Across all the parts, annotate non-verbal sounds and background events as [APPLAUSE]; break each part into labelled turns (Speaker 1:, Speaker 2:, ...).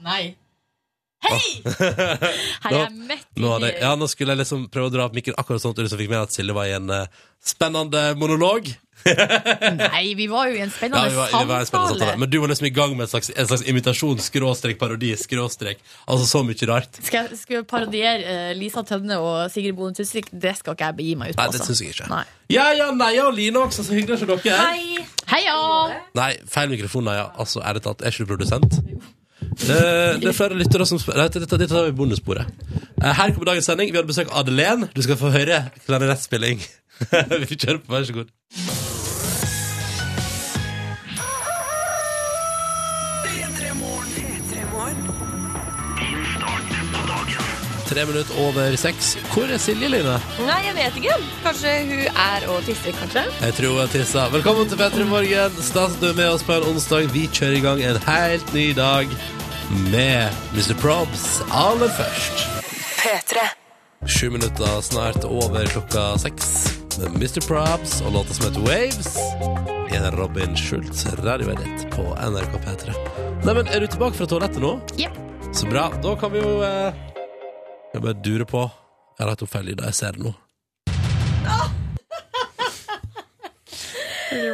Speaker 1: Nei. Hei!
Speaker 2: [LAUGHS]
Speaker 1: Her er jeg mett.
Speaker 2: Nå, hadde, jeg- ja, nå skulle jeg liksom prøve å dra opp mikken akkurat sånn at du så fikk med at Silje var i en eh, spennende monolog.
Speaker 1: Nei, vi var jo i en
Speaker 2: Ja,
Speaker 1: spennende
Speaker 2: vi var, det var en spennende samtale.
Speaker 1: samtale.
Speaker 2: Men du var liksom i gang med en slags, en slags imitasjon, skråstrek, parodi, skråstrek. Altså så mye rart.
Speaker 1: Skal jeg skal jeg parodiere eh, Lisa Tønne og Sigrid Bonde Tusvik? Det skal ikke jeg begi meg ut på.
Speaker 2: Nei, det
Speaker 1: altså.
Speaker 2: syns jeg ikke.
Speaker 1: Nei.
Speaker 2: Ja, ja, Neia og Line også, så hyggelig å se dere.
Speaker 3: Hei!
Speaker 1: Heia!
Speaker 2: Nei, feil mikrofon, Neia. Altså, er det tatt? Er ikke du produsent? Eh, Det, det er flere lyttere som spør Nei, Dette, dette tar vi i bonussporet. Eh, Her kommer dagens sending. Vi hadde besøk av Adelén. Du skal få høre klarinettspilling. [LAUGHS] vi kjører på, vær så god. Tre minutter over seks. Hvor er Silje, Line?
Speaker 3: Nei, jeg vet ikke. Kanskje hun er og tisser, kanskje?
Speaker 2: Jeg tror jeg tissa. Velkommen til P3 Morgen. Stas at du er med oss på en onsdag. Vi kjører i gang en helt ny dag med Mr. Probs aller først. Sju minutter snart over klokka seks. Med Mr. Probs og låta som heter Waves. I en Robin Schultz radioedit på NRK P3. Neimen, er du tilbake fra toalettet nå?
Speaker 1: Jepp.
Speaker 2: Så bra. Da kan vi jo eh... Jeg bare dure på. Jeg har lagt opp feil lyd. Jeg ser det nå.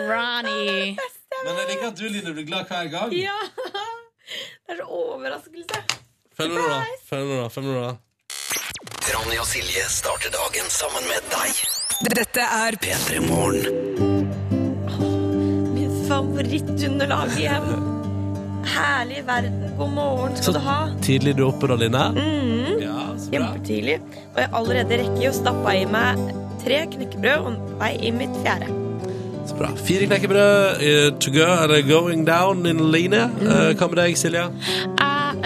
Speaker 1: Ronny.
Speaker 2: Men jeg liker at du, Line, blir glad hver gang.
Speaker 3: Ja! Det er så overraskelse.
Speaker 2: Følg med nå, da. Følg med nå, da. Følg med nå, da.
Speaker 4: Ronny og Silje starter dagen sammen med deg.
Speaker 5: Dette er
Speaker 4: P3 Morgen.
Speaker 3: Mitt favorittunderlag igjen. Herlig verden. God morgen skal du ha.
Speaker 2: Tidlig du er oppe da, Line? Ja, så bra.
Speaker 3: Kjempetidlig. Og jeg allerede rekker å stappe i meg tre knekkebrød og på vei i mitt fjerde.
Speaker 2: Så bra. Fire knekkebrød eh, to go, eller going down in Line. Eh, hva med deg, Silje?
Speaker 1: Jeg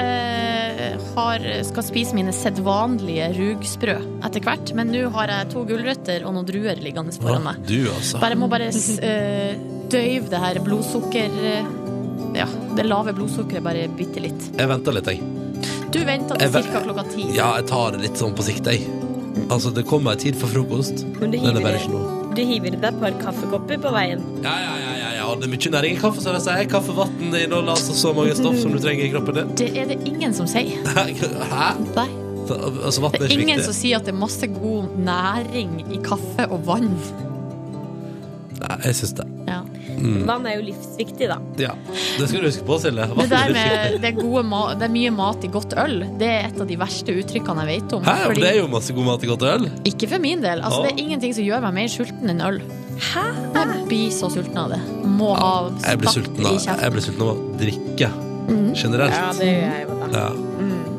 Speaker 1: eh, har, skal spise mine sedvanlige rugsprø etter hvert, men nå har jeg to gulrøtter og noen druer liggende foran meg.
Speaker 2: du, altså.
Speaker 1: Bare må bare s- eh, døyve det her blodsukker... eh, Ja, det lave blodsukkeret bare bitte litt.
Speaker 2: Jeg venter litt, jeg.
Speaker 1: Du venter
Speaker 2: Jeg
Speaker 1: til
Speaker 2: vet-
Speaker 1: cirka klokka ti.
Speaker 2: Ja, jeg tar det litt sånn på sikt, jeg. Altså, det kommer en tid for frokost.
Speaker 3: Men du
Speaker 2: Men det er
Speaker 3: hiver,
Speaker 2: bare ikke noe.
Speaker 3: du hiver i deg et par kaffekopper på veien.
Speaker 2: Ja, ja, ja, ja, ja. Det er mye næring i kaffe, som de sier. Kaffevann inneholder altså så mange stoff som du trenger i kroppen din. [LAUGHS]
Speaker 1: Det er det ingen som sier.
Speaker 2: Hæ?
Speaker 1: Nei.
Speaker 2: Altså, vann
Speaker 1: Det
Speaker 2: er
Speaker 1: er
Speaker 2: ikke
Speaker 1: ingen
Speaker 2: viktig.
Speaker 1: som sier at det er masse god næring i kaffe og vann.
Speaker 2: Nei, jeg syns det.
Speaker 1: Ja.
Speaker 3: Vann er jo livsviktig, da.
Speaker 2: Ja. Det skal du huske på, Silje.
Speaker 1: Det
Speaker 2: Vann er
Speaker 1: der
Speaker 2: litt viktig.
Speaker 1: med det er, gode ma det er mye mat i godt øl, det er et av de verste uttrykkene jeg vet om.
Speaker 2: Hæ, men
Speaker 1: fordi-
Speaker 2: det er jo masse god mat i godt øl.
Speaker 1: Ikke for min del. Altså,
Speaker 2: Åh.
Speaker 1: Det er ingenting som gjør meg mer sulten enn øl. Jeg blir så sulten av det. Må ha
Speaker 2: Jeg blir
Speaker 1: stapp
Speaker 2: sulten
Speaker 1: i
Speaker 2: av, jeg
Speaker 1: kjeften. Mhm.
Speaker 2: blir sulten av å drikke generelt.
Speaker 3: det gjør jeg jo, da.
Speaker 2: Ja.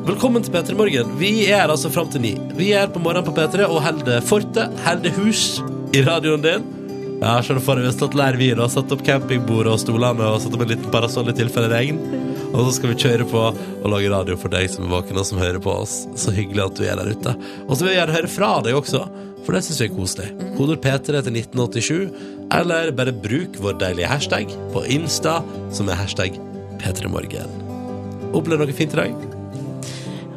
Speaker 2: Velkommen til P3 Morgen. Vi er altså fram til ni. Vi er på morgenen på P3 og holder fortet, holder hus i radioen din. Ja, ser du for deg vi har stått leirvin og satt opp campingbordet og stolene og satt opp en liten parasoll i tilfelle regn. Og så skal vi kjøre på og lage radio for deg som er våken og som hører på oss. Så hyggelig at du er der ute. Og så vil jeg gjerne høre fra deg også, for det syns vi er koselig. Kodord P3 til 1987, eller bare bruk vår deilige hashtag på Insta, som er hashtag P3morgen. Opplevde dere fint i dag?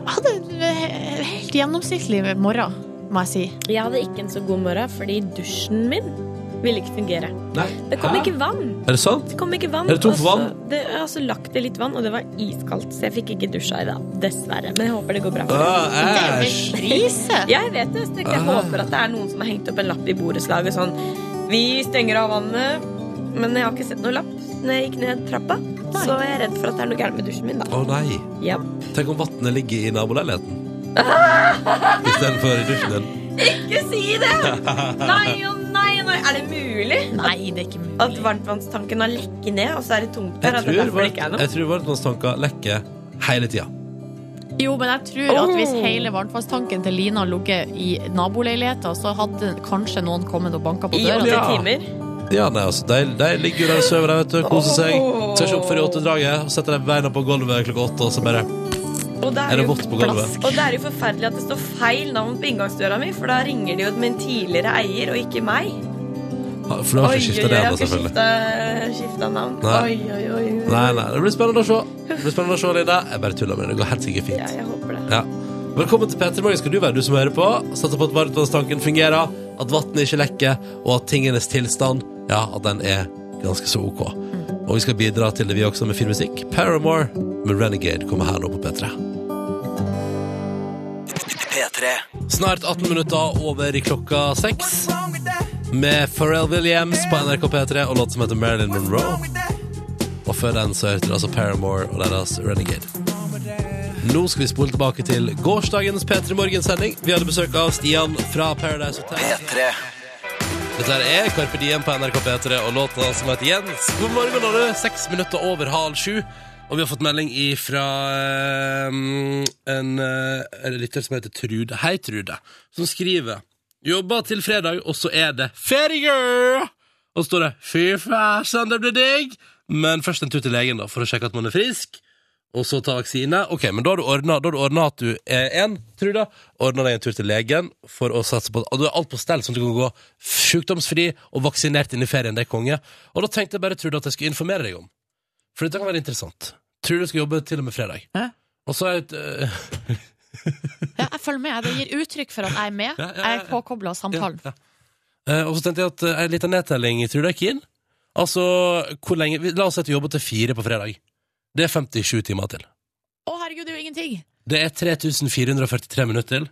Speaker 1: Jeg hadde en eh, helt gjennomsnittlig morgen, må jeg si.
Speaker 3: Jeg hadde ikke en så god morgen fordi dusjen min ville ikke fungere.
Speaker 2: Nei.
Speaker 3: Det kom ikke vann.
Speaker 2: Er det sant?
Speaker 3: Det kom ikke vann.
Speaker 2: Er det tomt for
Speaker 3: og så-
Speaker 2: vann?
Speaker 3: Det, jeg har også lagt det litt vann, og det var iskaldt, så jeg fikk ikke dusja i dag. Dessverre. Men jeg håper det går bra. for deg.
Speaker 2: Åh,
Speaker 1: Det er jo
Speaker 2: æsj.
Speaker 1: helt krise!
Speaker 3: Ja, jeg vet det. så Jeg
Speaker 2: Ah.
Speaker 3: håper at det er noen som har hengt opp en lapp i borettslaget sånn Vi stenger av vannet. Men jeg har ikke sett noen lapp når jeg gikk ned trappa, så jeg er redd for at det er noe gærent med dusjen min, da.
Speaker 2: Å nei.
Speaker 3: Ja.
Speaker 2: Tenk om vannet ligger i
Speaker 3: [LAUGHS]
Speaker 2: naboleiligheten. Istedenfor i dusjen din.
Speaker 3: Ikke si
Speaker 2: [LAUGHS]
Speaker 3: det! Nei og nei, nei. Er det mulig?
Speaker 1: Nei, det er ikke
Speaker 3: At
Speaker 1: mulig.
Speaker 3: varmtvannstanken har lekket ned, og så er det tomt
Speaker 2: Jeg
Speaker 3: der? at det er
Speaker 2: tror,
Speaker 3: derfor det
Speaker 2: varmt,
Speaker 3: ikke er noe?
Speaker 2: jeg tror varmtvannstanker lekker hele tida.
Speaker 1: Jo, men jeg tror at hvis hele varmtvannstanken til Lina hadde ligget i naboleiligheta, så hadde kanskje noen kommet og banka på
Speaker 3: I
Speaker 1: døra.
Speaker 3: åtte
Speaker 2: Ja.
Speaker 3: timer?
Speaker 2: Ja, nei, altså, de, de ligger jo der og sover, de, vet du, koser seg.
Speaker 3: Åh.
Speaker 2: Skal ikke opp før i åttedraget. og Setter de beina på gulvet klokka åtte, og så bare
Speaker 3: Og det
Speaker 2: er
Speaker 3: er
Speaker 2: det
Speaker 3: jo
Speaker 2: vått på gulvet.
Speaker 1: Plask.
Speaker 3: og det er jo forferdelig at det står feil navn på inngangsdøra mi, for da ringer de jo min tidligere eier, og ikke meg.
Speaker 2: Ha- For du har ikke skifta det
Speaker 3: jeg har
Speaker 2: ennå,
Speaker 3: ikke
Speaker 2: selvfølgelig.
Speaker 3: skiftet- skiftet navn.
Speaker 2: Nei.
Speaker 3: Oi, oi, oi. oi.
Speaker 2: Nei, nei, det blir spennende å se. Det blir spennende å se, Lina. Jeg bare tuller med det. Det går helt sikkert
Speaker 3: Ja,
Speaker 2: fint.
Speaker 3: jeg håper det.
Speaker 2: Ja. Velkommen til P3 Morgen skal du være, du som hører på. Satser på at varmtvannstanken fungerer, at vannet ikke lekker, og at tingenes tilstand, ja, at den er ganske så ok. Og vi skal bidra til det vi også med fin musikk. Paramore med Renegade kommer her nå på P3.
Speaker 4: P3.
Speaker 2: Snart 18 minutter over i klokka seks. Med Pharrell Williams på NRK P3 og låt som heter Marilyn Monroe. Og før den så hørte du altså Paramore og deres Renegade. Nå skal vi spole tilbake til gårsdagens P3 Morgen-sending. Vi hadde besøk av Stian fra Paradise Hotel.
Speaker 4: P3.
Speaker 2: Dette her er Carpe Diem på NRK P3 og låta som heter Jens. God morgen, har du. Seks minutter over halv sju. Og vi har fått melding ifra eh, en, eh, en lytter som heter Trude. Hei, Trude. Som skriver Jobba til fredag, og så er det ferie! Og så står det Fy fæsan, det blir digg! Men først en tur til legen da, for å sjekke at man er frisk. Og så ta vaksine. Ok, men da har du ordna, da har du ordnet at du er en, Truda. Ordna deg en tur til legen for å satse på at du er alt på stell, sånn at du kan gå sykdomsfri og vaksinert inn i ferien. Det er konge. Og da tenkte jeg bare, Truda, at jeg skulle informere deg om. For dette kan være interessant. Tror du skal jobbe til og med fredag.
Speaker 1: Hæ?
Speaker 2: Og så er jeg et, øh,
Speaker 1: Ja, jeg følger med. Det gir uttrykk for at jeg er med.
Speaker 2: Ja, ja, ja,
Speaker 1: Jeg er
Speaker 2: ja.
Speaker 1: påkobla samtalen.
Speaker 2: [LAUGHS] Ja, ja. Eh, Og så tenkte jeg at eh, en liten nedtelling Tror du det er keen? Altså, hvor lenge vi- La oss si at vi jobber til fire på fredag Det er 57 timer til
Speaker 1: Å, herregud, det er jo ingenting!
Speaker 2: Det er 3443 minutter til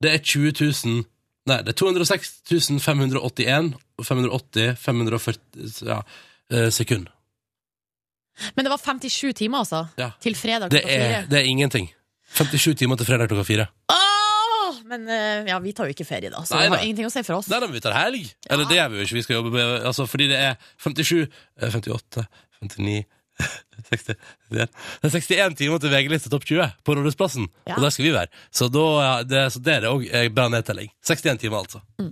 Speaker 2: Det er 20 000 Nei, det er 206 581 580 540 ja, eh, sekund
Speaker 1: Men det var 57 timer, altså.
Speaker 2: Ja.
Speaker 1: Til fredag
Speaker 2: det
Speaker 1: klokka
Speaker 2: er,
Speaker 1: fire.
Speaker 2: det er ingenting 57 timer til fredag klokka fire
Speaker 1: Åh! Men eh, ja, vi tar jo ikke ferie, da, så
Speaker 2: Nei
Speaker 1: det
Speaker 2: da.
Speaker 1: har ingenting å si for oss.
Speaker 2: Nei, da må vi ta helg. Eller det gjør vi jo ikke. Vi skal jobbe med, altså, fordi det er 57, eh, 58, [LAUGHS] 59 60, det er 61 timer til VG-lista Topp 20 på Rådhusplassen,
Speaker 1: Ja.
Speaker 2: og der skal vi være. Så, da, ja, det, så det er det òg. Bra nedtelling. 61 timer, altså.
Speaker 1: Mm.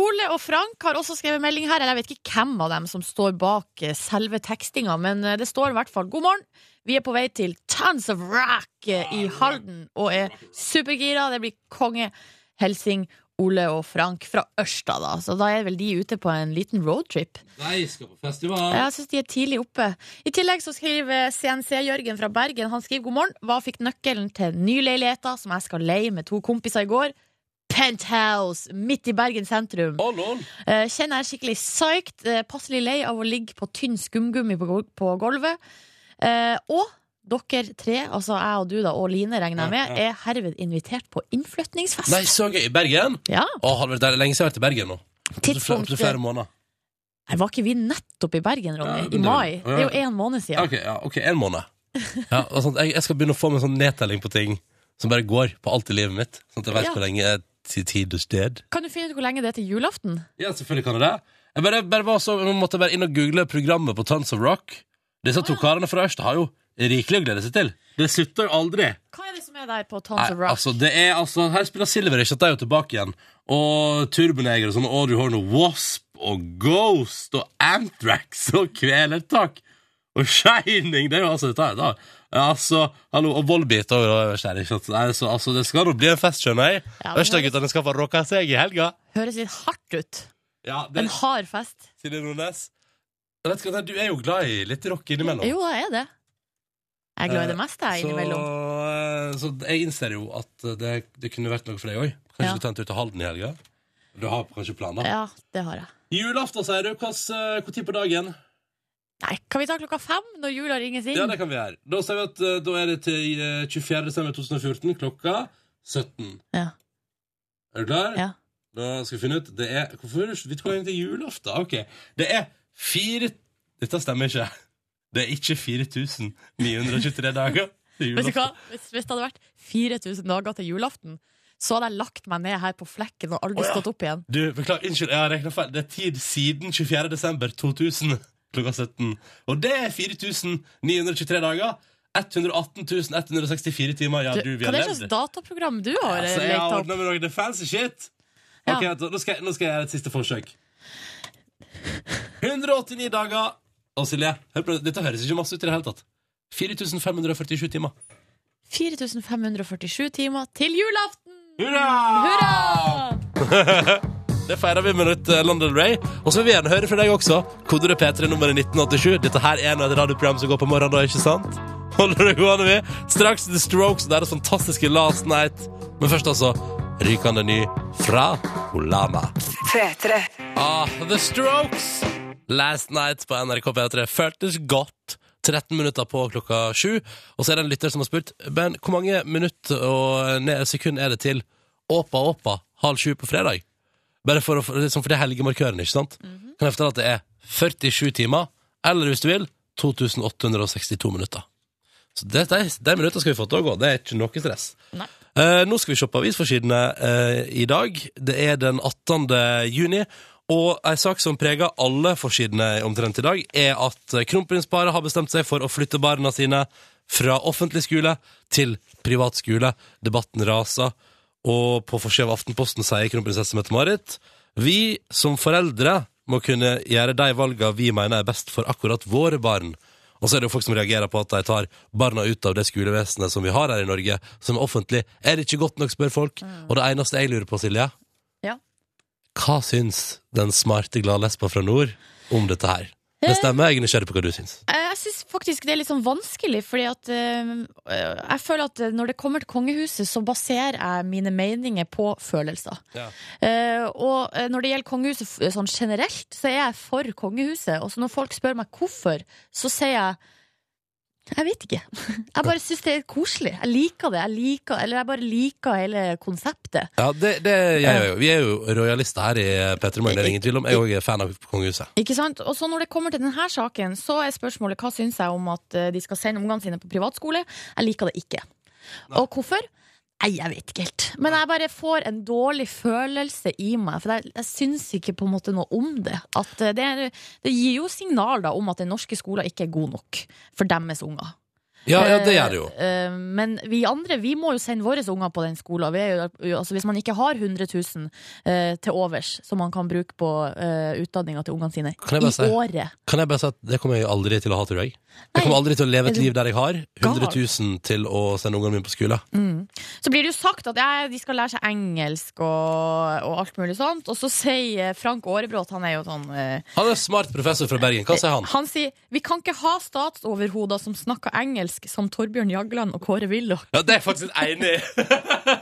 Speaker 1: Ole og Frank har også skrevet melding her. Eller jeg vet ikke hvem av dem som står bak eh, selve tekstinga, men eh, det står i hvert fall 'God morgen'. Vi er på vei til Tons of Rack eh, i Halden og er supergira. Det blir konge. Helsing Ole og Frank fra Ørsta, da. Så da er vel de ute på en liten roadtrip.
Speaker 2: Nei, skal på festival.
Speaker 1: Jeg syns de er tidlig oppe. I tillegg så skriver eh, CNC-Jørgen fra Bergen Han skriver god morgen. Hva fikk nøkkelen til nyleiligheter som jeg skal leie med to kompiser i går? Penthouse midt i Bergen sentrum.
Speaker 2: Å, lol.
Speaker 1: Eh, Kjenner jeg er skikkelig psyched. eh, Passelig lei av å ligge på tynn skumgummi på gol- på gulvet. Eh, Og dere tre, altså jeg og du da, og Line regner jeg med, er herved invitert på innflytningsfest.
Speaker 2: Nei, Altså, så gøy. I Bergen?
Speaker 1: Ja,
Speaker 2: Å, har det vært der, lenge siden jeg har vært i Bergen nå. Opptil flere-
Speaker 1: tidspunkt
Speaker 2: opptil flere måneder.
Speaker 1: Nei, Var ikke vi nettopp i Bergen, Ronny?
Speaker 2: Ja,
Speaker 1: I mai?
Speaker 2: ja.
Speaker 1: Det er jo en måned siden.
Speaker 2: Ok, ja, ok, en måned. Ja, og sånn, jeg, jeg skal begynne å få meg sånn nedtelling på ting som bare går på alt i livet mitt. Sånn at jeg vet
Speaker 1: Ja.
Speaker 2: hvor lenge til tid og sted.
Speaker 1: Kan du finne ut hvor lenge det er til julaften?
Speaker 2: Ja, selvfølgelig kan du det. Jeg bare, bare var så, nå måtte jeg bare inn og google programmet på Tons of Rock. Disse to karene fra Ørsta har jo rikelig å glede seg til. Det slutter jo aldri.
Speaker 1: Hva er det som er der på Tons
Speaker 2: Nei,
Speaker 1: of Rock?
Speaker 2: altså, det er, altså, her spiller Silver ikke at de er jo tilbake igjen. Og Turboneger og sånn, og du har noe Wasp og Ghost og Anthrax og Kvelertak og Shining. Det er jo altså dette her, da. Ja, Altså, hallo, og Volbeat og, og, og skjære, ikke sant? Nei, så, altså, det skal nå bli en fest, skjønner jeg.
Speaker 1: Ja, det
Speaker 2: Ørsta-guttene skal få rocka seg i helga.
Speaker 1: Høres litt hardt ut.
Speaker 2: Ja,
Speaker 1: En hard fest.
Speaker 2: Silje Nordnes. Jeg vet ikke, Katarina, du er jo glad i litt rock innimellom.
Speaker 1: Jo, det er det. Jeg er glad i det meste, jeg,
Speaker 2: Eh, Så,
Speaker 1: innimellom.
Speaker 2: eh, så jeg innser jo at det, det kunne vært noe for deg òg. Kanskje
Speaker 1: Ja.
Speaker 2: du tar en tur til Halden i helga? Du har kanskje planer?
Speaker 1: Ja, det har jeg.
Speaker 2: Julaften, sier du. Når på dagen?
Speaker 1: Nei, kan vi ta klokka fem, når jula ringes inn?
Speaker 2: Ja, det kan vi gjøre. Da sier vi at eh, da er det til eh, 24. desember 2014 klokka 17.
Speaker 1: Ja.
Speaker 2: Er du klar?
Speaker 1: Ja.
Speaker 2: Da skal vi finne ut det er, Hvorfor vi tar inn til julaften? Ah, Ok. Det er fire Dette stemmer ikke. Det er ikke 4923 dager. til
Speaker 1: Vet du hva?
Speaker 2: julaften.
Speaker 1: Hvis, hvis det hadde vært 4000 dager til julaften, så hadde jeg lagt meg ned her på flekken og aldri
Speaker 2: Å, ja.
Speaker 1: stått opp igjen.
Speaker 2: Du, beklager, unnskyld, jeg har regnet feil. Det er tid siden 24. desember 2000 klokka 17. Og det er 4923 dager. 118 164 timer. Ja,
Speaker 1: Du,
Speaker 2: du, vi
Speaker 1: hva er
Speaker 2: har
Speaker 1: det slags
Speaker 2: levd.
Speaker 1: dataprogram du har
Speaker 2: Altså,
Speaker 1: eh,
Speaker 2: jeg har
Speaker 1: lekt opp?
Speaker 2: ordnet med noe fancy shit.
Speaker 1: Ja.
Speaker 2: Ok, vent da, nå, skal jeg, nå skal jeg gjøre et siste forsøk. 189 dager. Og Silje, hør på, det. dette høres ikke masse ut i det hele tatt. 4547 timer.
Speaker 1: 4547 timer til julaften!
Speaker 2: Hurra!
Speaker 1: Hurra!
Speaker 2: Det feirer vi med litt eh, London Ray. Og så vil vi gjerne høre fra deg også. Kodeordet P3 nummeret 1987. Dette her er nå et radioprogram som går på morgenen, da, ikke sant? Holder det gående, vi? Straks The Strokes og deres fantastiske Last Night. Men først, altså, rykende ny fra Olama. Ah, The Strokes Last Night på NRK P3 føltes godt. 13 minutter på klokka sju. Og så er det en lytter som har spurt Men hvor mange minutter og ned- sekund er det til Åpa Åpa halv sju på fredag? Bare for, å, få- liksom for det er helgemarkøren, ikke sant? Kan jeg fortelle at det er 47 timer, eller hvis du vil, 2862 minutter. Så det, de, de minutter skal vi få til å gå. Det er ikke noe stress.
Speaker 1: Nei.
Speaker 2: Eh, nå skal vi se på avisforsidene eh, i dag. Det er den 18. juni. Og ei sak som preger alle forsidene omtrent i dag, er at kronprinsparet har bestemt seg for å flytte barna sine fra offentlig skole til privat skole. Debatten raser, og på forsida av Aftenposten sier kronprinsesse Mette-Marit Vi som foreldre må kunne gjøre de valga vi mener er best for akkurat våre barn. Og så er det jo folk som reagerer på at de tar barna ut av det skolevesenet som vi har her i Norge, som er offentlig. Er det ikke godt nok, spør folk. Og det eneste jeg lurer på, Silje,
Speaker 1: Ja.
Speaker 2: hva syns den smarte, glade lesba fra nord om dette her? Det stemmer, jeg er nysgjerrig på hva du syns.
Speaker 1: Eh, Jeg syns faktisk det er litt sånn vanskelig, fordi at eh, Jeg føler at eh, når det kommer til kongehuset, så baserer jeg mine meninger på følelser.
Speaker 2: Ja.
Speaker 1: Eh, og eh, når det gjelder kongehuset f- sånn generelt, så er jeg for kongehuset. Og så når folk spør meg hvorfor, så sier jeg jeg vet ikke. [LAUGHS] Jeg bare syns det er koselig. Jeg liker det. Jeg liker, eller jeg bare liker hele konseptet.
Speaker 2: Ja, det, det jeg er jo. Vi er jo rojalister her i P3 Morgen, det er det ingen tvil om. Jeg òg er fan av kongehuset.
Speaker 1: Ikke sant? Og så når det kommer til denne saken, så er spørsmålet hva syns jeg om at eh, de skal sende ungene sine på privatskole. Jeg liker det ikke. Og hvorfor? Nei, jeg vet ikke helt. Men jeg bare får en dårlig følelse i meg, for jeg, jeg syns ikke på en måte noe om det. At eh, det, er, det gir jo signaler om at den norske skolen ikke er god nok for deres unger.
Speaker 2: Ja, ja, det gjør det jo.
Speaker 1: Eh, eh, Men vi andre vi må jo sende våre unger på den skolen. Vi er jo, altså hvis man ikke har 100 000 eh, til overs som man kan bruke på uh, utdanninga til ungene sine
Speaker 2: Kan
Speaker 1: i
Speaker 2: jeg bare si-
Speaker 1: året
Speaker 2: Kan jeg bare si at det kommer jeg aldri til å ha, tror jeg.
Speaker 1: Nei.
Speaker 2: Jeg kommer aldri til å
Speaker 1: Er
Speaker 2: leve
Speaker 1: du
Speaker 2: et liv der jeg har 100
Speaker 1: gal?
Speaker 2: 000 til å sende ungene mine på skole.
Speaker 1: Så blir det jo sagt at ja, de skal lære seg engelsk og, og alt mulig sånt. Og så sier Frank Aarebrot, han er jo sånn eh,
Speaker 2: Han er en smart professor fra Bergen. Hva sier han?
Speaker 1: Han sier vi kan ikke ha statsoverhoder som snakker engelsk som Torbjørn Jagland og Kåre Willoch.
Speaker 2: Ja, det er jeg faktisk litt enig i. [LAUGHS]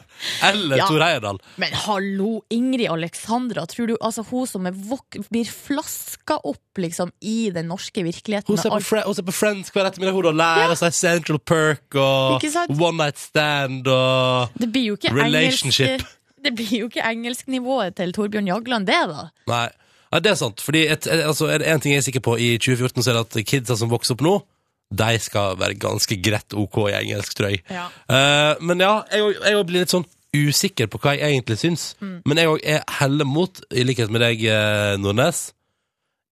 Speaker 2: Eller
Speaker 1: Ja.
Speaker 2: Tor Eierdal.
Speaker 1: Men hallo, Ingrid Alexandra, tror du altså hun som er vok blir flaska opp liksom i den norske virkeligheten?
Speaker 2: Hun
Speaker 1: med
Speaker 2: ser, på
Speaker 1: alt-
Speaker 2: Fre- hun ser på Friends hver ettermiddag hun, og lærer seg Central Perk og
Speaker 1: Ikke sant?
Speaker 2: One Night Stand og
Speaker 1: det blir jo ikke
Speaker 2: Relationship.
Speaker 1: engelsk- Det blir jo ikke engelsknivået til Torbjørn Jagland, det, da.
Speaker 2: Nei. Ja, det er sant. Fordi et, et, altså, er det en ting jeg er sikker på i 2014, så er det at kidsa som vokser opp nå, de skal være ganske greit OK i engelsk, tror jeg.
Speaker 1: Ja.
Speaker 2: Eh, men ja, jeg òg- jeg òg blir litt sånn usikker på hva jeg egentlig syns. Men jeg òg er heller mot, i likhet med deg, eh, Nordnes,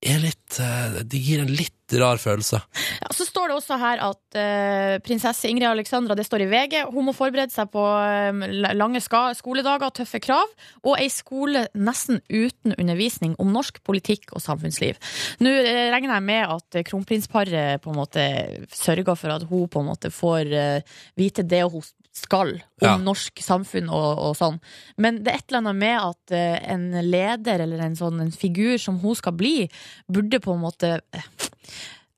Speaker 2: er litt eh, Det gir en litt rar følelse.
Speaker 1: Ja, så står det også her at eh, prinsesse Ingrid Alexandra, det står i VG, hun må forberede seg på eh, la- lange ska skoledager og tøffe krav, og ei skole nesten uten undervisning om norsk politikk og samfunnsliv. Nå eh, regner jeg med at eh, kronprinsparet på en måte sørger for at hun på en måte får eh, vite det hun skal om
Speaker 2: Ja.
Speaker 1: norsk samfunn og, og sånn. Men det er et eller annet med at eh, en leder eller en sånn en figur som hun skal bli, burde på en måte eh,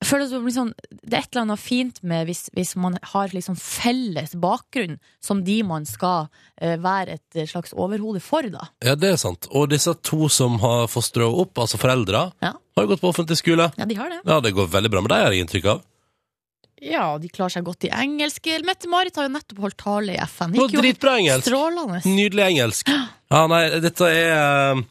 Speaker 1: jeg føler at det, blir sånn, det er et eller annet fint med hvis, hvis man har liksom felles bakgrunn som de man skal eh, være et slags overhode for, da.
Speaker 2: Ja, det er sant. Og disse to som har fostra henne opp, altså foreldra,
Speaker 1: Ja.
Speaker 2: har jo gått på offentlig skole.
Speaker 1: Ja, de har det.
Speaker 2: Ja, det går veldig bra med deg, har jeg inntrykk av.
Speaker 1: Ja, de klarer seg godt i engelsk. Mette-Marit har jo nettopp holdt tale i FN.
Speaker 2: Nå,
Speaker 1: Gikk jo
Speaker 2: dritbra engelsk!
Speaker 1: strålende.
Speaker 2: Nydelig engelsk. Ja, nei, dette er eh,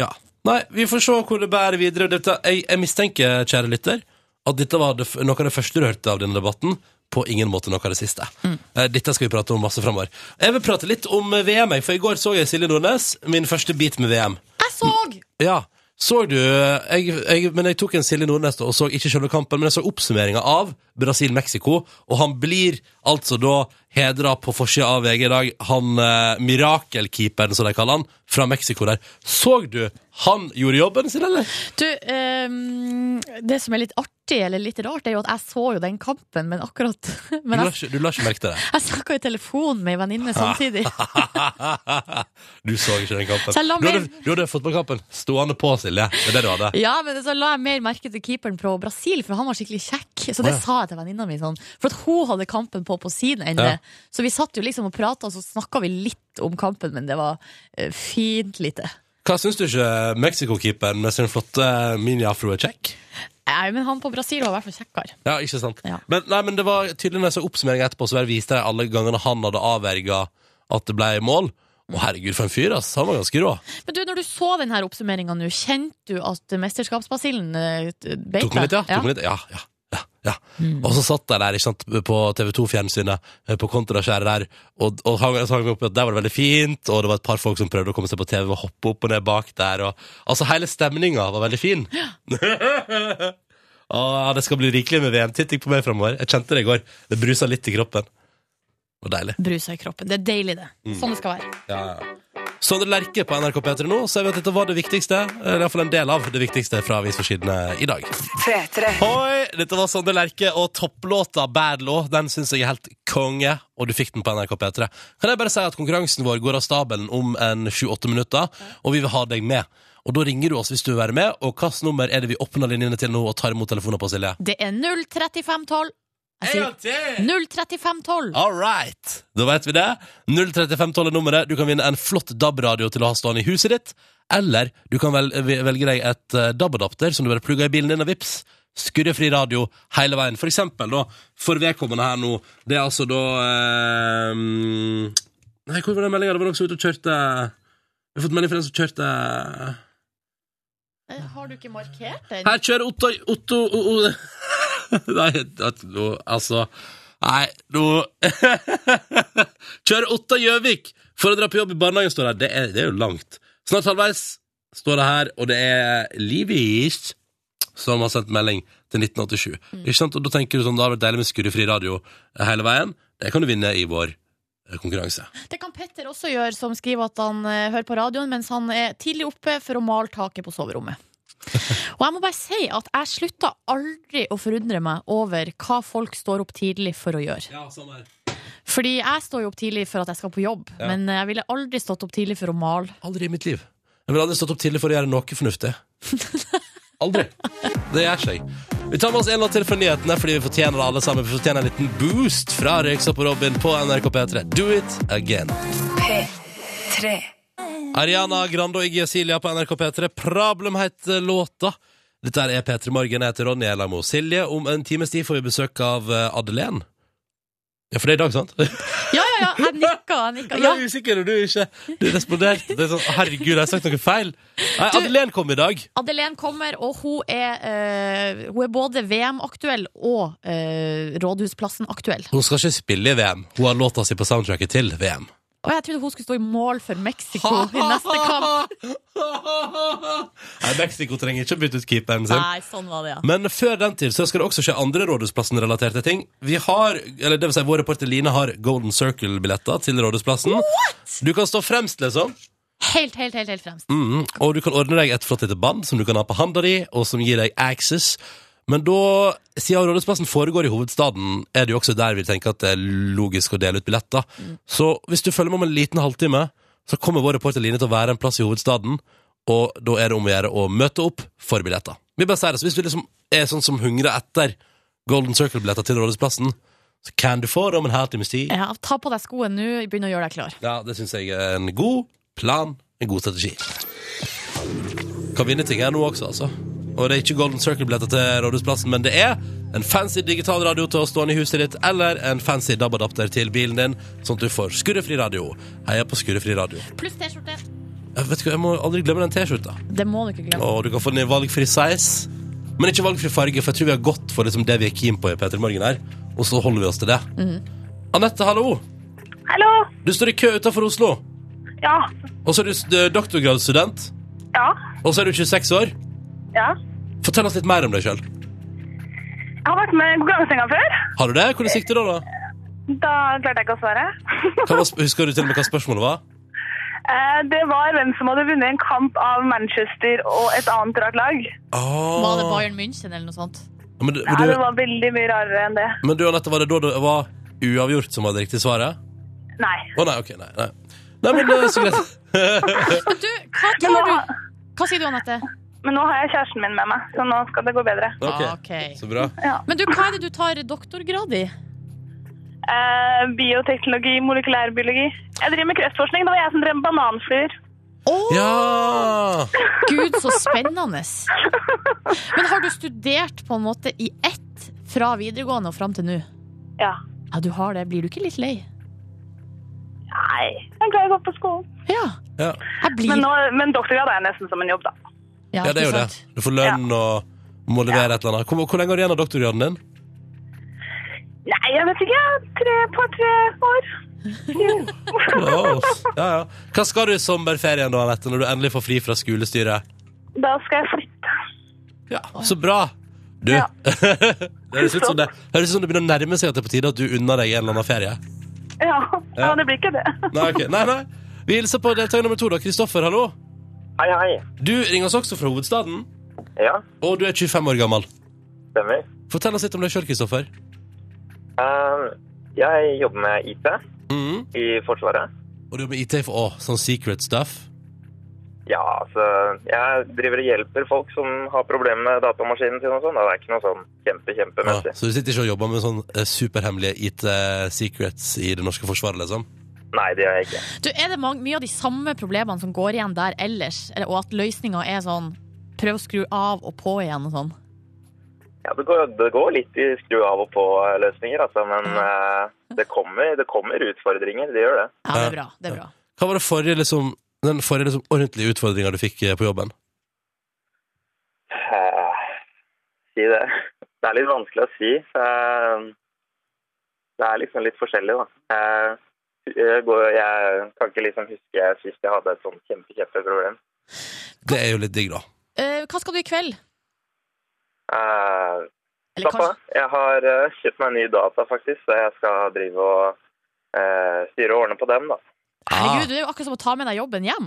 Speaker 2: Ja. Nei, vi får se hvor det bærer videre. Dette, jeg, jeg mistenker, kjære lytter, at dette var det, f- noe av det første du hørte av denne debatten. På ingen måte noe av det siste. Eh, Dette skal vi prate om masse framover. Jeg vil prate litt om eh, VM, jeg, for i går så jeg Silje Nordnes, min første bit med VM.
Speaker 1: Jeg så!
Speaker 2: Ja, så du jeg, jeg, Men jeg tok en Silje Nordnes og så ikke selve kampen, men jeg så oppsummeringa av Brasil-Mexico, og han blir altså da hedra på forsida av VG i dag, han eh, mirakelkeeperen, som de kaller han, fra Mexico der. Så du han gjorde jobben sin, eller?
Speaker 1: Du, ehm, det som er litt artig, eller litt rart, er jo at jeg så jo den kampen, men akkurat [LAUGHS]
Speaker 2: Du
Speaker 1: Men
Speaker 2: la
Speaker 1: jeg,
Speaker 2: ikke, du la ikke merke til det? [LAUGHS]
Speaker 1: jeg snakka i telefon med ei venninne samtidig.
Speaker 2: du så ikke den kampen.
Speaker 1: Så jeg la
Speaker 2: Du hadde,
Speaker 1: meg-
Speaker 2: du hadde fotballkampen stående på, Silje. Det er det du hadde.
Speaker 1: Ja, men så la jeg mer merke til keeperen på Brasil, for han var skikkelig kjekk. Så det
Speaker 2: Å, ja.
Speaker 1: sa jeg til venninna mi, sånn. for at hun hadde kampen på på sin ende.
Speaker 2: Ja.
Speaker 1: Så vi satt jo liksom og prata, og så snakka vi litt om kampen, men det var eh, fint lite.
Speaker 2: Hva syns du ikke Mexico-keeperen med sin flotte mini-afro er kjekk?
Speaker 1: Nei, men han på Brasil var i hvert fall kjekkere.
Speaker 2: Ja, ikke sant?
Speaker 1: Ja.
Speaker 2: Men, nei, men det var tydelig når jeg så oppsummeringen etterpå, så bare viste jeg alle gangene han hadde avverga at det ble mål. Å, herregud, for en fyr, ass. Han var ganske rå.
Speaker 1: Men du, når du så denne oppsummeringa nå, kjente du at mesterskapsbasillen eh, beit
Speaker 2: Tok meg litt,
Speaker 1: Ja.
Speaker 2: ja.
Speaker 1: Mm.
Speaker 2: Tok meg litt, ja, ja. ja, ja. Og så satt jeg der ikke sant, på TV2-fjernsynet, eh, på kontraskjæret der, og, og hang, så hang vi opp i at der var det veldig fint, og det var et par folk som prøvde å komme seg på TV og hoppe opp og ned bak der. Og, altså, hele stemninga var veldig fin. [LAUGHS] Å, det skal bli rikelig med VM-titting på meg framover. Jeg kjente det i går. Det brusa litt i kroppen. Det var deilig.
Speaker 1: Brusa i kroppen. Det er deilig, det.
Speaker 2: Mm.
Speaker 1: Sånn det skal være.
Speaker 2: Ja, ja. Sondre Lerche på NRK P3 nå, så jeg vet at dette var det viktigste. Eller iallfall en del av det viktigste fra avisforsidene i dag. Hoi! Dette var Sondre Lerche og topplåta Bad Law. Den syns jeg er helt konge, og du fikk den på NRK P3. Kan jeg bare si at konkurransen vår går av stabelen om en 7-8 minutter, og vi vil ha deg med. Og da ringer du oss hvis du vil være med, og hvilket nummer er det vi åpner linjene til nå og tar imot telefoner på, Silje?
Speaker 1: Det er 03512. Jeg sier 03512.
Speaker 2: All right, da vet vi det. 03512 er nummeret. Du kan vinne en flott DAB-radio til å ha stående i huset ditt. Eller du kan vel, velge deg et eh, DAB-adapter som du bare plugger i bilen din og vips. Skurrefri radio hele veien. For eksempel, da, for vedkommende her nå, det er altså da eh, Nei, hvor var den meldinga? Det var noen som var ute og kjørte Vi har fått melding fra en som kjørte
Speaker 1: Eh, Har du ikke markert den?
Speaker 2: Her kjører Otto, Otto o, o. [LAUGHS] Nei, at, nå, altså Nei, nå [LAUGHS] Kjører Otto Gjøvik for å dra på jobb i barnehagen, står det her. Det er, det er jo langt. Snart halvveis står det her, og det er Livis som har sendt melding til 1987. Ikke sant? Og da tenker du sånn, da har det vært deilig med skurrefri radio hele veien. Det kan du vinne i vår eh, konkurranse.
Speaker 1: Det kan Petter også gjøre, som skriver at han eh, hører på radioen mens han er tidlig oppe for å male taket på soverommet. Og jeg må bare si at jeg slutta aldri å forundre meg over hva folk står opp tidlig for å gjøre.
Speaker 2: Ja, sånn her.
Speaker 1: Fordi jeg står jo opp tidlig for at jeg skal på jobb,
Speaker 2: Ja.
Speaker 1: men jeg ville aldri stått opp tidlig for å male.
Speaker 2: Aldri i mitt liv. Jeg ville aldri stått opp tidlig for å gjøre noe fornuftig. Aldri. Det gjør seg. Vi tar med oss en låt til fra nyhetene, fordi vi fortjener det alle sammen. Vi fortjener en liten boost fra Røyksopp og Robin på NRK P3. Do it again. Ariana Grande og Iggy Asilia på NRK P3. Problem heter låta. Dette er P3 Morgen. Jeg heter Ronny Elamo Silje. Om en times tid får vi besøk av eh, Madeleine. Ja, for det er i dag, sant?
Speaker 1: Ja, ja, ja! Jeg nikka, jeg nikka. Ja.
Speaker 2: [LAUGHS] Jeg er usikker, og du er ikke Du responderte. Det er sånn, herregud, jeg har sagt noe feil. Nei, Madeleine kom i dag.
Speaker 1: Adelén kommer, og hun er, eh, hun er både VM-aktuell og eh, Rådhusplassen-aktuell.
Speaker 2: Hun skal ikke spille i VM. Hun har låta si på soundtracket til VM.
Speaker 1: Og jeg trodde hun skulle stå i mål for Mexico i neste
Speaker 2: [LAUGHS]
Speaker 1: kamp.
Speaker 2: Nei, Mexico trenger ikke å bytte ut keeperen sin.
Speaker 1: Nei, sånn var det, ja.
Speaker 2: Men før den tid så skal det også skje andre Rådhusplassen-relaterte ting. Vi har, eller det vil si Vår reporter Line har Golden Circle-billetter til Rådhusplassen. Du kan stå fremst, liksom.
Speaker 1: Helt, helt, helt, helt fremst.
Speaker 2: Mhm. Og du kan ordne deg et flott lite band som du kan ha på handa di, og som gir deg access. Men da, siden Rådhusplassen foregår i hovedstaden, er det jo også der vi tenker at det er logisk å dele ut billetter. Så hvis du følger med om en liten halvtime, så kommer vår reporter Line til å være en plass i hovedstaden, og da er det om å gjøre å møte opp for billetter. Vi bare sier det, så hvis du liksom er sånn som hungrer etter Golden Circle-billetter til Rådhusplassen, så kan du få det om en halvtimes tid.
Speaker 1: Ja, ta på deg skoene nå, begynn å gjøre deg klar.
Speaker 2: Ja, det syns jeg er en god plan, en god strategi. Kan vinne ting her nå også, altså. Og det er ikke Golden Circle-billetter til Rådhusplassen, men det er en fancy digital radio til å stående i huset ditt, eller en fancy DAB-adapter til bilen din, sånn at du får skurrefri radio. Heia på skurrefri radio.
Speaker 1: Pluss T-skjorte.
Speaker 2: Jeg vet ikke, jeg må aldri glemme den T-skjorta.
Speaker 1: Det må du ikke glemme.
Speaker 2: Og du kan få den i valgfri size, men ikke valgfri farge, for jeg tror vi har gått for liksom det vi er keen på i P3 Morgen her, og så holder vi oss til det. Anette, hallo!
Speaker 5: Hallo.
Speaker 2: Du står i kø utenfor Oslo,
Speaker 5: Ja.
Speaker 2: og så er du s- eh, doktorgradsstudent.
Speaker 5: Ja.
Speaker 2: Og så er du 26 år.
Speaker 5: ja.
Speaker 2: Fortell oss litt mer om deg sjøl.
Speaker 5: Jeg har vært med i konkurransesenga før.
Speaker 2: Har du det? Hvor gikk det da? da?
Speaker 5: Da klarte jeg ikke å svare. [LAUGHS]
Speaker 2: Hva var, sp- husker du til og med hva spørsmålet var?
Speaker 5: Eh, det var hvem som hadde vunnet en kamp av Manchester og et annet rart lag.
Speaker 2: Ah.
Speaker 1: Var det Bayern München eller noe sånt?
Speaker 2: Men, du- men,
Speaker 5: Ja, det
Speaker 2: du,
Speaker 5: var veldig mye rarere enn det.
Speaker 2: men du, Anette, var det da det var uavgjort som var det riktige svaret?
Speaker 5: Nei.
Speaker 2: Å nei, ok, nei. nei. Nei, men eh, så greit.
Speaker 1: Men du, hva
Speaker 5: Men
Speaker 1: tar
Speaker 5: nå,
Speaker 1: du? Hva sier du, Anette?
Speaker 5: men nå har jeg kjæresten min med meg, så nå skal det gå bedre.
Speaker 2: Ok,
Speaker 1: Ah, ok.
Speaker 2: Så bra.
Speaker 1: Men du, hva er det du tar doktorgrad i?
Speaker 5: Eh, bioteknologi, molekylærbiologi. Jeg driver med kreftforskning. Det var jeg som drev med bananfluer.
Speaker 1: Å,
Speaker 2: Ja!
Speaker 1: gud, så spennende! Men har du studert på en måte i ett fra videregående og fram til nå?
Speaker 5: Ja.
Speaker 1: Ja, du har det. Blir du ikke litt lei?
Speaker 5: Nei, jeg er glad i å gå på skolen.
Speaker 1: Ja.
Speaker 2: Ja.
Speaker 1: Jeg blir
Speaker 5: Men, nå, men doktorgrad er nesten som en jobb, da.
Speaker 2: ja, det er jo
Speaker 1: ikke
Speaker 2: det.
Speaker 1: sant?
Speaker 2: Du får lønn og må levere et eller annet. Hvor, hvor lenge går du igjen av doktorgraden din?
Speaker 5: Nei, jeg vet ikke. Tre, par tre år.
Speaker 2: Åh, Ja, ja. Hva skal du i sommerferien da, Anette, når du endelig får fri fra skolestyret?
Speaker 5: Da skal jeg flytte.
Speaker 2: Ja, Så bra! Du,
Speaker 5: Ja.
Speaker 2: [LAUGHS] det høres ut som [LAUGHS] det, høres ut som det begynner å nærme seg at det er på tide at du unner deg en eller annen ferie.
Speaker 5: Ja, ja
Speaker 2: Ja.
Speaker 5: det blir ikke det. [LAUGHS]
Speaker 2: Nei, ok. nei, nei. Vi hilser på deltaker nummer to, da. Kristoffer, hallo.
Speaker 6: Hei, hei.
Speaker 2: Du ringer oss også fra hovedstaden,
Speaker 6: Ja,
Speaker 2: og du er 25 år gammel.
Speaker 6: stemmer.
Speaker 2: Fortell oss litt om deg sjøl, Kristoffer.
Speaker 6: Ehm, jeg jobber med IT
Speaker 2: Mhm.
Speaker 6: i Forsvaret.
Speaker 2: Og du jobber i IT for Å, sånn secret stuff.
Speaker 6: Ja, altså, jeg driver og hjelper folk som har problemer med datamaskinen sin og sånn. da. Det er ikke noe sånn kjempe,
Speaker 2: Ja,
Speaker 6: kjempemessig.
Speaker 2: så du sitter ikke og jobber med sånn eh, superhemmelige IT-secrets i det norske forsvaret, liksom?
Speaker 6: Nei, det gjør jeg ikke.
Speaker 1: Du, er det mange, mye av de samme problemene som går igjen der ellers, eller, og at løsninga er sånn prøv å skru av og på igjen og sånn?
Speaker 6: Ja, det går, det går litt i skru av og på eh, løsninger, altså, men eh, det, kommer, det kommer utfordringer, det gjør det.
Speaker 1: Ja,
Speaker 2: Eh,
Speaker 1: det er bra. det er bra.
Speaker 2: Hva var det forrige, liksom, den forrige liksom, ordentlige utfordringa du fikk eh, på jobben?
Speaker 6: Eh, Si det. Det er litt vanskelig å si. eh, Det er liksom litt forskjellig, da. Eh, Jeg, går, jeg kan ikke liksom huske sist jeg hadde et sånt kjempe, kjempeproblem.
Speaker 2: Det er jo litt digg, da. [LAUGHS]
Speaker 1: Eh, hva skal du i kveld?
Speaker 6: Eh,
Speaker 1: Eller
Speaker 6: Slapp av.
Speaker 1: kanskje-
Speaker 6: Jeg har eh, kjøpt meg ny data, faktisk, så jeg skal drive og eh, styre og ordne på dem, da.
Speaker 2: Ah.
Speaker 1: Herregud, det er jo akkurat som å ta med deg jobben hjem.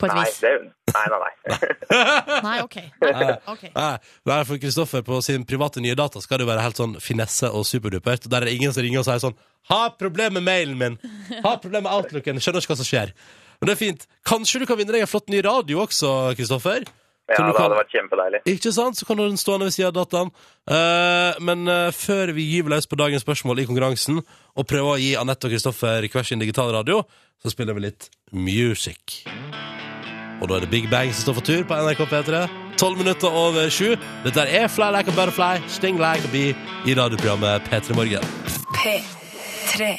Speaker 1: På et
Speaker 6: Nei,
Speaker 1: vis.
Speaker 6: det, nei, nei. nei.
Speaker 1: Nei, OK.
Speaker 2: Nei.
Speaker 1: Ok.
Speaker 2: Nei, nei, for Kristoffer på sin private nye data skal det jo være helt sånn finesse og superdupert. Der er det ingen som ringer og sier sånn Ha problem med mailen min! Ha problem med outlooken! Skjønner ikke hva som skjer. Men det er fint. Kanskje du kan vinne deg en flott ny radio også, Kristoffer?
Speaker 6: [LAUGHS] Ja,
Speaker 2: Som du
Speaker 6: det
Speaker 2: kan-
Speaker 6: hadde vært kjempedeilig.
Speaker 2: Ikke sant? Så kan du ha den stående ved siden av dataen. Eh, men eh, før vi gyver løs på dagens spørsmål i konkurransen, og prøver å gi Anette og Kristoffer hver sin digital radio, så spiller vi litt music. Og da er det Big Bang som står for tur på NRK P3. Tolv minutter over sju. Dette er Fly like a butterfly, sting like a bee i radioprogrammet P3 Morgen.
Speaker 7: P3.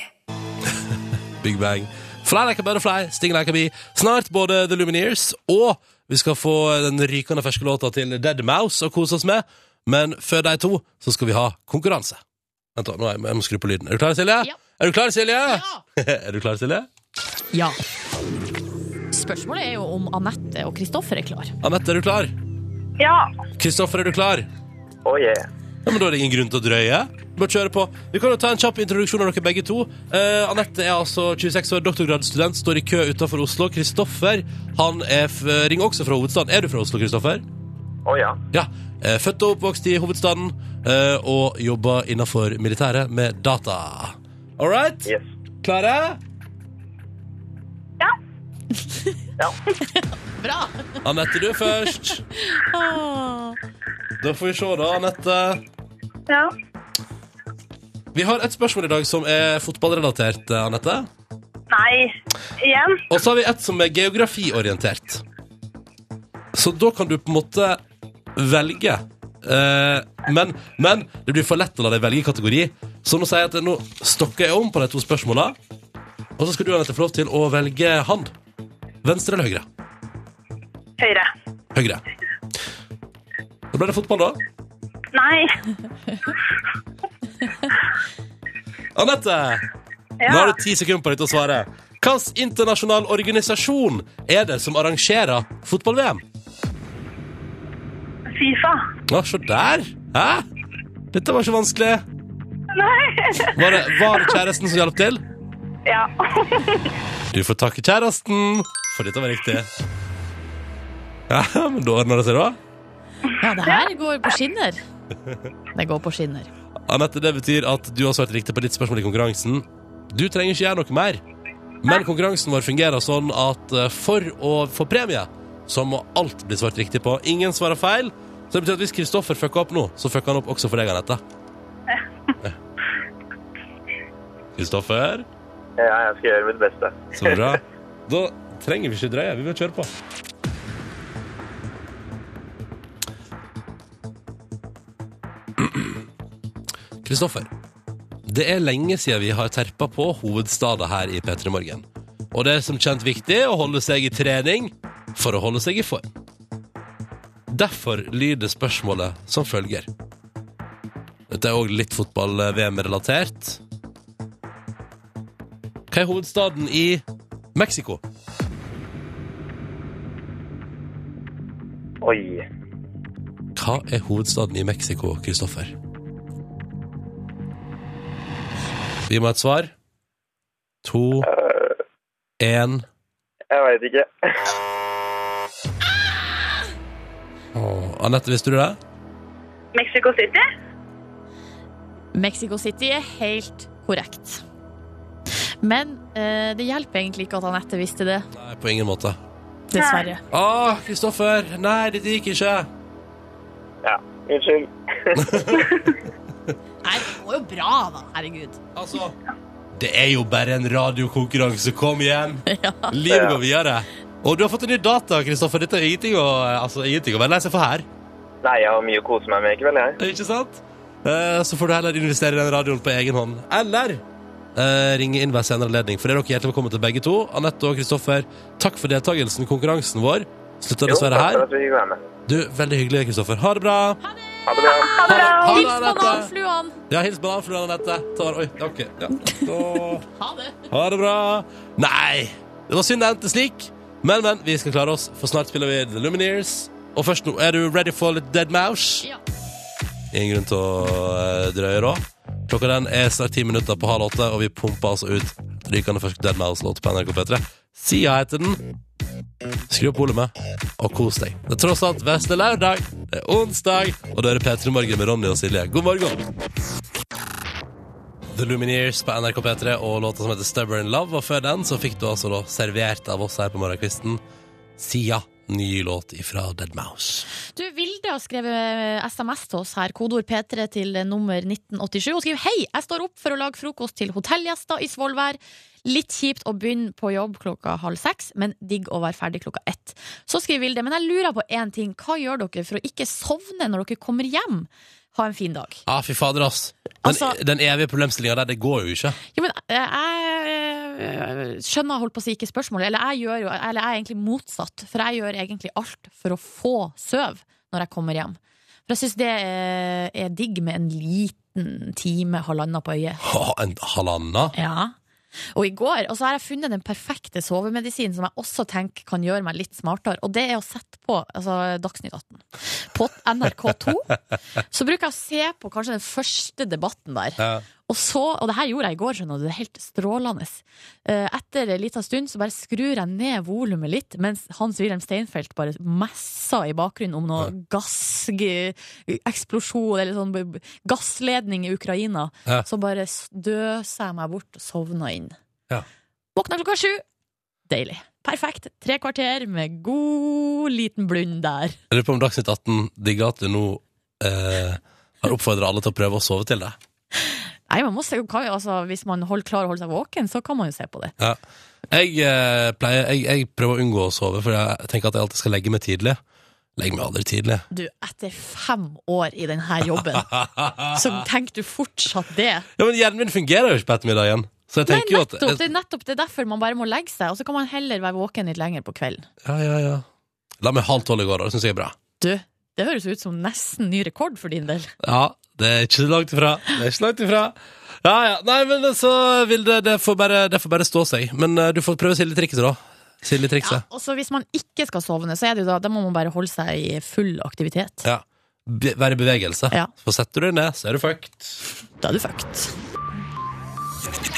Speaker 2: Big Bang. Fly like a butterfly, sting like a bee. Snart både The Lumineers og vi skal få den rykende ferske låta til Dead Mouse å kose oss med. Men før de to så skal vi ha konkurranse. Vent, da, nå er jeg, jeg må skru på lyden. Er du klar, Silje?
Speaker 1: Ja.
Speaker 2: Er du klar, Silje?
Speaker 1: Ja.
Speaker 2: [LAUGHS] er du klar, Silje?
Speaker 1: Ja. Spørsmålet er jo om Anette og Kristoffer er klar.
Speaker 2: Anette, er du klar?
Speaker 5: Ja.
Speaker 2: Kristoffer, er du klar?
Speaker 6: Oh, yeah.
Speaker 2: Ja, men Da er det ingen grunn til å drøye. Bare kjøre på. Vi kan jo ta en kjapp introduksjon av dere begge to. Eh, Anette er altså 26 år, doktorgradsstudent, står i kø utenfor Oslo. Kristoffer han er f ringer også fra hovedstaden. Er du fra Oslo, Kristoffer?
Speaker 6: Å, ja.
Speaker 2: Ja. eh, Født og oppvokst i hovedstaden eh, og jobber innenfor militæret med data. All right?
Speaker 6: Yes.
Speaker 2: Klare?
Speaker 1: [LAUGHS]
Speaker 5: Ja.
Speaker 1: Bra!
Speaker 2: Anette, du er først.
Speaker 1: Åh.
Speaker 2: Da får vi se, da, Anette.
Speaker 5: ja.
Speaker 2: Vi har et spørsmål i dag som er fotballrelatert, eh, Anette.
Speaker 5: Nei. Igjen.
Speaker 2: Og så har vi et som er geografiorientert. Så da kan du på en måte velge. Eh, men, men det blir for lett å la deg velge kategori. Så nå sier jeg at nå stokker jeg om på de to spørsmåla. Og så skal du Anette, få lov til å velge hand. Venstre eller høyre?
Speaker 5: Høyre.
Speaker 2: Høyre. Da ble det fotball, da.
Speaker 5: Nei.
Speaker 2: Anette, nå har du ti sekunder på deg til å svare. Hvilken internasjonal organisasjon er det som arrangerer fotball-VM?
Speaker 5: Fifa.
Speaker 2: Å, se der! Hæ? Dette var ikke vanskelig.
Speaker 5: Nei. [LAUGHS]
Speaker 2: Var det, var det kjæresten som hjalp til?
Speaker 5: Ja.
Speaker 2: Du får takke kjæresten, for dette var riktig. Ja, men da ordner det seg, da.
Speaker 1: Ja, det her går på skinner. Det går på skinner.
Speaker 2: Anette, det betyr at du har svart riktig på ditt spørsmål i konkurransen. Du trenger ikke gjøre noe mer. Men konkurransen vår fungerer sånn at eh, for å få premie, så må alt bli svart riktig på. Ingen svarer feil. Så det betyr at hvis Kristoffer fucker opp nå, så fucker han opp også for deg, Anette. Ja. Kristoffer?
Speaker 6: Ja, jeg skal gjøre mitt beste.
Speaker 2: Så bra. Da trenger vi ikke drøye. Vi må kjøre på. Kristoffer, det er lenge siden vi har terpa på hovedstaden her i P3 Morgen. Og det er som kjent viktig å holde seg i trening for å holde seg i form. Derfor lyder spørsmålet som følger. Dette er òg litt fotball-VM-relatert. Hva er hovedstaden i Mexico?
Speaker 6: Oi.
Speaker 2: Hva er hovedstaden i Mexico, Kristoffer? Vi må ha et svar. To Én
Speaker 6: Jeg veit ikke. [LAUGHS]
Speaker 2: Åh, Anette, visste du det?
Speaker 5: Mexico City?
Speaker 1: Mexico City er helt korrekt. Men eh, det hjelper egentlig ikke at Anette visste det,
Speaker 2: Nei, på ingen måte.
Speaker 1: dessverre.
Speaker 2: Åh, Kristoffer! Nei, dette gikk ikke.
Speaker 6: Ja, unnskyld.
Speaker 1: Nei, det går jo bra, da. Herregud.
Speaker 2: Altså Det er jo bare en radiokonkurranse. Kom igjen! Livet går videre. Og du har fått en ny data, Kristoffer. Dette er ingenting å, altså, ingenting å være lei seg for her.
Speaker 6: Nei, jeg har mye å kose meg med i kveld, jeg.
Speaker 2: Ikke sant? Eh, så får du heller investere i den radioen på egen hånd. Eller eh, ringe inn ved senere anledning. For dere er dere hjertelig velkommen til begge to. Anette og Kristoffer, takk for deltakelsen. Konkurransen vår slutter
Speaker 6: Jo,
Speaker 2: dessverre her.
Speaker 6: takk for at du fikk være med.
Speaker 2: Du, Veldig hyggelig, Kristoffer. Ha det bra.
Speaker 6: Ha det bra.
Speaker 2: Ha det, ha det,
Speaker 1: Hils
Speaker 2: Anette.
Speaker 1: bananfluene!
Speaker 2: Ja, hils bananfluen, Anette. Ta vare- Oi, OK. Ja. Da
Speaker 1: Ha det.
Speaker 2: Ha det bra. Nei, det var synd det endte slik. Men, men, vi skal klare oss, for snart spiller vi The Lumineers. Og først nå, er du ready for litt Dead Mouse?
Speaker 1: Ja.
Speaker 2: Ingen grunn til å eh, drøye da. Klokka den er snart ti minutter på halv åtte, og vi pumper altså ut rykende fersk Dead Mouse-låt på NRK P3. Sia heter den. Skru opp volumet og kos deg. Det er tross alt vesle lørdag, det er onsdag, og da er det P3 Morgen med Ronny og Silje. God morgen! The Lumineers på NRK P3 og låta som heter Stubborn Love. Og før den så fikk du altså da servert av oss her på morgenkvisten Sia, ny låt ifra Dead Mouse.
Speaker 1: Du, Vilde har skrevet SMS til oss her, kodeord P3 til nummer 1987. Hun skriver Hei, jeg står opp for å lage frokost til hotellgjester i Svolvær. Litt kjipt å begynne på jobb klokka halv seks, men digg å være ferdig klokka ett. Så skriver Vilde, men jeg lurer på én ting. Hva gjør dere for å ikke sovne når dere kommer hjem? Ha en fin dag.
Speaker 2: Ja, ah, fy fader, ass. Den, e-
Speaker 1: Altså-
Speaker 2: den evige problemstillinga der, det går jo ikke.
Speaker 1: Jo, men eh, jeg eh, skjønner holdt på å si ikke spørsmålet, eller jeg, gjør jo, eller jeg er egentlig motsatt. For jeg gjør egentlig alt for å få søv når jeg kommer hjem. For jeg syns det eh, er digg med en liten time, halvannen på øyet.
Speaker 2: Åh, en halvanna?
Speaker 1: Ja. Og i går og så har jeg funnet den perfekte sovemedisinen som jeg også tenker kan gjøre meg litt smartere, og det er å sette på altså, Dagsnytt 18. På NRK2 så bruker jeg å se på kanskje den første debatten der.
Speaker 2: Ja.
Speaker 1: Og så, og det her gjorde jeg i går, skjønner du, det er helt strålende. Eh, Etter en liten stund så bare skrur jeg ned volumet litt, mens Hans-Wilhelm Steinfeld bare messer i bakgrunnen om noe gass, g- eksplosjon eller sånn b- b- gassledning i Ukraina.
Speaker 2: Ja.
Speaker 1: Så bare s- døser jeg meg bort og sovna inn.
Speaker 2: Ja.
Speaker 1: Våkna klokka sju. Deilig. Perfekt. Tre kvarter med god liten blund der.
Speaker 2: Jeg lurer på om Dagsnytt 18 digger at du nå eh, har oppfordra alle til å prøve å sove til det.
Speaker 1: Nei, man må se, kan, jo- altså, hvis man hold, klarer å holde seg våken, så kan man jo se på det.
Speaker 2: Ja. Jeg, eh, pleier, jeg, jeg prøver å unngå å sove, for jeg tenker at jeg alltid skal legge meg tidlig. Legger meg aldri tidlig.
Speaker 1: Du, etter fem år i denne
Speaker 2: [LAUGHS]
Speaker 1: jobben, så tenker du fortsatt det.
Speaker 2: Ja, men Hjernen min fungerer jo ikke på ettermiddagen. Så jeg
Speaker 1: Nei,
Speaker 2: tenker
Speaker 1: nettopp,
Speaker 2: jo at
Speaker 1: det er nettopp det er derfor man bare må legge seg, og så kan man heller være våken litt lenger på kvelden.
Speaker 2: Ja, ja, ja. La meg halv tolv i går, da. Det syns jeg er bra.
Speaker 1: Du, det høres ut som nesten ny rekord for din del.
Speaker 2: Ja, det er ikke langt ifra. Det er ikke langt ifra. Ja, ja. Nei, men så vil det Det får bare, det får bare stå seg. Men eh, du får prøve Silje-trikset, da. Silje-trikset.
Speaker 1: Og så hvis man ikke skal sovne, så er det jo da, da må man bare holde seg i full aktivitet.
Speaker 2: Ja. Be være i bevegelse.
Speaker 1: Ja.
Speaker 2: For setter du deg ned, så er du fucked.
Speaker 1: Da er du fucked.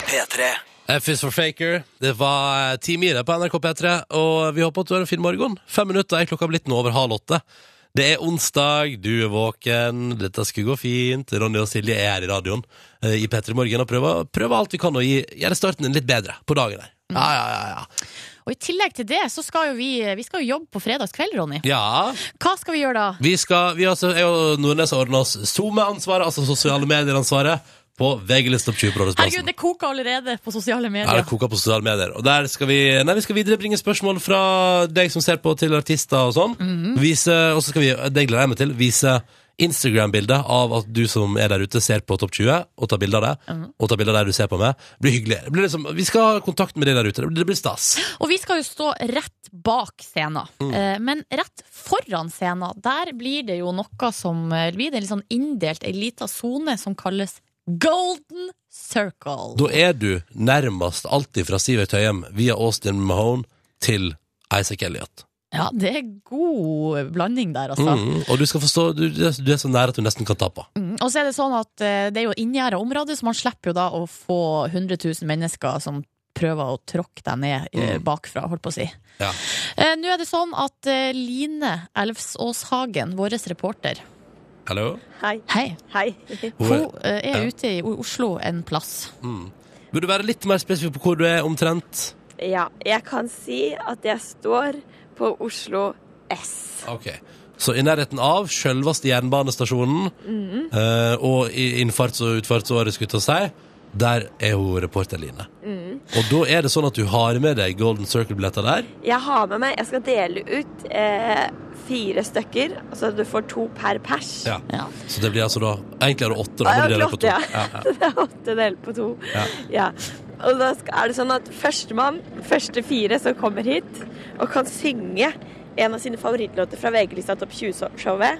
Speaker 4: P3.
Speaker 2: F is Eh, for faker. Det var eh, Team Ida på NRK P3, og vi håper at du har en fin morgen. Fem minutter er klokka blitt nå over halv åtte. Det er onsdag, du er våken, dette skulle gå fint. Ronny og Silje er her i radioen eh, i P3 Morgen og prøver, prøver alt vi kan å gi, gjøre starten din litt bedre på dagen der. Ja, ja, ja.
Speaker 1: Og i tillegg til det, så skal jo vi, vi skal jo jobbe på fredagskveld, Ronny.
Speaker 2: ja. ja.
Speaker 1: Hva skal vi gjøre da?
Speaker 2: Vi skal, vi har altså, jeg og Nordnes har ordnet oss SoMe-ansvaret, altså sosiale medier-ansvaret, på VG-lista på 20 på Rådhusplassen.
Speaker 1: Herregud, det koker allerede på sosiale medier.
Speaker 2: Ja, det koker på sosiale medier. Og der skal vi, nei, vi skal viderebringe spørsmål fra deg som ser på til artister og sånn.
Speaker 1: Mhm.
Speaker 2: Vise, og så skal vi, det gleder jeg meg til, vise Instagram-bildet av at du som er der ute ser på Topp 20 og tar bilder av det.
Speaker 1: Mhm.
Speaker 2: Og tar bilder av deg du ser på med. Det blir hyggelig. Det blir liksom, vi skal ha kontakt med de der ute. Det blir, det blir stas.
Speaker 1: Og vi skal jo stå rett bak scenen. Eh, Men rett foran scenen, der blir det jo noe som eh, blir det litt sånn inndelt, ei lita sone som kalles Golden Circle.
Speaker 2: Da er du nærmest alltid fra Sivert Høyem via Austin Mahone til Isaac Elliot.
Speaker 1: Ja, det er god blanding der, altså.
Speaker 2: Mm. Og du skal forstå, du, du er så nær at du nesten kan ta på.
Speaker 1: Mm. Og så er det sånn at eh, det er jo inngjerda område, så man slipper jo da å få 100 000 mennesker som prøver å tråkke deg ned eh, bakfra, holdt på å si.
Speaker 2: Ja.
Speaker 1: Eh, Nå er det sånn at eh, Line Elvsåshagen, vår reporter,
Speaker 2: Hallo?
Speaker 3: Hei.
Speaker 1: hei,
Speaker 3: Hei.
Speaker 1: hun eh, er
Speaker 2: Ja.
Speaker 1: ute i O- Oslo en plass.
Speaker 2: Burde du være litt mer spesifikk på hvor du er omtrent?
Speaker 3: Ja, jeg kan si at jeg står på Oslo S.
Speaker 2: Ok, så i nærheten av selveste jernbanestasjonen eh, Og i innfarts- og utfartsåret skulle jeg til å si Der er hun reporter Line Og da er det sånn at du har med deg Golden Circle-billetter der
Speaker 3: Jeg har med meg Jeg skal dele ut eh, fire stykker, så du får to per pers.
Speaker 2: Ja.
Speaker 1: Ja.
Speaker 2: Så det blir altså da Egentlig er det åtte da,
Speaker 3: Ja,
Speaker 2: men
Speaker 3: det
Speaker 2: du
Speaker 3: er
Speaker 2: deler på to.
Speaker 3: åtte,
Speaker 2: Ja, ja.
Speaker 3: [LAUGHS] Det er åtte deler på to.
Speaker 2: Ja.
Speaker 3: Ja. Og da skal- er det sånn at førstemann, første fire som kommer hit og kan synge en av sine favorittlåter fra VG-lista Topp 20-showet,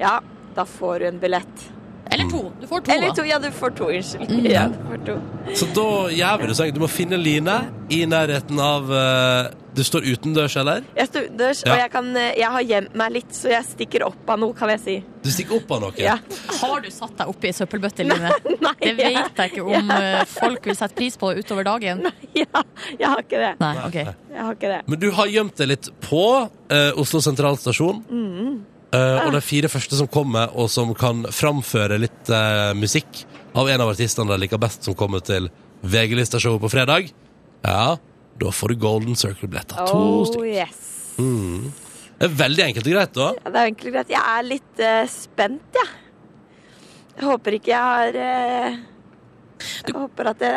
Speaker 3: ja, da får du en billett.
Speaker 1: Eller to. Du får to,
Speaker 3: Eller to,
Speaker 1: da.
Speaker 3: ja, du får to, unnskyld.
Speaker 2: Mm.
Speaker 3: Ja, du får to.
Speaker 2: Så da gjør vi det sånn Du må finne Line i nærheten av eh, Du står utendørs, eller?
Speaker 3: Jeg står utendørs,
Speaker 2: Ja.
Speaker 3: og jeg, kan, eh, jeg har gjemt meg litt, så jeg stikker opp av noe, kan jeg si.
Speaker 2: Du stikker opp av noe
Speaker 3: Ja. [LAUGHS]
Speaker 1: Har du satt deg oppi ei søppelbøtte, Line?
Speaker 3: Nei, [LAUGHS]
Speaker 1: Det vet jeg ikke om eh, folk vil sette pris på utover dagen.
Speaker 3: Ja, jeg har ikke det.
Speaker 1: Nei, ok.
Speaker 3: Jeg har ikke det.
Speaker 2: Men du har gjemt deg litt på eh, Oslo sentralstasjon. Eh, og de fire første som kommer, og som kan framføre litt eh, musikk av en av artistene de liker best, som kommer til VG-lista-showet på fredag, ja, da får du Golden Circle-billetter. To
Speaker 3: Oh,
Speaker 2: stykker.
Speaker 3: yes.
Speaker 2: Det er veldig enkelt og greit, da.
Speaker 3: Ja, det er egentlig greit. Jeg er litt eh, spent, jeg. Jeg håper ikke jeg har eh, Jeg håper at jeg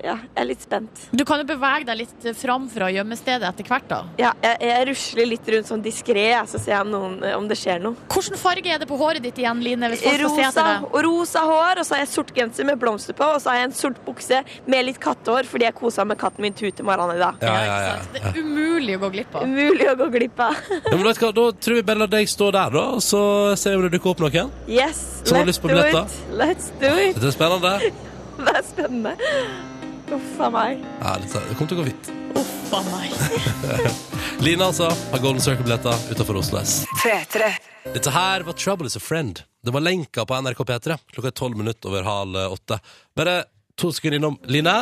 Speaker 3: Ja, jeg er litt spent.
Speaker 1: Du kan jo bevege deg litt fram fra gjemmestedet etter hvert, da.
Speaker 3: Ja, jeg, jeg rusler litt rundt sånn diskré, så ser jeg noen, eh, om det skjer noe.
Speaker 1: Hvilken farge er det på håret ditt igjen, Line? Hvis folk skal se
Speaker 3: Rosa,
Speaker 1: etter deg?
Speaker 3: og rosa hår, og så har jeg sort genser med blomster på, og så har jeg en sort bukse med litt kattehår fordi jeg kosa med katten min Tut i morgen i dag.
Speaker 2: Ja,
Speaker 1: Ja, ikke sant? Det er umulig å gå glipp av.
Speaker 3: Umulig å gå glipp av.
Speaker 2: Ja, men vet du hva, Da tror jeg bare lar deg stå der, da, og så ser vi om det dukker opp noen.
Speaker 3: Yes,
Speaker 2: Så har du lyst på billetter?
Speaker 3: it. Let's do it. [LAUGHS]
Speaker 2: Dette er spennende.
Speaker 3: Det er spennende. Uff a meg.
Speaker 2: Ja, dette det kommer til å gå fint.
Speaker 1: Uff a meg.
Speaker 2: Line, altså, har Golden Circle-billetter utenfor Oslo S.
Speaker 7: P3.
Speaker 2: Dette her var Trouble is a Friend. Det var lenka på NRK P3. Klokka er tolv minutter over halv åtte. Bare to sekunder innom. Line,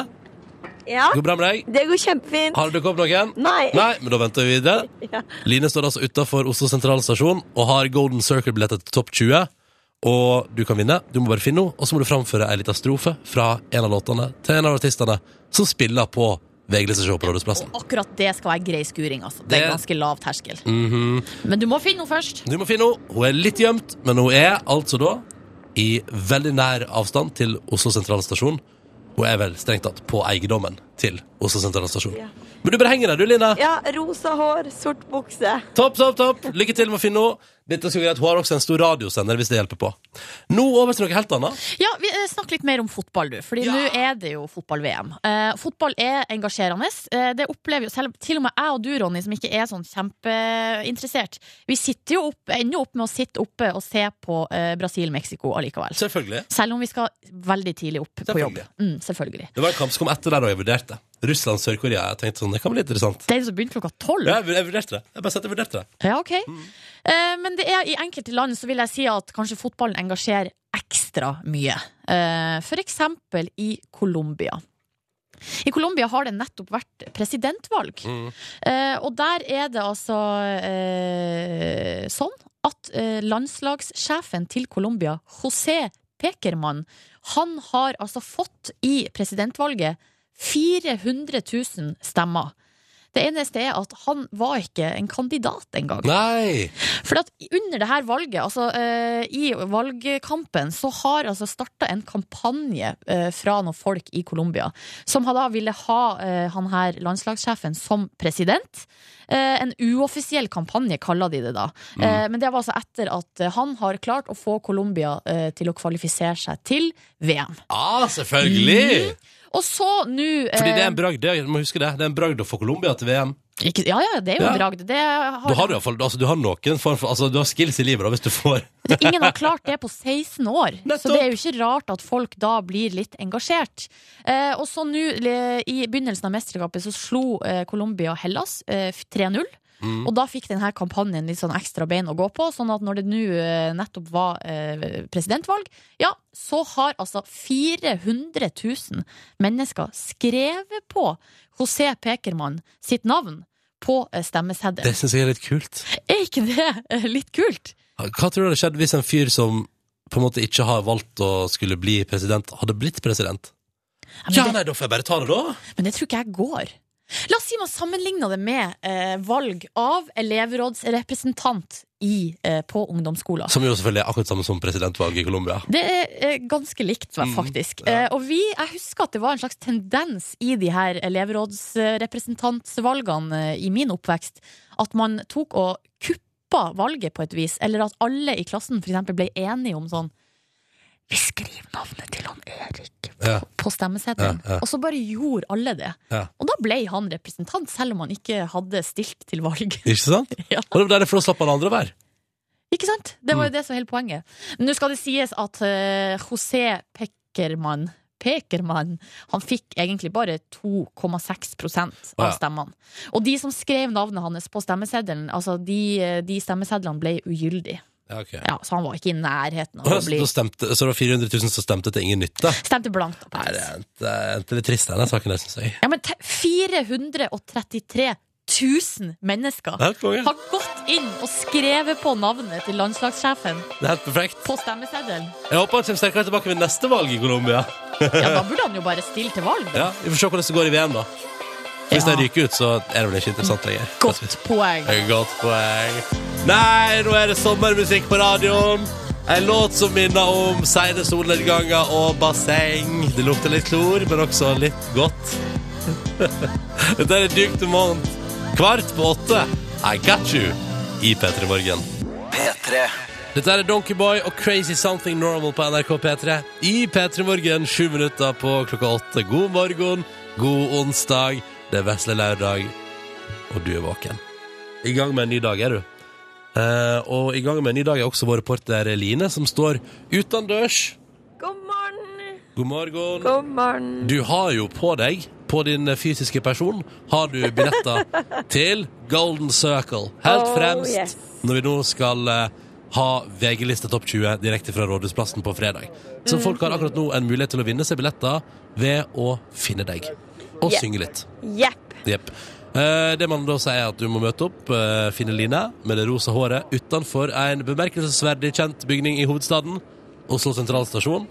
Speaker 3: Ja,
Speaker 2: går det bra med deg?
Speaker 3: det går kjempefint.
Speaker 2: Har det dukket opp noen?
Speaker 3: Nei.
Speaker 2: Nei, Men da venter vi videre.
Speaker 3: Ja.
Speaker 2: Line står altså utafor Oslo sentralstasjon og har Golden Circle-billetter til topp 20. Og du kan vinne. Du må bare finne henne, og så må du framføre ei lita strofe fra en av låtene til en av artistene som spiller på VG-lista show på Rådhusplassen.
Speaker 1: Akkurat det skal være grei skuring, altså. Det er
Speaker 2: Det- Mm.
Speaker 1: ganske lav terskel. Men du må finne henne først.
Speaker 2: Du må finne henne. Hun er litt gjemt, men hun er altså da i veldig nær avstand til Oslo sentralstasjon. Hun er vel strengt tatt på eiendommen til Oslo sentralstasjon.
Speaker 3: Ja.
Speaker 2: Men du bare henger der, du, Line.
Speaker 3: Ja, rosa hår, sort bukse.
Speaker 2: Topp, topp, topp. Lykke til med å finne henne. Dette skal gå greit. Hun har også en stor radiosender, hvis det hjelper på. Nå over til noe helt annet.
Speaker 1: Ja, vi eh, Snakk litt mer om fotball, du. Fordi
Speaker 2: Ja.
Speaker 1: nå er det jo fotball-VM. Eh, fotball er engasjerende. Eh, det opplever jo selv til og med jeg og du, Ronny, som ikke er sånn kjempeinteressert. Vi sitter jo opp, ender jo opp med å sitte oppe og se på eh, Brasil-Mexico allikevel.
Speaker 2: Selvfølgelig.
Speaker 1: Selv om vi skal veldig tidlig opp på jobb.
Speaker 2: Selvfølgelig.
Speaker 1: Mm, selvfølgelig.
Speaker 2: Det var en kamp som kom etter der, og jeg vurderte. Russland-Sør-Korea. Jeg tenkte sånn, det kan bli litt interessant.
Speaker 1: Det er jo som begynte klokka tolv.
Speaker 2: Ja, Jeg, vur- jeg vurderte det. Jeg bare sa at jeg vurderte det.
Speaker 1: Ja, ok. Eh, men det er i enkelte land så vil jeg si at kanskje fotballen engasjerer ekstra mye. Eh, for eksempel i Colombia. I Colombia har det nettopp vært presidentvalg.
Speaker 2: Mm.
Speaker 1: Eh, og der er det altså eh, sånn at eh, landslagssjefen til Colombia, José Pekermann, han har altså fått i presidentvalget 400 000 stemmer. Det Det eneste er at han var ikke en kandidat engang.
Speaker 2: Nei!
Speaker 1: For at under det her valget, altså eh, i valgkampen, så har altså starta en kampanje eh, fra noen folk i Colombia som ha da ville ha eh, han her landslagssjefen som president. Eh, en uoffisiell kampanje kaller de det da.
Speaker 2: Mm.
Speaker 1: Eh, men det var altså etter at eh, han har klart å få Colombia eh, til å kvalifisere seg til VM.
Speaker 2: Ah, selvfølgelig!
Speaker 1: Og så nå Mm. eh,
Speaker 2: Fordi det er en bragd, det, du må huske det. Det er en bragd å få Colombia til VM.
Speaker 1: ikke, Ja ja, det er jo
Speaker 2: Ja.
Speaker 1: en bragd. Det
Speaker 2: Du
Speaker 1: har,
Speaker 2: har i hvert fall, altså, du har noen form for altså, Du har skills i livet da, hvis du får
Speaker 1: Ingen har klart det på 16 år, så
Speaker 2: Nettopp.
Speaker 1: det er jo ikke rart at folk da blir litt engasjert. Eh, og så nå, le- i begynnelsen av mesterskapet, så slo eh, Colombia Hellas eh, 3-0. Og da fikk denne kampanjen litt sånn ekstra bein å gå på, sånn at når det nå eh, nettopp var eh, presidentvalg, ja, så har altså 400 000 mennesker skrevet på José Pekermann sitt navn på eh,
Speaker 2: Det
Speaker 1: stemmeseddelen.
Speaker 2: syns jeg er litt kult.
Speaker 1: Er ikke det eh, litt kult?
Speaker 2: Hva tror du hadde skjedd hvis en fyr som på en måte ikke har valgt å skulle bli president, hadde blitt president?
Speaker 1: men
Speaker 2: Ja,
Speaker 1: det-
Speaker 2: nei, da får jeg bare ta det, da.
Speaker 1: Men det tror ikke jeg går. La oss si man sammenligner det med eh, valg av elevrådsrepresentant i, eh, på ungdomsskolen.
Speaker 2: Som jo selvfølgelig er akkurat samme som presidentvalget i Colombia.
Speaker 1: Det er eh, ganske likt, va,
Speaker 2: Mm.
Speaker 1: faktisk. Eh, og vi, jeg husker at det var en slags tendens i de her elevrådsrepresentantsvalgene eh, i min oppvekst, at man tok og kuppa valget på et vis, eller at alle i klassen for eksempel ble enige om sånn vi skriver navnet til han Erik
Speaker 2: Ja.
Speaker 1: på stemmeseddelen.
Speaker 2: Ja, ja.
Speaker 1: Og så bare gjorde alle det.
Speaker 2: Ja.
Speaker 1: Og da ble han representant, selv om han ikke hadde stilt til valg.
Speaker 2: Ikke sant?
Speaker 1: [LAUGHS] Ja.
Speaker 2: Og det var derfor da slapp alle andre være.
Speaker 1: Ikke sant? Det
Speaker 2: Mm.
Speaker 1: var jo det som var hele poenget. Nå skal det sies at eh, José Pekermann Pekermann, han fikk egentlig bare 2,6 av
Speaker 2: Ja.
Speaker 1: stemmene. Og de som skrev navnet hans på stemmeseddelen, altså de, eh, de stemmesedlene ble ugyldige.
Speaker 2: Ja, ok.
Speaker 1: Ja, så han var ikke i nærheten av
Speaker 2: Og
Speaker 1: å bli
Speaker 2: da stemte, så det var 400 000 som stemte til ingen nytte.
Speaker 1: Stemte blankt. da, på
Speaker 2: Nei,
Speaker 1: hans.
Speaker 2: det endte endte litt trist, denne saken, det syns jeg.
Speaker 1: Ja, men te- 433 000 mennesker
Speaker 2: Det er helt konge.
Speaker 1: har gått inn og skrevet på navnet til landslagssjefen
Speaker 2: Det er helt perfekt.
Speaker 1: på stemmeseddelen.
Speaker 2: Jeg håper han kommer sterkere tilbake ved neste valg i Colombia.
Speaker 1: Ja, da burde han jo bare stille til valg.
Speaker 2: Ja, Vi får se hvordan det går i VM, da. Hvis
Speaker 1: Ja.
Speaker 2: de ryker ut, så er det vel ikke interessant lenger.
Speaker 1: Godt poeng.
Speaker 2: Godt poeng. Nei, nå er det sommermusikk på radioen. En låt som minner om seine solnedganger og basseng. Det lukter litt klor, men også litt godt. [LAUGHS] Dette er Duke Dumont. Kvart på åtte. I got you i P3 Morgen.
Speaker 4: P3
Speaker 2: Dette er Donkeyboy og Crazy Something Normal på NRK P3 i P3 Morgen, sju minutter på klokka åtte. God morgen, god onsdag, det er vesle lørdag, og du er våken. I gang med en ny dag er du. Eh, og i gang med en ny dag er også vår reporter Line, som står utendørs.
Speaker 3: God morgen.
Speaker 2: God morgen.
Speaker 3: God morgen.
Speaker 2: Du har jo på deg, på din fysiske person, har du
Speaker 3: [LAUGHS]
Speaker 2: billetter til Golden Circle. Helt
Speaker 3: Oh,
Speaker 2: fremst
Speaker 3: yes.
Speaker 2: når vi nå skal eh, ha VG-lista Topp 20 direkte fra Rådhusplassen på fredag. Så folk
Speaker 3: Mm.
Speaker 2: har akkurat nå en mulighet til å vinne seg billetter ved å finne deg. Og
Speaker 3: Yeah.
Speaker 2: synge litt.
Speaker 3: Jepp.
Speaker 2: Jepp. Eh, Det man da sier er at du må møte opp, eh, finne Line med det rosa håret utenfor en bemerkelsesverdig kjent bygning i hovedstaden, Oslo sentralstasjon.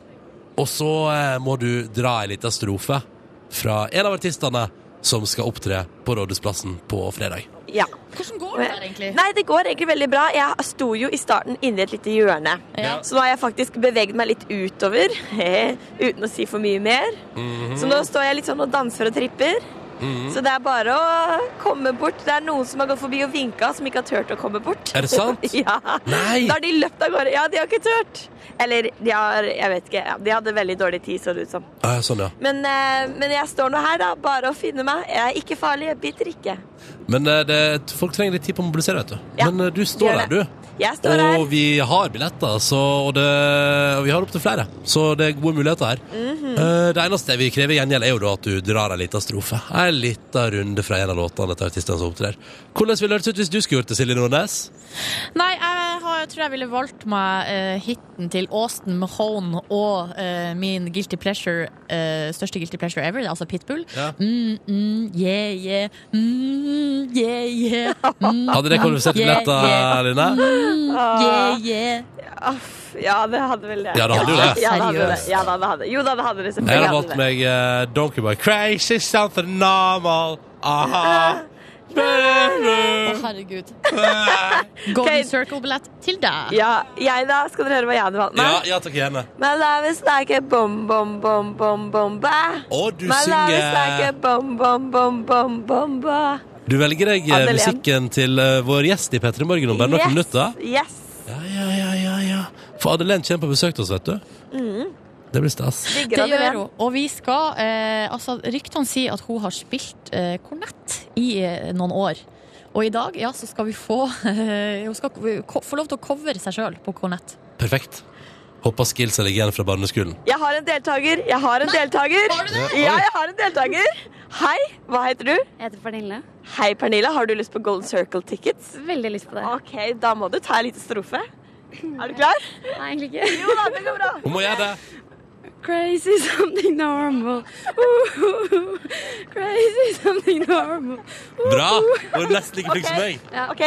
Speaker 2: Og så eh, må du dra en liten strofe fra en av artistene som skal opptre på Rådhusplassen på fredag.
Speaker 3: Ja.
Speaker 1: Hvordan går det der, egentlig?
Speaker 3: Nei, det går egentlig veldig bra. Jeg sto jo i starten inni et lite hjørne.
Speaker 1: Ja.
Speaker 3: Så nå har jeg faktisk beveget meg litt utover, [LAUGHS] uten å si for mye mer.
Speaker 2: Mhm.
Speaker 3: Så nå står jeg litt sånn og danser og tripper. Så det er bare å komme bort. Det er noen som har gått forbi og vinka, som ikke har turt å komme bort.
Speaker 2: Er det sant?
Speaker 3: [LAUGHS] ja.
Speaker 2: Nei!
Speaker 3: Da har de løpt av gårde. Ja, de har ikke turt. Eller de har Jeg vet ikke. Ja, de hadde veldig dårlig tid, så det ut som.
Speaker 2: Ah, sånn, ja.
Speaker 3: Men, eh, men jeg står nå her, da. Bare å finne meg. Jeg er ikke farlig. Jeg biter ikke.
Speaker 2: Men eh, det, folk trenger litt tid på å mobilisere, vet du.
Speaker 3: Ja,
Speaker 2: Men eh, du står
Speaker 3: gjør
Speaker 2: der,
Speaker 3: det.
Speaker 2: du.
Speaker 3: Jeg står her.
Speaker 2: Og vi har billetter, så, og, det, og vi har opptil flere. Så det er gode muligheter her.
Speaker 3: Mhm.
Speaker 2: Eh, det eneste vi krever i gjengjeld, er jo da at du drar en liten strofe. En liten runde fra en av låtene til artistene som opptrer. Hvordan ville det hørtes ut hvis du skulle gjort det, Silje Nordnes?
Speaker 1: Nei, jeg, har, jeg tror jeg ville valgt meg eh, hiten til Austin Mahone og eh, min guilty pleasure, eh, største guilty pleasure ever, altså Pitbull.
Speaker 2: Ja.
Speaker 1: Mm, mm, yeah, yeah. Mm, yeah, [LAUGHS] yeah. Mm,
Speaker 2: Hadde det kvalifisert til
Speaker 1: yeah, Mm,
Speaker 2: billetter, Line?
Speaker 1: Yeah, yeah.
Speaker 3: Aff, ja, det hadde vel det.
Speaker 2: Ja, det hadde jo det.
Speaker 3: Ja, det hadde det.
Speaker 1: Seriøst.
Speaker 3: Ja, da, det hadde. Jo da, det hadde det
Speaker 2: Jeg
Speaker 3: selvfølgelig.
Speaker 2: har valgt
Speaker 3: hadde
Speaker 2: meg
Speaker 3: det. [LAUGHS]
Speaker 2: eh, Donkey Boy. Crazy something normal. Aha.
Speaker 1: Å, herregud.
Speaker 3: Ok.
Speaker 1: Golden Circle-billett til deg.
Speaker 3: Ja, jeg da. Skal dere høre hva jeg hadde
Speaker 2: [LAUGHS]
Speaker 3: valgt
Speaker 2: Ja,
Speaker 3: meg?
Speaker 2: ja takk, gjerne.
Speaker 3: My love is like a bom, bom, bom, bom, bomba.
Speaker 2: Og du
Speaker 3: My love is like a
Speaker 2: synger
Speaker 3: bom, bom, bom, bom, bomba.
Speaker 2: Du velger deg eh,
Speaker 3: Adelén.
Speaker 2: musikken til eh, vår gjest i P3 Morgen om bare noen minutter.
Speaker 3: Yes.
Speaker 2: Ja, ja, ja, ja, ja. For Adelén kommer på besøk til oss, vet du.
Speaker 3: Mm.
Speaker 2: Det blir stas.
Speaker 3: Digger
Speaker 1: Det
Speaker 3: av
Speaker 1: gjør
Speaker 3: dere.
Speaker 1: hun. Og vi skal eh, Altså, ryktene sier at hun har spilt eh, kornett i eh, noen år. Og i dag ja, så skal vi få [LAUGHS] Hun skal ko- få lov til å covere seg sjøl på kornett.
Speaker 2: Perfekt. Håper skills er igjen fra barneskolen.
Speaker 3: Jeg har en deltaker. Jeg har en deltaker.
Speaker 1: har du det?
Speaker 2: Ja,
Speaker 3: Ja,
Speaker 2: oi.
Speaker 3: jeg har en deltaker. Hei, hva heter du?
Speaker 8: Jeg heter Pernille.
Speaker 3: Hei, Pernille. Har du lyst på Golden Circle tickets?
Speaker 8: Veldig lyst på det.
Speaker 3: Ok, da må du ta en liten strofe. Er du klar?
Speaker 8: Nei, egentlig ikke.
Speaker 3: Jo da, det går bra.
Speaker 2: Hun må gjøre det!
Speaker 8: Crazy something normal. Ooh, crazy something normal. Ooh.
Speaker 2: Bra! Hun er nesten like flink som meg.
Speaker 8: Ja.
Speaker 3: Ok,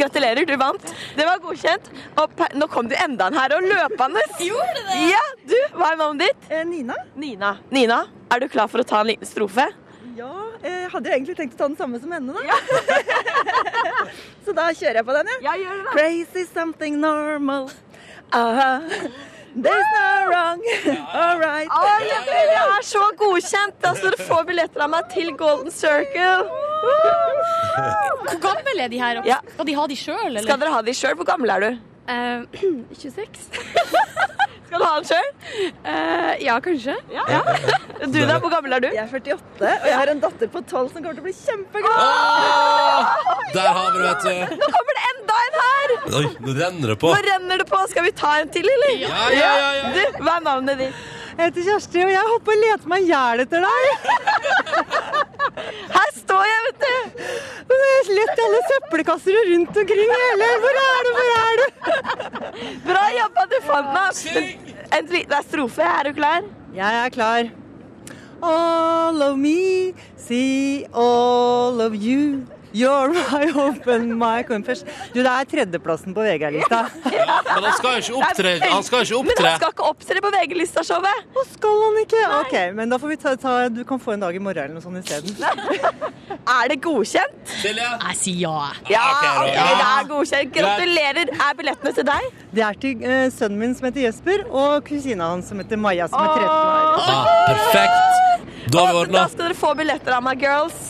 Speaker 3: Gratulerer, du vant. Det var godkjent. Og per nå kom det enda en her og løpende. [LAUGHS] Gjorde det? Ja, du, Hva er navnet ditt?
Speaker 9: Nina?
Speaker 3: Nina. Nina, er du klar for å ta en liten strofe?
Speaker 9: Ja, eh, hadde jeg egentlig tenkt å ta den samme som henne, da. [LAUGHS] Så da kjører jeg på den, jeg.
Speaker 3: Ja, gjør det,
Speaker 9: Crazy something normal. Aha. There's no wrong. All right.
Speaker 3: Å, jenter, det er så godkjent! Da skal du få billetter av meg til Golden Circle. Woo!
Speaker 1: Hvor gamle er de her?
Speaker 3: Ja.
Speaker 1: Skal de ha de sjøl,
Speaker 3: Skal
Speaker 1: eller?
Speaker 3: dere ha de sjøl? Hvor gammel er du?
Speaker 8: Eh, [CLEARS THROAT] 26?
Speaker 3: Skal du ha den sjøl?
Speaker 8: Eh, ja, kanskje.
Speaker 3: Du da, hvor gammel er du?
Speaker 9: Jeg er 48, og jeg har en datter på 12 som kommer til å bli kjempeglad.
Speaker 2: Åh! Der har vi det, vet du.
Speaker 3: Nå kommer det enda en her!
Speaker 2: Oi, nå renner det på.
Speaker 3: Nå renner det på. Skal vi ta en til, eller?
Speaker 2: Ja, ja, ja, ja.
Speaker 3: Du, hva er navnet ditt?
Speaker 9: Jeg heter Kjersti, og jeg håper å lete meg i hjel etter deg.
Speaker 3: Her står jeg, vet du!
Speaker 9: Men jeg har lett i alle søppelkasser og rundt omkring i hele Hvor er du, hvor er du?
Speaker 3: Bra jobba, du fant meg. Men, en liten det er strofe. Er du klar?
Speaker 9: Jeg er klar. All of me, see all of you. [LAUGHS] You're my hope and my confession. Du, det er tredjeplassen på VG-lista.
Speaker 2: Men han skal jo ikke opptre. Han skal jo ikke
Speaker 3: Men han
Speaker 2: opptre.
Speaker 3: skal ikke opptre på VG-lista-showet.
Speaker 9: Å, skal han ikke? Ok, men da får vi ta, ta Du kan få en dag i morgen eller noe sånt isteden.
Speaker 3: Er det godkjent?
Speaker 2: Silje?
Speaker 1: Jeg sier ja, jeg.
Speaker 3: Ja,
Speaker 2: ok,
Speaker 3: ok,
Speaker 2: da.
Speaker 3: det er godkjent. Gratulerer. Er billettene til deg?
Speaker 9: Det er til eh, sønnen min som heter Jesper, og kusina hans som heter Maja, som er 13 år.
Speaker 2: Ah, perfekt. Da har vi
Speaker 3: Da
Speaker 2: ordna.
Speaker 3: skal dere få billetter av meg, girls.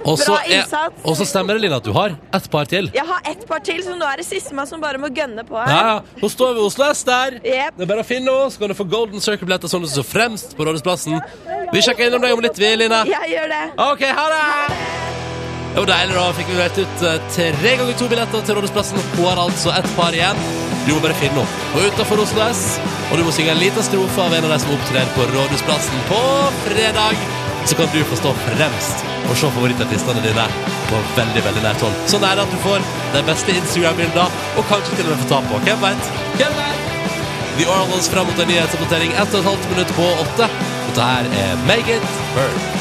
Speaker 2: Og så
Speaker 3: Bra
Speaker 2: er-
Speaker 3: innsats.
Speaker 2: og så stemmer det, Lina, at du har et par til.
Speaker 3: Jeg har ett par til, så nå er det siste meg som bare må gønne på
Speaker 2: Ja,
Speaker 3: her.
Speaker 2: ja. Hun står ved Oslo S der.
Speaker 3: Jep.
Speaker 2: Det er bare å finne henne, så kan du få Golden Circle-billetter sånn som fremst på Rådhusplassen. Vi sjekker innom deg om litt, vi, Line.
Speaker 3: Jeg gjør det.
Speaker 2: OK, ha det! Det var deilig, da. Fikk vi levert ut eh, tre ganger to billetter til Rådhusplassen. Hun har altså ett par igjen. Du må bare finne henne. Hun er utafor Oslo S, og du må synge en liten strofe av en av de som opptrer på Rådhusplassen på fredag. Så kan du få stå fremst og se favorittartistene dine på veldig veldig nært hold. Sånn er det at du får de beste Instagram-bildene, og kanskje til og med får ta på. Hvem veit? Hvem vet? The Orlands fram mot en nyhetsoppdatering ett og et halvt minutt på åtte. Dette her er Make It Burn.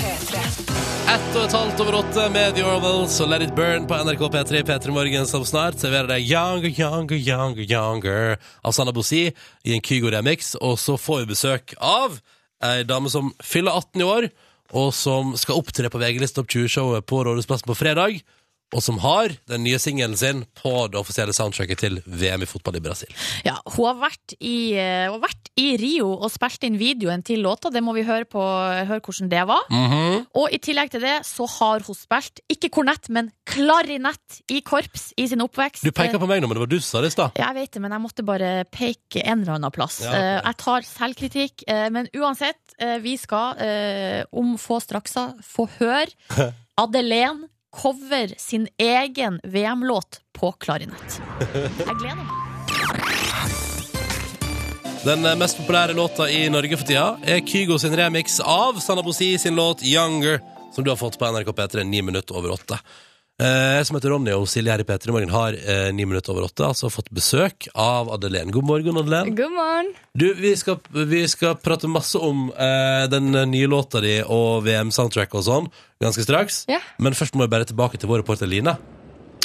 Speaker 2: Ett og et halvt over åtte med The Orwells og Let It Burn på NRK P3 P3 Morgen som snart serverer deg Younger, Younger, Younger, Younger av Sanna Bosi i en Kygo-remix. Og så får vi besøk av ei dame som fyller 18 i år, og som skal opptre på VG-lista Topp 20-showet på Rådhusplassen på fredag. Og som har den nye singelen sin på det offisielle soundtracket til VM i fotball i Brasil.
Speaker 1: Ja, hun har, vært i, eh, hun har vært i Rio og spilt inn videoen til låta. Det må vi høre, på, høre hvordan det var.
Speaker 2: Mhm.
Speaker 1: Og i tillegg til det så har hun spilt, ikke kornett, men klarinett i korps i sin oppvekst.
Speaker 2: Du peker på meg nå, men det var du som sa det i stad.
Speaker 1: Jeg vet det, men jeg måtte bare peke en eller annen plass.
Speaker 2: Ja, ok.
Speaker 1: Eh, Jeg tar selvkritikk, eh, men uansett, eh, vi skal eh, om få straksa få
Speaker 10: [LAUGHS]
Speaker 1: høre Adelén cover sin egen VM-låt på klarinett. Jeg gleder meg.
Speaker 2: Den mest populære låta i Norge for tida er Kygo sin remix av Sanna Bosi sin låt 'Younger', som du har fått på NRK P3 ni minutter over åtte. Eh, Jeg som heter Ronny og Silje her i P3 Morgen har eh, ni minutter over åtte altså fått besøk av Adelén. God morgen, Adelén.
Speaker 8: God morgen.
Speaker 2: Du, vi skal, vi skal prate masse om eh, den nye låta di og VM-soundtrack og sånn ganske straks.
Speaker 8: Ja.
Speaker 2: Men først må jeg bare tilbake til vår reporter Line.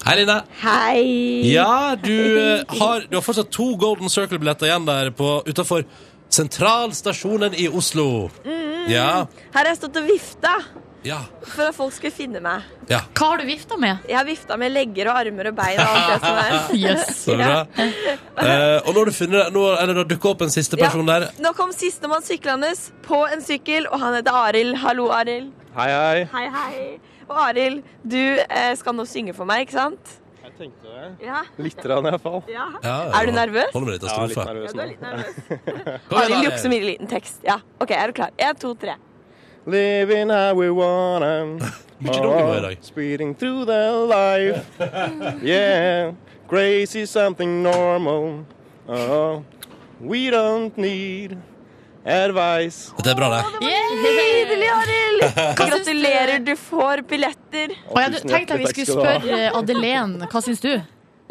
Speaker 2: Hei, Line.
Speaker 3: Hei.
Speaker 2: Ja, du eh, har, du har fortsatt to Golden Circle-billetter igjen der på, utenfor sentralstasjonen i Oslo. Ja,
Speaker 3: Mm. Her har jeg stått og vifta.
Speaker 2: Ja.
Speaker 3: for at folk skulle finne meg.
Speaker 1: Hva har du vifta med?
Speaker 3: Jeg har vifta med legger og armer og bein og alt det som er.
Speaker 2: [LAUGHS]
Speaker 1: Yes.
Speaker 2: Så bra. Eh, og nå har du funnet nå, Eller det har dukket opp en siste
Speaker 3: Ja.
Speaker 2: person der.
Speaker 3: Nå kom sistemann syklende på en sykkel, og han heter Arild. Hallo, Arild.
Speaker 10: Hei, hei.
Speaker 3: Hei, hei. Og Arild, du eh, skal nå synge for meg, ikke sant?
Speaker 10: Jeg tenkte det.
Speaker 3: Ja.
Speaker 10: Litt rann, i hvert fall.
Speaker 3: ja.
Speaker 2: Ja,
Speaker 3: Er du nervøs?
Speaker 2: Hold med litt av
Speaker 10: Ja, litt
Speaker 2: strofa.
Speaker 10: nervøs
Speaker 3: Du
Speaker 10: nå.
Speaker 3: er litt nervøs.
Speaker 2: Kom igjen,
Speaker 3: Arild
Speaker 2: Arild.
Speaker 3: jukser med en liten tekst. Ja. OK, er du klar? Én, to, tre.
Speaker 10: Living how we wanna.
Speaker 2: Mye dobbeltmål i dag.
Speaker 10: Speeding through the
Speaker 9: [LAUGHS]
Speaker 10: life. Yeah. Crazy something normal. Oh, we don't need advice.
Speaker 2: Dette er bra, det.
Speaker 3: Nydelig, Arild! Gratulerer, du får billetter.
Speaker 1: Og jeg
Speaker 10: Tusen
Speaker 1: tenkte at vi
Speaker 10: hjertelig takk
Speaker 1: skulle
Speaker 10: skal du ha.
Speaker 1: spørre eh, Madeleine, hva syns du?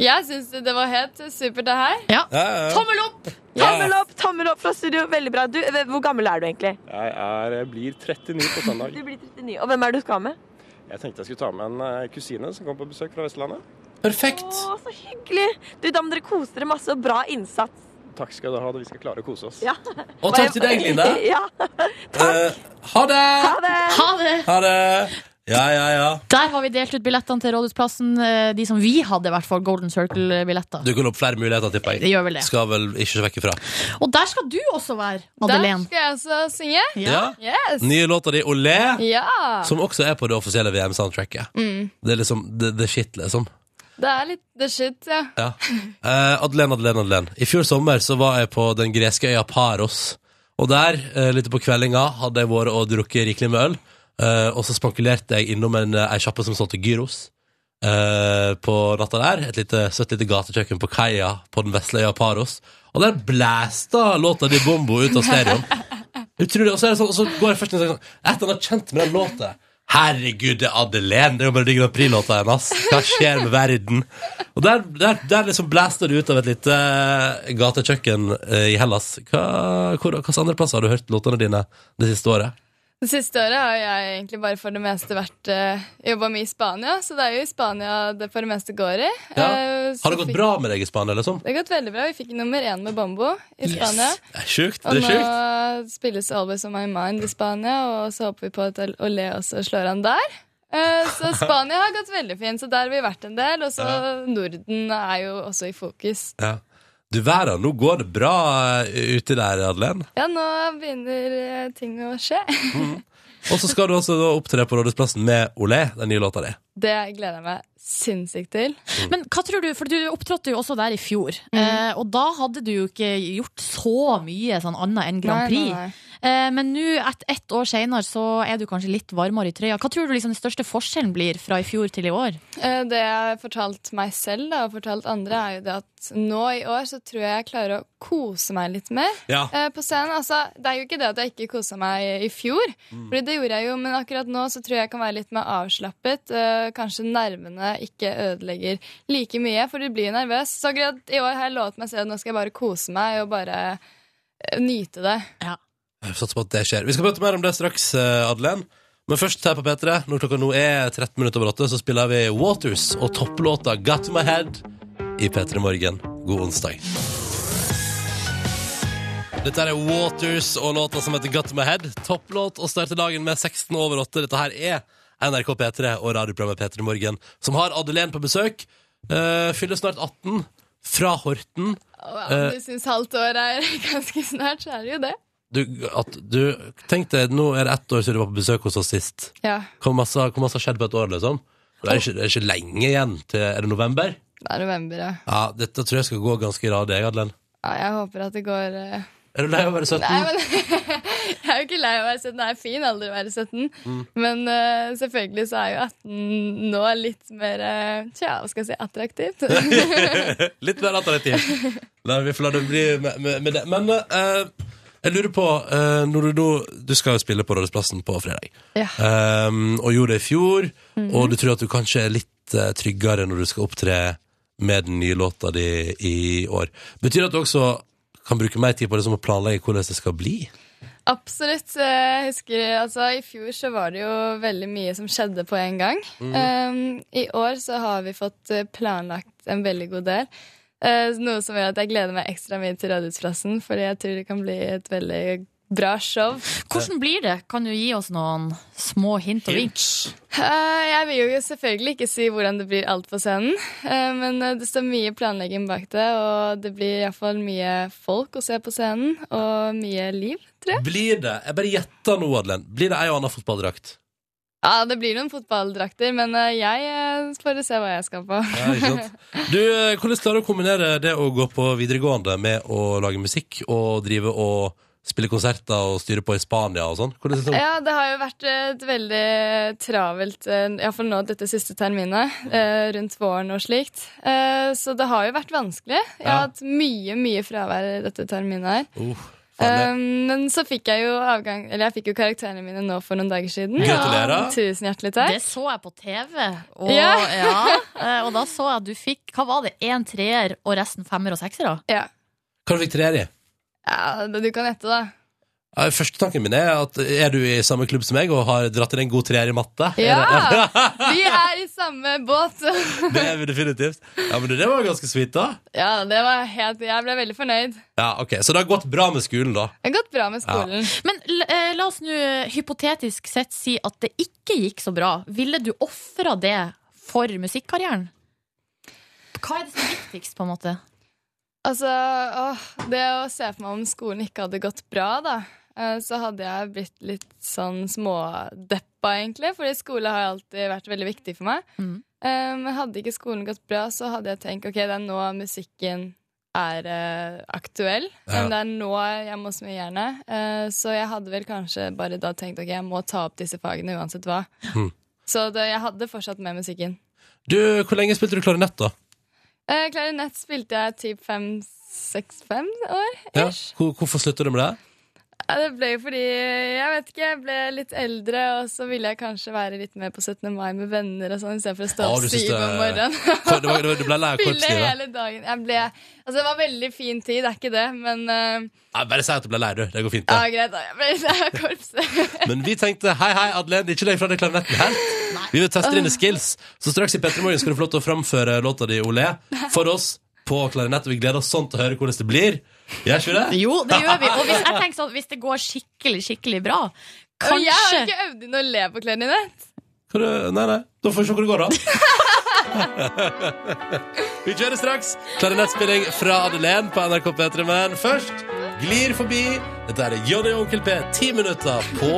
Speaker 9: Jeg syns det var helt supert, det her.
Speaker 1: Ja.
Speaker 2: Ja, ja, ja.
Speaker 1: Tommel opp!
Speaker 3: Tommel opp, tommel opp fra studio. Veldig bra. Du, eh, hvor gammel er du egentlig?
Speaker 10: Jeg er, jeg blir 39 på søndag.
Speaker 3: [LAUGHS] Du blir 39. Og hvem er det du skal ha med?
Speaker 10: Jeg tenkte jeg skulle ta med en eh, kusine som kom på besøk fra Vestlandet.
Speaker 2: Perfekt.
Speaker 3: Å, så hyggelig! Du, da må dere kose dere masse, og bra innsats.
Speaker 10: Takk skal du ha, vi skal klare å kose oss.
Speaker 3: Ja.
Speaker 2: Og takk til deg, Line.
Speaker 3: [LAUGHS] Ja,
Speaker 2: Eh, ha det!
Speaker 3: ha det!
Speaker 1: Ha det!
Speaker 2: Ha det! Ja, ja, ja.
Speaker 1: Der har vi delt ut billettene til Rådhusplassen. eh, De som vi hadde, i hvert fall. Golden Circle-billetter.
Speaker 2: Dukker opp flere muligheter, tipper
Speaker 1: Det
Speaker 2: jeg.
Speaker 1: gjør vel det.
Speaker 2: Skal vel ikke se vekk ifra.
Speaker 1: Og der skal du også være, Madeleine.
Speaker 9: Der skal jeg også synge.
Speaker 2: Ja.
Speaker 9: Yes.
Speaker 2: Nye låta di, Olé,
Speaker 9: Ja.
Speaker 2: som også er på det offisielle VM-soundtracket.
Speaker 9: Mm.
Speaker 2: Det er liksom the, the shit, liksom.
Speaker 9: Det er litt the shit, ja.
Speaker 2: Ja. Eh, Adelene, Adelene, Adelene. I fjor sommer så var jeg på den greske øya Paros. Og der, eh, litt på kveldinga, hadde jeg vært og drukket rikelig med øl. Eh, og så spankulerte jeg innom en, eh, ei sjappe som solgte gyros. eh, på natta der. Et lite, søtt lite gatekjøkken på kaia på den vesle øya Paros. Og der blæsta låta di Bombo ut av stereoen. Utrolig. Og så, er det sånn, og så går jeg først inn og tenker sånn Et eller annet kjent med den låta. Herregud, det er Adelén. Det er jo bare de Grand Prix-låta hennes. Hva skjer med verden? Og der, der, der liksom blæster det ut av et lite gatekjøkken eh, i Hellas. Hva, hvor, hvilke andre plasser har du hørt låtene dine det siste året?
Speaker 9: Det siste året har jeg egentlig bare for det meste vært uh, jobba mye i Spania, så det er jo i Spania det for det meste går i.
Speaker 2: Ja.
Speaker 9: Eh, så
Speaker 2: Har det gått
Speaker 9: fikk-
Speaker 2: bra med deg i Spania, liksom?
Speaker 9: Det har gått veldig bra. Vi fikk nummer én med Bombo i Spania.
Speaker 2: Det er sjukt.
Speaker 9: Og
Speaker 2: Det er
Speaker 9: nå
Speaker 2: sjukt.
Speaker 9: spilles Always On My Mind i Spania, og så håper vi på at Olé også slår an der. Eh, Så
Speaker 2: [LAUGHS]
Speaker 9: Spania har gått veldig fint, så der har vi vært en del. Og så Norden er jo også i fokus.
Speaker 2: Ja. Du verden, nå går det bra eh, ute der, Adelén.
Speaker 9: Ja, nå begynner eh, ting å skje. [LAUGHS]
Speaker 2: Og så skal du også da opptre på Rådhusplassen med Olé, den nye låta di.
Speaker 9: Det gleder jeg meg sinnssykt til.
Speaker 1: Men hva tror du, for du opptrådte jo også der i fjor.
Speaker 9: Mm.
Speaker 1: Eh, og da hadde du jo ikke gjort så mye sånn annet enn Grand Prix.
Speaker 9: Nei, nei, nei.
Speaker 1: Eh, men nå, et, ett år seinere, så er du kanskje litt varmere i trøya. Hva tror du liksom den største forskjellen blir fra i fjor til i år?
Speaker 9: Eh, Det jeg har fortalt meg selv da, og fortalt andre, er jo det at nå i år så tror jeg jeg klarer å kose meg litt mer.
Speaker 2: Ja.
Speaker 9: Eh, på scenen, altså, Det er jo ikke det at jeg ikke kosa meg i fjor, Fordi det gjorde jeg jo, men akkurat nå så tror jeg jeg kan være litt mer avslappet. eh, kanskje nervene ikke ødelegger like mye, for du blir jo nervøs. Så akkurat i år har jeg lovet meg selv at nå skal jeg bare kose meg og bare eh, nyte det.
Speaker 2: Jeg Satser på at det skjer. Vi skal prate mer om det straks, eh, Adelén. Men først her på P3, når klokka nå er 13 minutter over 8, så spiller vi Waters og topplåta Got My Head i P3 Morgen. God onsdag. Dette er Waters og låta som heter Got My Head. Topplåt og starter dagen med 16 over 8. Dette her er NRK P3 og radioprogrammet P3 Morgen, som har Adelén på besøk. Eh, fyller snart 18, fra Horten.
Speaker 9: Og ja,
Speaker 2: Eh.
Speaker 9: du syns halvt år er [LAUGHS] ganske snart, så er det jo det.
Speaker 2: Du, at, du, tenk deg, nå er det ett år siden du var på besøk hos oss sist.
Speaker 9: Ja,
Speaker 2: Hvor masse, hvor masse har skjedd på et år, liksom? Det er ikke, det er ikke lenge igjen til Er det november?
Speaker 9: det er november, ja.
Speaker 2: Ja, dette tror jeg skal gå ganske radig, jeg, Adeline.
Speaker 9: ja jeg håper at det går eh,
Speaker 2: Er du lei av å være 17?
Speaker 9: Nei, men Jeg er jo ikke lei av å være 17. Det er fin alder å være 17. Men eh, selvfølgelig så er jo 18 nå litt mer eh, Tja, hva skal jeg si attraktivt.
Speaker 2: Litt mer
Speaker 9: [LAUGHS]
Speaker 2: attraktiv. La vi får la det bli med, med, med det. Men eh, jeg lurer på eh, når du, nå- du skal jo spille på Rådhusplassen på fredag,
Speaker 9: Ja. Mhm.
Speaker 2: Ehm, og gjorde det i fjor. Og du tror at du kanskje er litt eh, tryggere når du skal opptre med den nye låta di i år. Betyr det at du også kan bruke mer tid på det som å planlegge hvordan det skal bli?
Speaker 9: Absolutt. eh, Jeg husker altså I fjor så var det jo veldig mye som skjedde på en gang. Um, I år så har vi fått eh, planlagt en veldig god del. Eh, noe som gjør at jeg gleder meg ekstra mye til Rådhusplassen, fordi jeg tror det kan bli et veldig Bra show.
Speaker 1: Hvordan blir det? Kan du gi oss noen små hint og vink?
Speaker 9: Eh, Jeg vil jo selvfølgelig ikke si hvordan det blir alt på scenen, eh, men eh, det står mye planlegging bak det, og det blir iallfall mye folk å se på scenen, og mye liv, tror jeg.
Speaker 2: Blir det Jeg bare gjetter nå, Adeline. Blir det ei og annen fotballdrakt?
Speaker 9: Ja, det blir noen fotballdrakter, men eh, jeg eh, får se hva jeg skal på.
Speaker 2: Ja, ikke
Speaker 9: [LAUGHS]
Speaker 2: sant? Du, eh, hvordan klarer du å kombinere det å gå på videregående med å lage musikk og drive og spille konserter og styre på i Spania og sånn? Hvordan er det sånn?
Speaker 9: Ja, det har jo vært eh, et veldig travelt, eh, iallfall nå dette siste terminet, eh, rundt våren og slikt. Eh, Så det har jo vært vanskelig. Jeg
Speaker 2: Ja.
Speaker 9: har hatt mye, mye fravær dette terminet her.
Speaker 2: Uh,
Speaker 9: Eh, Men så fikk jeg jo avgang Eller jeg fikk jo karakterene mine nå for noen dager siden.
Speaker 2: Gratulerer.
Speaker 9: Ja, Tusen hjertelig takk.
Speaker 1: Det så jeg på TV. Og, [LAUGHS] ja.
Speaker 9: Ja.
Speaker 1: eh, og da så jeg at du fikk Hva var det? Én treer og resten femmer og seksere?
Speaker 9: Ja.
Speaker 2: Hva du fikk treer i?
Speaker 9: Ja, det du kan gjette, da.
Speaker 2: Ja, Første tanken min er at er du i samme klubb som meg og har dratt inn en god treer i matte? Er
Speaker 9: Ja!
Speaker 2: det- [LAUGHS]
Speaker 9: Vi er i samme båt. [LAUGHS]
Speaker 2: Det er vi definitivt. Ja, men du, Det var jo ganske sweet, da.
Speaker 9: Ja, det var helt Jeg ble veldig fornøyd.
Speaker 2: Ja, ok, Så det har gått bra med skolen, da.
Speaker 9: Det har gått bra med skolen.
Speaker 1: Men l- eh, la oss nå hypotetisk sett si at det ikke gikk så bra. Ville du ofra det for musikkarrieren? Hva er det som er viktigst, på en måte?
Speaker 9: Altså, åh, det å se for meg om skolen ikke hadde gått bra, da, eh, så hadde jeg blitt litt sånn smådeppa, egentlig. Fordi skole har alltid vært veldig viktig for meg.
Speaker 1: Mm.
Speaker 9: Eh, Men hadde ikke skolen gått bra, så hadde jeg tenkt ok, det er nå musikken er eh, aktuell.
Speaker 2: Ja.
Speaker 9: Eh, Det er nå jeg må smi jernet. Eh, så jeg hadde vel kanskje bare da tenkt ok, jeg må ta opp disse fagene uansett hva.
Speaker 2: Mm.
Speaker 9: Så det, jeg hadde fortsatt med musikken.
Speaker 2: Du, Hvor lenge spilte du klarinett, da?
Speaker 9: Eh, klarinett spilte jeg typ fem, seks, fem år.
Speaker 2: Ja. Hvor, hvorfor slutta du med det?
Speaker 9: Ja, det ble jo fordi jeg vet ikke, jeg ble litt eldre, og så ville jeg kanskje være litt med på 17. mai med venner og sånn, istedenfor å stå
Speaker 2: Å,
Speaker 9: opp
Speaker 2: du synes
Speaker 9: syv om
Speaker 2: det- [LAUGHS]
Speaker 9: morgenen.
Speaker 2: Kor- det var- det var- Du ble
Speaker 9: [LAUGHS]
Speaker 2: lei av
Speaker 9: Fylle
Speaker 2: korpslivet?
Speaker 9: hele dagen. Jeg ble, altså, det var veldig fin tid, det er ikke det, men eh,
Speaker 2: Ja, bare si at du ble lei, du. Det går fint.
Speaker 9: ja,
Speaker 2: det.
Speaker 9: greit, da. Jeg ble [LAUGHS] lei av korpset.
Speaker 2: Men vi tenkte hei, hei, Adeline, ikke legg fra deg klarinetten helt. Vi vil teste dine skills. Så straks i Petter Morgen skal du få lov til å framføre låta di, Olé, for oss på klarinett. og Vi gleder oss sånn til å høre hvordan det blir. Gjør ikke vi det?
Speaker 1: Jo, det gjør vi. Og hvis, jeg tenker sånn, hvis det går skikkelig, skikkelig bra,
Speaker 9: Og jeg har
Speaker 1: kanskje
Speaker 9: ikke øvd inn å le på klarinett.
Speaker 2: Hva du- Nei, nei. Da får vi se hvor det går, da. vi kjører straks. Klarinettspilling fra Adelén på NRK P3, men først glir forbi. Dette er Johnny og Onkel P, ti minutter på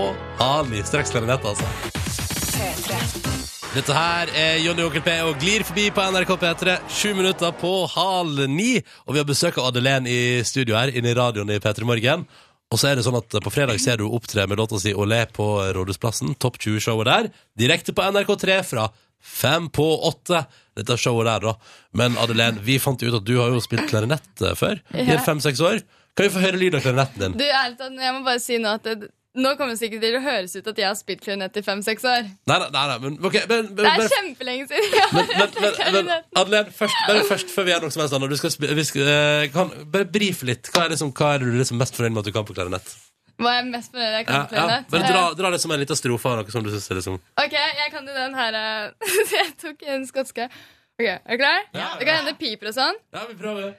Speaker 2: Ali. Straks klarinett, altså. Dette her er Johnny og Onkel P og glir forbi på NRK P3. Sju minutter på halv ni. Og vi har besøk av Adelén i studio her, inne i radioen i P3 Morgen. Og så er det sånn at på fredag ser du opptre med låta si Olé på Rådhusplassen. Topp 20-showet der. Direkte på NRK3 fra fem på åtte. Dette er showet der, da. Men Adelén, vi fant jo ut at du har jo spilt klarinett eh, før. I
Speaker 9: Ja.
Speaker 2: fem-seks år. Kan vi få høre lyd av klarinetten din?
Speaker 9: Du, ærlig talt, jeg må bare si nå at det, nå kommer det sikkert til å høres ut at jeg har spilt klarinett i fem-seks år.
Speaker 2: Nei, nei, nei, nei men, ok, men, men,
Speaker 9: Det er
Speaker 2: men
Speaker 9: kjempelenge siden [LAUGHS] jeg
Speaker 2: Men,
Speaker 9: har
Speaker 2: men, men,
Speaker 9: spilt
Speaker 2: men
Speaker 9: klarinett.
Speaker 2: Adeline, først, bare først før vi gjør noe som helst annet du skal, sp- vi skal, eh, kan, Bare brif litt Hva er, det som, hva er det du er liksom mest fornøyd med at du kan på klarinett?
Speaker 9: Hva er jeg mest fornøyd med? Jeg
Speaker 2: Ja,
Speaker 9: kan på
Speaker 2: ja.
Speaker 9: klarinett.
Speaker 2: Bare dra, dra det som en liten strofe av noe som du synes er liksom
Speaker 9: Ok, jeg kan jo den her eh, [LAUGHS] Jeg tok en skotske Ok, er du klar?
Speaker 2: Ja.
Speaker 9: Det kan hende det piper og sånn
Speaker 2: Ja, vi prøver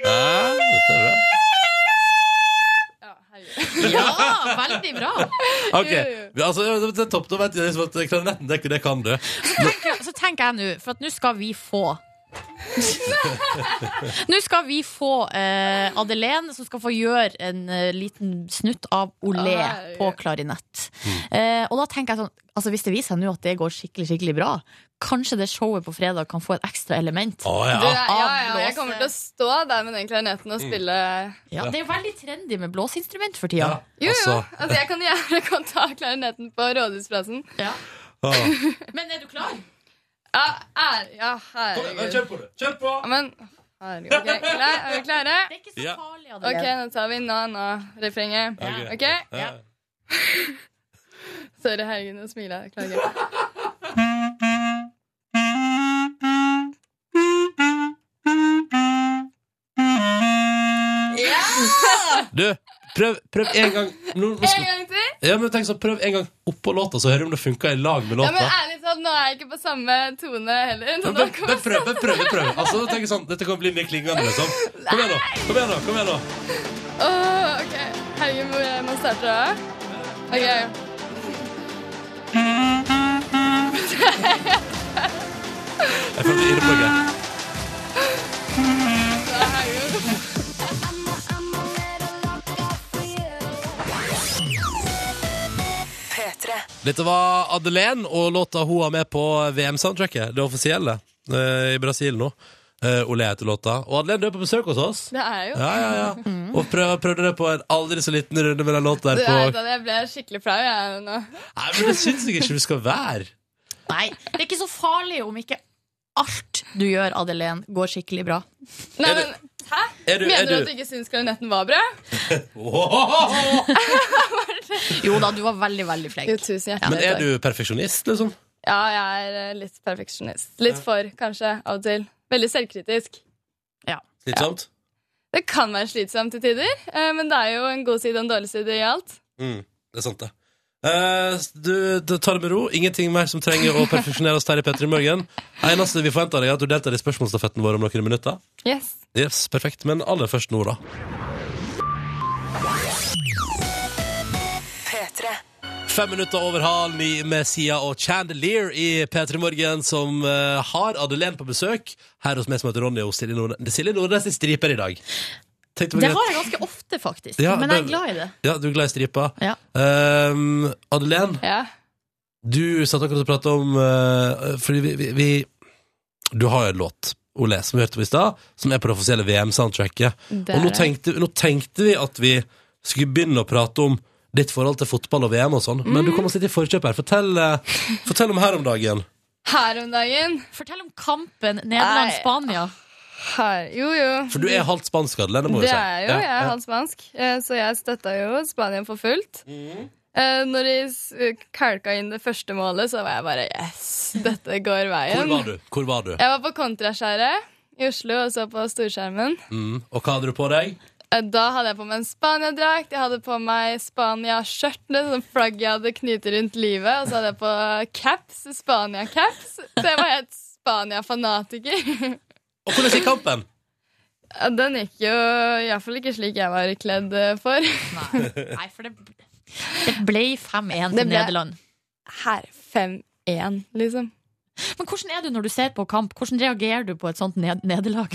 Speaker 2: Ja, dette er bra
Speaker 9: Ja, herregud
Speaker 1: Ja, veldig bra.
Speaker 2: Ok, vi- altså, ja, det er topp Da vet jeg liksom at klarinetten, det, det kan du
Speaker 1: Tenker- Så tenker jeg nå, for at nå skal vi få Nå skal vi få eh, Adelén, som skal få gjøre en eh, liten snutt av Olé
Speaker 9: Oi.
Speaker 1: på klarinett.
Speaker 2: Mm.
Speaker 1: Eh, og da tenker jeg sånn altså Hvis det viser seg nå at det går skikkelig skikkelig bra, kanskje det showet på fredag kan få et ekstra element.
Speaker 2: Å
Speaker 9: du, ja,
Speaker 2: ja Mm.
Speaker 9: ja, ja, jeg kommer til å stå der med den klarinetten og spille
Speaker 1: Ja, det er jo veldig trendy med blåseinstrument for
Speaker 2: ja,
Speaker 1: tida.
Speaker 9: Jo, jo,
Speaker 2: altså,
Speaker 9: altså jeg kan gjerne [LAUGHS] kan ta klarinetten på rådhusplassen
Speaker 2: å.
Speaker 1: Men er du klar?
Speaker 9: Ja, er, ja,
Speaker 2: Kom igjen,
Speaker 9: herregud
Speaker 2: Kjør på, du. Kjør på!
Speaker 9: Ja, Men, herregud, ok, klar, er vi klare?
Speaker 1: Det er ikke
Speaker 2: Ja.
Speaker 1: så farlig,
Speaker 9: Ok,
Speaker 1: Adelén.
Speaker 9: nå tar vi na-na-refrenget
Speaker 2: Ok.
Speaker 9: Ok?
Speaker 2: Ja.
Speaker 9: Sorry, herregud, nå smiler jeg, klager
Speaker 2: Du, prøv, prøv en gang nå, nå
Speaker 9: En
Speaker 2: skal,
Speaker 9: gang til
Speaker 2: ja, men tenk så, Prøv en gang oppå låta, så hører du om det funker i lag med
Speaker 9: Ja, men
Speaker 2: låta.
Speaker 9: ærlig talt, nå er jeg ikke på samme tone heller. Nå,
Speaker 2: Bare bare prøv, bare prøv. bare prøv. Altså, tenk sånn, Dette kan bli mer klingende, liksom. Kom igjen, nå. Kom igjen, nå. kom igjen nå
Speaker 9: Åh, ok. Herregud, hvor er man starter da? Ok.
Speaker 2: Jeg følte innplugget.
Speaker 7: P3.
Speaker 2: Dette var Adelén og låta hun har med på VM-soundtracket, det offisielle, eh, i Brasil nå. Eh, Olé heter låta. Og Adelén, du er på besøk hos oss.
Speaker 9: Det er jo.
Speaker 2: Ja, ja, ja. Og prøv, prøvde det på en aldri så liten runde med den låta
Speaker 9: Mm. Du
Speaker 2: der på
Speaker 9: vet at jeg ble skikkelig flau jeg nå.
Speaker 2: Nei, men det syns jeg ikke du skal være.
Speaker 1: Nei, det er ikke så farlig om ikke alt du gjør, Adelén, går skikkelig bra.
Speaker 9: Nei, men, hæ?
Speaker 2: Er du- er
Speaker 9: Mener du
Speaker 2: du-
Speaker 9: at du ikke syns klarinetten var bra?
Speaker 1: Jo da, du var veldig, veldig flink.
Speaker 9: Jo, tusen hjertelig
Speaker 2: Men er
Speaker 9: takk.
Speaker 2: du perfeksjonist, liksom?
Speaker 9: Ja, jeg er eh, litt perfeksjonist. Litt for, kanskje, av og til. Veldig selvkritisk.
Speaker 2: Slitsomt?
Speaker 9: Det kan være slitsomt til tider, eh, men det er jo en god side og en dårlig side i alt.
Speaker 2: Mm, det er sant, det. Eh, du, du tar det med ro. Ingenting mer som trenger å perfeksjoneres her i Petter i morgen. Eneste vi forventer deg, er at du deltar i spørsmålsstafetten vår om noen minutter.
Speaker 9: Yes.
Speaker 2: Yes, perfekt. Men aller først nå, da.
Speaker 7: P3.
Speaker 2: Fem minutter over halv ni med Sia og Chandelier i P3 Morgen, som eh, har Adelén på besøk her hos meg som heter Ronny og Silje Nordnes. Silje Nordnes i striper i dag. Tenkte vi
Speaker 1: Det
Speaker 2: greit.
Speaker 1: har jeg ganske ofte, faktisk.
Speaker 2: Ja,
Speaker 1: men jeg
Speaker 2: det-
Speaker 1: er glad i det.
Speaker 2: Ja, du er glad i stripa.
Speaker 1: Ja.
Speaker 2: Ehm, Adelén,
Speaker 9: Ja.
Speaker 2: du satt akkurat og pratet om eh, Fordi vi, vi, vi Du har jo en låt, Ole, som vi hørte på i stad, som er på det offisielle VM-soundtracket.
Speaker 9: Det
Speaker 2: Og nå
Speaker 9: er det.
Speaker 2: tenkte, nå tenkte vi at vi skulle begynne å prate om ditt forhold til fotball og VM og sånn, men
Speaker 9: Mm.
Speaker 2: du kom oss litt i forkjøpet her. Fortell, eh, fortell om her om dagen.
Speaker 9: Her om dagen
Speaker 1: Fortell om kampen Nederland-Spania.
Speaker 9: her. Jo, jo.
Speaker 2: For du er halvt spansk, Adelén. Det må vi
Speaker 9: Det
Speaker 2: si.
Speaker 9: er jo, jeg er halvt spansk, eh, så jeg støtta jo Spania for fullt.
Speaker 2: Mm.
Speaker 9: Eh, Når de s- kalka inn det første målet, så var jeg bare yes, dette går veien.
Speaker 2: Hvor var du? Hvor var du?
Speaker 9: Jeg var på Kontraskjæret i Oslo og så på storskjermen.
Speaker 2: Mm. Og hva hadde du på deg?
Speaker 9: Eh, Da hadde jeg på meg en Spania-drakt, jeg hadde på meg Spania-skjørtene, sånn flagg jeg hadde knyttet rundt livet, og så hadde jeg på caps, Spania-caps. Så jeg var helt Spania-fanatiker. [LAUGHS]
Speaker 2: Og hvordan gikk kampen?
Speaker 9: Ja, Den gikk jo iallfall ikke slik jeg var kledd eh, for.
Speaker 1: Nei, for det, det ble 5-1
Speaker 9: Det
Speaker 1: til
Speaker 9: ble-
Speaker 1: Nederland.
Speaker 9: Her 5-1, liksom.
Speaker 1: Men hvordan er du når du ser på kamp? Hvordan reagerer du på et sånt ned nederlag?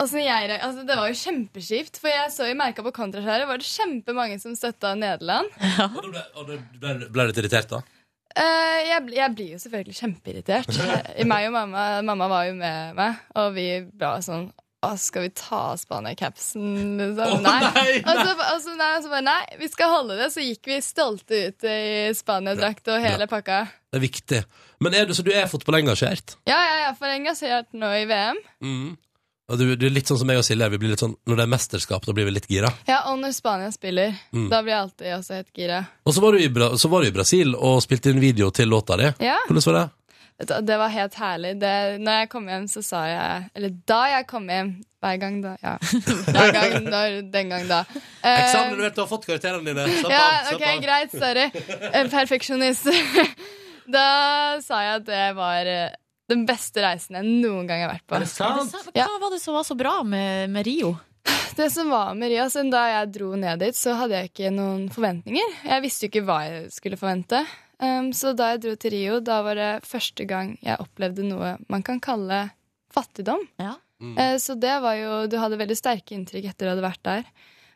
Speaker 9: Altså, jeg, altså, det var jo kjempeskift, for jeg så i merka på Kontraskjæret var det kjempemange som støtta Nederland.
Speaker 2: Og da ble, og da ble, ble du litt irritert, da?
Speaker 9: Eh, jeg, bli- jeg blir jo selvfølgelig kjempeirritert. [LAUGHS] Eh, meg og mamma, mamma var jo med meg, og vi var sånn «Å, skal vi ta av Spania-capsen? Liksom.
Speaker 2: Å, nei, nei.
Speaker 9: Og så, og så, nei, og så bare nei, vi skal holde det. Så gikk vi stolte ut i Spania-drakt og hele pakka.
Speaker 2: Det er viktig. Men er du, så du er fotballengasjert?
Speaker 9: Ja, jeg er for engasjert nå i VM.
Speaker 2: Mm. Og du, du er litt sånn som meg og Silje, vi blir litt sånn, når det er mesterskap, da blir vi litt gira.
Speaker 9: Ja, og når Spania spiller,
Speaker 2: Mm.
Speaker 9: da blir jeg alltid også helt gira.
Speaker 2: Og så var, du i, Bra- så var du i Brasil og spilte inn video til låta di.
Speaker 9: Ja,
Speaker 2: Hvordan var det?
Speaker 9: vet du, det var helt herlig. Det, når jeg kom hjem, så sa jeg Eller da jeg kom hjem, hver gang da, ja. Hver gang når, den gang da. Eh,
Speaker 2: Eksamen levert, du har fått karakterene dine. Slapp av.
Speaker 9: ja,
Speaker 2: slapp
Speaker 9: ok,
Speaker 2: av.
Speaker 9: greit, sorry. Eh, Perfeksjonist. [LAUGHS] da sa jeg at det var eh, den beste reisen jeg noen gang har vært på.
Speaker 1: Hva var det som var så bra med, med Rio?
Speaker 9: Det som var med Ria, siden da jeg dro ned dit, så hadde jeg ikke noen forventninger. Jeg visste jo ikke hva jeg skulle forvente. Um, så da jeg dro til Rio, da var det første gang jeg opplevde noe man kan kalle fattigdom.
Speaker 1: Ja.
Speaker 2: Mm.
Speaker 9: Eh, så det var jo Du hadde veldig sterke inntrykk etter du hadde vært der.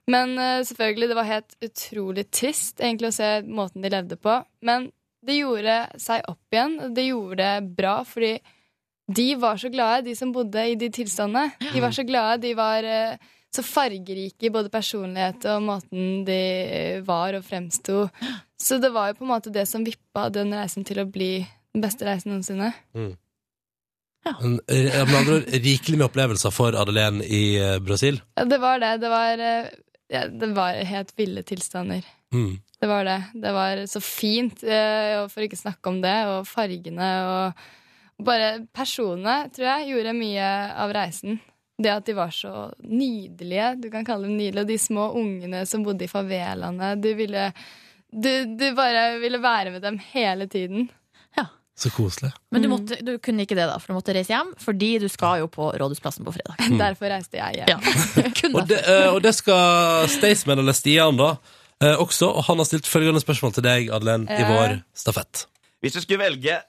Speaker 9: Men eh, selvfølgelig, det var helt utrolig trist egentlig å se måten de levde på. Men det gjorde seg opp igjen. og Det gjorde det bra, fordi de var så glade, de som bodde i de tilstandene. De var så glade, de var eh, så fargerike i både personlighet og måten de eh, var og fremsto. Så det var jo på en måte det som vippa den reisen til å bli den beste reisen noensinne.
Speaker 2: Men, eh, Med andre ord, rikelig med opplevelser for Adelén i eh, Brasil.
Speaker 9: Ja, det var det. Det var, eh, ja, det var helt ville tilstander.
Speaker 2: Mm.
Speaker 9: Det var det. Det var så fint, eh, og for ikke snakke om det, og fargene og Bare personene, tror jeg, gjorde mye av reisen. Det at de var så nydelige, du kan kalle dem nydelige, og de små ungene som bodde i favelaene. Du ville du, du bare ville være med dem hele tiden.
Speaker 1: Ja.
Speaker 2: Så koselig.
Speaker 1: Men du, måtte, du kunne ikke det, da, for du måtte reise hjem. Fordi du skal jo på Rådhusplassen på fredag.
Speaker 2: Mm.
Speaker 9: Derfor reiste jeg hjem.
Speaker 1: Ja. Kun
Speaker 2: Og det, eh, og det skal Staysman, eller Stian, da eh, også. Og han har stilt følgende spørsmål til deg, Adelen, i
Speaker 9: Eh.
Speaker 11: Ja.
Speaker 2: vår stafett.
Speaker 11: Hvis du skulle velge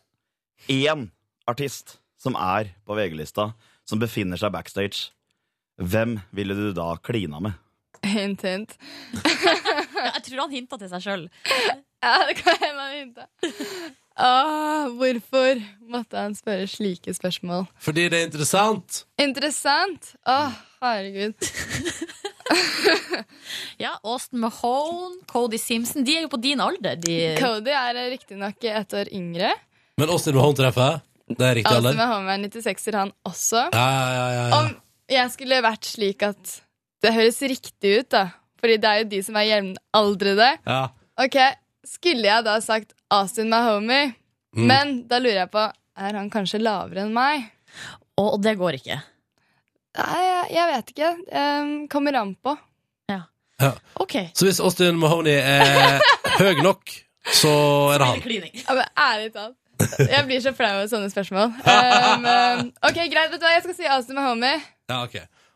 Speaker 11: én artist som er på VG-lista, som befinner seg backstage, hvem ville du da klina med?
Speaker 9: Hint, hint.
Speaker 1: Jeg tror han hinta til seg sjøl.
Speaker 9: [LAUGHS] Ja, det kan hende han hinta. Åh, Ah, hvorfor måtte han spørre slike spørsmål?
Speaker 2: Fordi det er interessant.
Speaker 9: Interessant. Åh, herregud.
Speaker 1: Ja, Austin Mahone, Cody Simpson. De er jo på din alder. De...
Speaker 9: Cody er riktignok ett år yngre.
Speaker 2: Men Austin Mahone treffer. jeg. Det er riktig,
Speaker 9: Austin
Speaker 2: Adelen?
Speaker 9: Mahome er 96-er, han også.
Speaker 2: Ja, ja, ja, ja.
Speaker 9: Om jeg skulle vært slik at det høres riktig ut, da. Fordi det er jo de som er jevnaldrende.
Speaker 2: ja.
Speaker 9: Ok, skulle jeg da sagt Austin Mahomey?
Speaker 2: Mm.
Speaker 9: Men da lurer jeg på, er han kanskje lavere enn meg?
Speaker 1: Og det går ikke.
Speaker 9: Nei, jeg, jeg vet ikke. Em, kommer an på.
Speaker 2: Ja. Så hvis Austin Mahoney
Speaker 9: [LAUGHS]
Speaker 2: er høy nok, så er det han.
Speaker 9: Ja, men ærlig talt. Jeg blir så flau av sånne spørsmål. Em, em, ok, greit, vet du hva, jeg skal si Austin Mahomey.
Speaker 2: Ja, ok.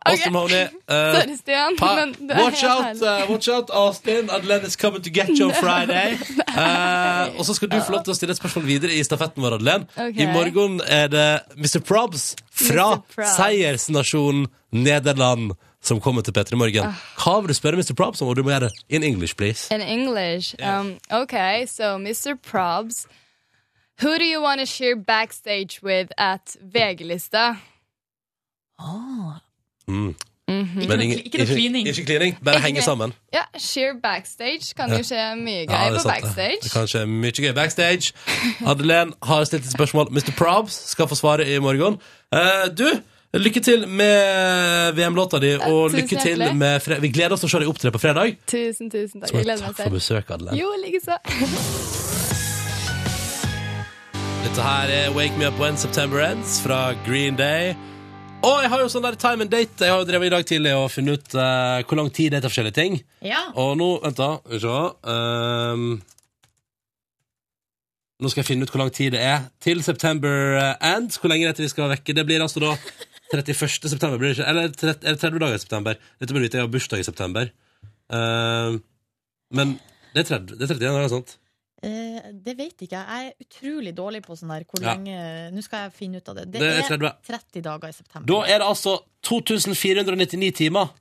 Speaker 2: Austin Mahoney eh,
Speaker 9: [LAUGHS] Sorry, Stian.
Speaker 2: pa-
Speaker 9: Men det er
Speaker 2: watch,
Speaker 9: helt
Speaker 2: out,
Speaker 9: ærlig.
Speaker 2: eh, watch out, Austin. Adelen is coming to get you
Speaker 9: [LAUGHS]
Speaker 2: on Friday. Eh, og så skal du få lov til å stille et spørsmål videre i stafetten vår, Adelen.
Speaker 9: Ok.
Speaker 2: I morgen er det Mr. Probs fra
Speaker 9: Mr. Probs.
Speaker 2: seiersnasjonen Nederland som kommer til P3
Speaker 9: Ah.
Speaker 2: Morgen. Hva vil du spørre Mr. Probs om? Og du må gjøre det in English, please.
Speaker 9: In English. Um, okay, so Mr. Probs, who do you want to share backstage with at VG-lista?
Speaker 2: Mm. Men
Speaker 9: Mhm. Ikke noe
Speaker 2: ingen-
Speaker 9: kli- ikke noe klining.
Speaker 2: Ikke klining, bare henge sammen.
Speaker 9: Ja, share backstage kan
Speaker 2: Ja.
Speaker 9: jo skje mye
Speaker 2: Ja, det er
Speaker 9: greier på
Speaker 2: sant, det.
Speaker 9: backstage.
Speaker 2: Det kan skje mye gøy backstage. Adelen har stilt et spørsmål. Mr. Probs skal få svare i morgen. Eh, du, lykke til med VM-låta di, og
Speaker 9: tusen
Speaker 2: lykke til
Speaker 9: hjertelig.
Speaker 2: med fre Vi gleder oss til å se deg opptre på fredag.
Speaker 9: Tusen, tusen takk.
Speaker 2: Så
Speaker 9: Jeg gleder meg
Speaker 2: takk for
Speaker 9: selv.
Speaker 2: besøket, Adelen.
Speaker 9: Jo, likeså.
Speaker 2: Dette her er Wake Me Up When September Ends fra Green Day. Og jeg har jo sånn der time and date. Jeg har jo drevet i dag tidlig og funnet ut eh, hvor lang tid det er til forskjellige ting.
Speaker 1: Ja.
Speaker 2: Og nå, vent da, skal vi se ehm, Nå skal jeg finne ut hvor lang tid det er til September eh, ends. Hvor lenge det er til vi skal vekke. Det blir altså da 31. september, blir det ikke? Eller tre- er det 30 dager i september? Dette burde du vite, jeg har bursdag i september. Ehm, men det er 30, det er 31 dager, sant?
Speaker 1: Eh, det vet ikke jeg. Jeg er utrolig dålig på sånn der hvor
Speaker 2: Ja.
Speaker 1: lenge Nå skal jeg finne ut av det. Det,
Speaker 2: Det er
Speaker 1: er
Speaker 2: 30.
Speaker 1: 30 dager i september.
Speaker 2: Da er det altså 2499 timer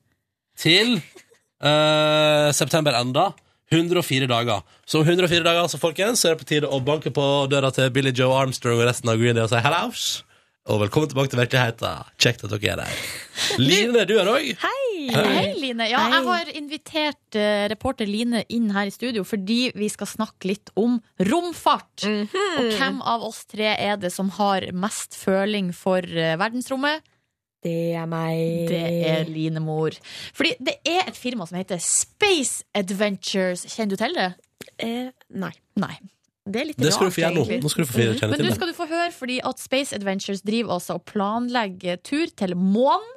Speaker 2: til eh, september enda. 104 dager. Så om 104 dager, altså, folkens, så er det på tide å banke på døra til Billy Joe Armstrong og resten av Green Day og si hellos. Og velkommen tilbake til virkeligheten. Kjekt at dere er
Speaker 1: [LAUGHS]
Speaker 2: der. Line, du er òg.
Speaker 1: Hei!
Speaker 2: Hei.
Speaker 1: Hei, Line. Ja, jeg har invitert eh, reporter Line inn her i studio fordi vi skal snakke litt om romfart. Og hvem av oss tre er det som har mest føling for eh, verdensrommet?
Speaker 12: Det er meg.
Speaker 1: Det er Line Mor. Fordi det er et firma som heter Space Adventures. Kjenner du til det?
Speaker 12: nei.
Speaker 1: Det er litt
Speaker 2: Det skal
Speaker 1: rart,
Speaker 2: du få gjøre nå.
Speaker 1: egentlig.
Speaker 2: Nå skal du få kjenne til
Speaker 1: Mm. Men nå
Speaker 2: det.
Speaker 1: skal du få høre, fordi at Space Adventures driver altså og planlegger tur til månen.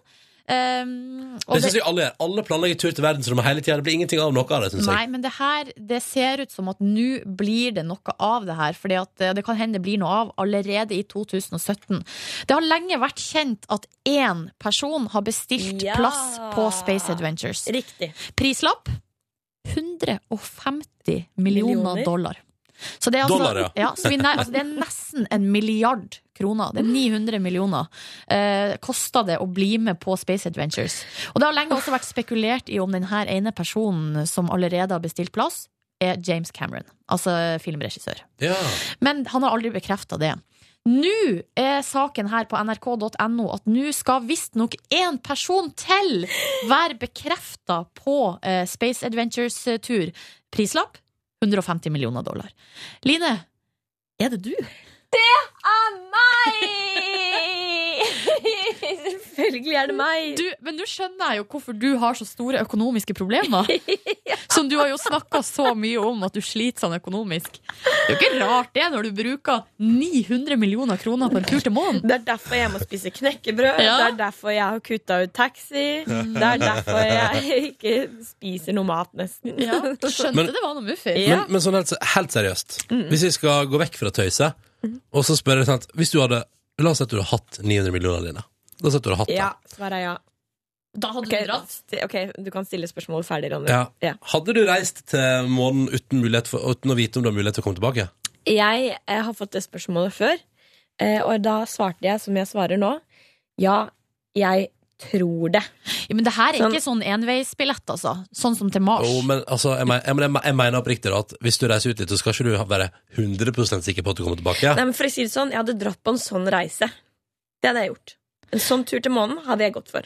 Speaker 1: Um, og
Speaker 2: Det syns vi alle gjør. Alle planlegger tur til verdensrommet hele tida. Det blir ingenting av noe av det, syns
Speaker 1: Nei,
Speaker 2: jeg.
Speaker 1: men det her Det ser ut som at nå blir det noe av det her. For det kan hende det blir noe av allerede i 2017. Det har lenge vært kjent at én person har bestilt
Speaker 12: Ja.
Speaker 1: plass på Space Adventures.
Speaker 12: Riktig.
Speaker 1: Prislapp 150 millioner,
Speaker 12: Millioner?
Speaker 1: dollar. Så det er, altså,
Speaker 12: Dollar, ja.
Speaker 1: så vi nær, altså det er nesten en milliard kroner. Det er 900 millioner. Eh, Kosta det å bli med på Space Adventures. Og det har lenge også vært spekulert i om denne ene personen som allerede har bestilt plass, er James Cameron. Altså filmregissør.
Speaker 2: Ja.
Speaker 1: Men han har aldri bekrefta det. Nå er saken her på nrk.no at nå skal visstnok én person til være bekrefta på eh, Space Adventures-tur. Prislapp 150 millioner dollar. Line, er det du?
Speaker 12: Det er meg!
Speaker 3: Selvfølgelig er det meg.
Speaker 1: Du, men nå skjønner jeg jo hvorfor du har så store økonomiske [LAUGHS] problemer. Som du har jo snakka så mye om at du sliter sånn økonomisk. Det er jo ikke rart det, når du bruker 900 millioner kroner på en tur til månen.
Speaker 3: Det er derfor jeg må spise knekkebrød.
Speaker 1: Ja.
Speaker 3: Det er derfor jeg har kutta ut taxi. Det er derfor jeg ikke spiser noe mat, nesten.
Speaker 1: Ja, skjønte
Speaker 2: Men-
Speaker 1: det var noe muffins.
Speaker 2: Men, men sånn helt, helt seriøst,
Speaker 1: Mm.
Speaker 2: hvis vi skal gå vekk fra tøyset,
Speaker 3: Mm.
Speaker 2: og så spør jeg sant, hvis du hadde La oss si at du hadde hatt 900 millioner dine. La oss si at du hadde hatt det.
Speaker 3: [LAUGHS] Ja, svaret er ja.
Speaker 1: Da hadde
Speaker 3: du dratt? Ok, du kan stille spørsmålet ferdig, Ronny.
Speaker 2: Ja. Hadde du reist til månen uten, mulighet for, uten å vite om du har mulighet til å komme tilbake?
Speaker 3: Jeg eh, har fått det spørsmålet før, eh, og da svarte jeg som jeg svarer nå. Ja, jeg tror det.
Speaker 1: men det her er ikke sånn enveisbillett, altså. Sånn som til Mars.
Speaker 2: Jo, men altså, jeg, men- jeg, men- jeg, mener oppriktig da, at hvis du reiser ut litt, så skal ikke du være 100 sikker på at du kommer tilbake.
Speaker 3: Nei, men for å si det sånn, Jeg hadde dratt på en sånn reise. Det hadde jeg gjort. En sånn tur til månen hadde jeg gått for.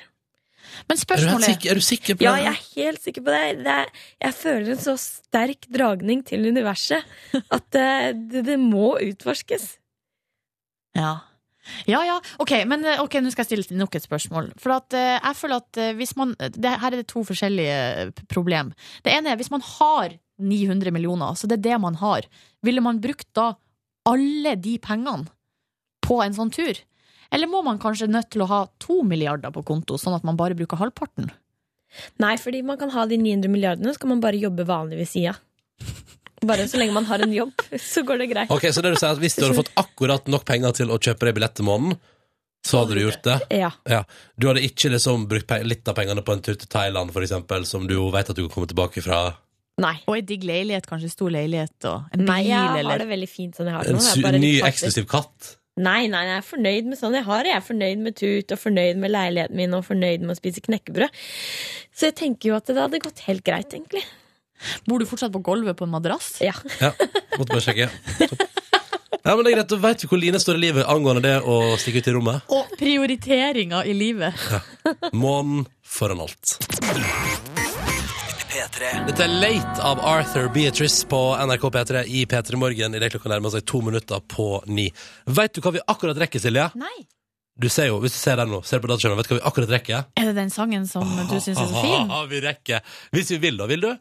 Speaker 1: Men
Speaker 2: Er du helt sikker- er du sikker på
Speaker 3: ja,
Speaker 2: det?
Speaker 3: jeg er helt sikker på det. det er, jeg føler en så sterk dragning til universet at eh, det, det må utforskes.
Speaker 1: Ja. Ja, ja. Ok, men eh, ok, nå skal jeg stille nok et spørsmål. For at, eh, jeg føler at eh, hvis man det, Her er det to forskjellige eh, p- problem. Det ene er hvis man har 900 millioner, så det er det man har. Ville man brukt da alle de pengene på en sånn tur? Eller må man kanskje nødt til å ha to milliarder på konto, sånn at man bare bruker halvparten?
Speaker 3: Nei, fordi man kan ha de 900 milliardene, så kan man bare jobbe vanlig ved sida. Bare så lenge man har en jobb, [LAUGHS] så går det greit.
Speaker 2: Ok, Så det du sier er at hvis du hadde fått akkurat nok penger til å kjøpe deg billett til månen, så hadde du gjort det?
Speaker 3: Ja.
Speaker 2: Du hadde ikke liksom brukt pe- litt av pengene på en tur til Thailand, for eksempel, som du jo vet at du kan komme tilbake fra?
Speaker 3: Nei.
Speaker 1: Og ei digg leilighet, kanskje stor leilighet og en bil,
Speaker 3: Nei, jeg
Speaker 1: eller
Speaker 3: har det veldig fint sånn jeg har det
Speaker 2: En
Speaker 3: nå. Jeg
Speaker 2: su-
Speaker 3: er bare
Speaker 2: ny,
Speaker 3: litt faktisk-
Speaker 2: eksklusiv katt?
Speaker 3: Nei, nei, jeg er fornøyd med sånn jeg har det. Jeg er fornøyd med tut og fornøyd med leiligheten min og fornøyd med å spise knekkebrød. Så jeg tenker jo at det hadde gått helt greit, egentlig.
Speaker 1: Bor du fortsatt på gulvet på en madrass?
Speaker 3: Ja.
Speaker 2: Ja, måtte bare sjekke. Ja, men det er greit, Da vet vi hvor Line står i livet angående det å stikke ut i rommet.
Speaker 1: Og [LAUGHS] prioriteringer i livet.
Speaker 2: Ja. Månen foran alt. Dette er Late av Arthur Beatrice på NRK P3 i P3 Morgen idet klokka nærmer seg to minutter på ni. Veit du hva vi akkurat rekker, Silje?
Speaker 1: Nei.
Speaker 2: Du ser jo, Hvis du ser den nå, ser på dataskjermen, vet du hva vi akkurat rekker?
Speaker 1: Er det den sangen som du syns er så fin?
Speaker 2: Ah, vi rekker. Hvis vi vil, da. Vil du?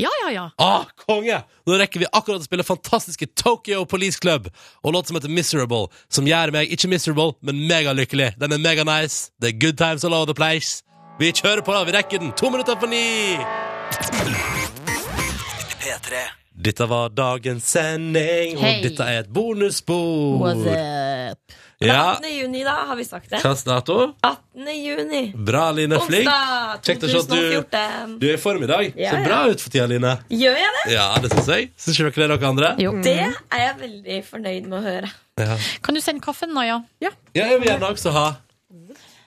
Speaker 1: Ja, ja, ja.
Speaker 2: Ah, konge! Nå rekker vi akkurat å spille fantastiske Tokyo Police Club og låt som heter Miserable, som gjør meg ikke miserable, men megalykkelig. Den er mega nice. Det er good times all over the place. Vi kjører på, da. Vi rekker den. To minutter på ni!
Speaker 4: P3.
Speaker 2: Dette var dagens sending, og
Speaker 4: Hei.
Speaker 2: dette er et bonusbord. Ja.
Speaker 3: 18. juni, da, har vi sagt det.
Speaker 2: Hvilken dato?
Speaker 3: 18. juni.
Speaker 2: Bra, Line. Flink.
Speaker 3: Onsdag
Speaker 2: Kjekt å se at du,
Speaker 3: 2014.
Speaker 2: du er i form i dag.
Speaker 3: Ja,
Speaker 2: Ser
Speaker 3: ja.
Speaker 2: bra ut for tida, Line.
Speaker 3: Gjør jeg det?
Speaker 2: Ja, det syns jeg. Syns ikke dere det, dere andre?
Speaker 3: Det er jeg veldig fornøyd med å høre.
Speaker 2: Ja.
Speaker 1: Kan du sende kaffen, Naja? Ja.
Speaker 2: ja, jeg vil gjerne også ha.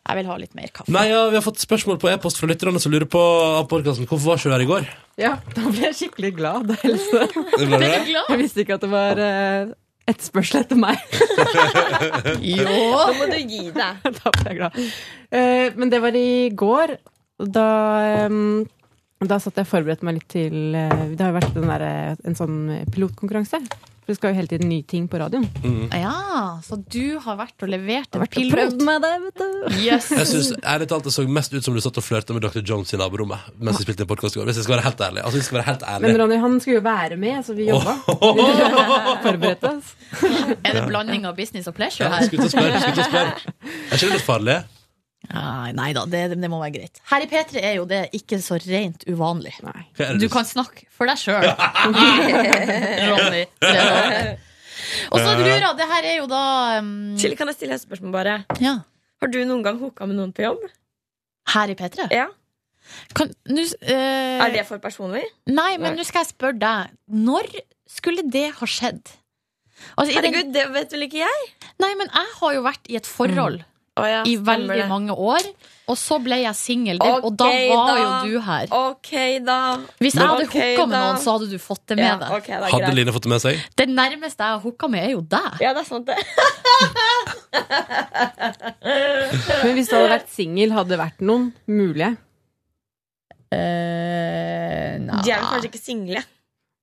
Speaker 1: Jeg vil ha litt mer kaffe.
Speaker 2: Nei, ja, Vi har fått spørsmål på e-post fra lytterne som lurer på av podcasten, hvorfor var ikke du her i går.
Speaker 8: Ja, da ble jeg skikkelig glad da jeg leste
Speaker 9: [LAUGHS]
Speaker 8: det.
Speaker 2: Det ble det?
Speaker 8: Jeg visste ikke at det var eh, etterspørsel etter meg.
Speaker 9: [LAUGHS]
Speaker 3: Nå må du gi deg.
Speaker 8: [LAUGHS] da ble jeg glad. Eh, men det var i går. Da, em, um, da satt jeg og forberedte meg litt til eh, Det har jo vært den der, eh, en sånn pilotkonkurranse. For det skal jo hele tiden nye ting på radioen.
Speaker 1: Ja, så du har vært og levert en
Speaker 8: og
Speaker 1: pilot.
Speaker 8: prøvd meg det, vet du.
Speaker 1: Yes.
Speaker 2: Jeg synes, ærlig talt, Det så mest ut som du satt og flørta med Dr. Jones i naborommet mens vi spilte en podkast i går. Hvis jeg skal være helt ærlig. Altså, hvis jeg skal være helt ærlig.
Speaker 8: Men Ronny, han skulle jo være med, så
Speaker 2: [LAUGHS]
Speaker 8: vi jobba. Forberedte oss.
Speaker 1: Er det blanding av business og pleasure
Speaker 2: Ja,
Speaker 1: her?
Speaker 2: jeg skulle til å spørre, jeg skulle til å spørre. Er ikke det litt farlig?
Speaker 1: Nei, nei da, det, det må være greit. Her i P3 er jo det ikke så rent uvanlig.
Speaker 2: Hva er det
Speaker 1: Du
Speaker 2: du-
Speaker 1: kan snakke for deg sjøl.
Speaker 2: [LAUGHS]
Speaker 1: Ronny. Og så lurer jeg, det her er jo da um...
Speaker 3: [LAUGHS] Chili, kan jeg stille deg et spørsmål, bare? Har du noen gang hooka med noen på jobb?
Speaker 1: Her i P3?
Speaker 3: Ja.
Speaker 1: Kan, nu, eh,
Speaker 3: Er det for personlig?
Speaker 1: Nei, men nå skal jeg spørre deg. Når skulle det ha skjedd? Altså, i den-
Speaker 3: Herregud, det vet vel ikke jeg?
Speaker 1: Nei, men jeg har jo vært i et forhold
Speaker 3: Å Mm. ja,
Speaker 1: i
Speaker 3: stemmer
Speaker 1: veldig
Speaker 3: det.
Speaker 1: mange år, og så ble jeg singel, det- og da
Speaker 3: Ok,
Speaker 1: var
Speaker 3: da.
Speaker 1: jo du her.
Speaker 3: Ok, da.
Speaker 1: Hvis jeg hadde
Speaker 3: Ok,
Speaker 1: hooka med
Speaker 3: da.
Speaker 1: noen, så hadde du fått det med
Speaker 3: Ja,
Speaker 1: deg.
Speaker 3: ok, det er
Speaker 2: Hadde
Speaker 3: greit.
Speaker 2: Line fått det med seg?
Speaker 1: Det nærmeste jeg har hooka med, er jo deg.
Speaker 3: Ja, det er sant, det.
Speaker 8: Men hvis du hadde vært singel, hadde det vært noen? Mulig?
Speaker 1: nei.
Speaker 3: De er vel kanskje ikke single.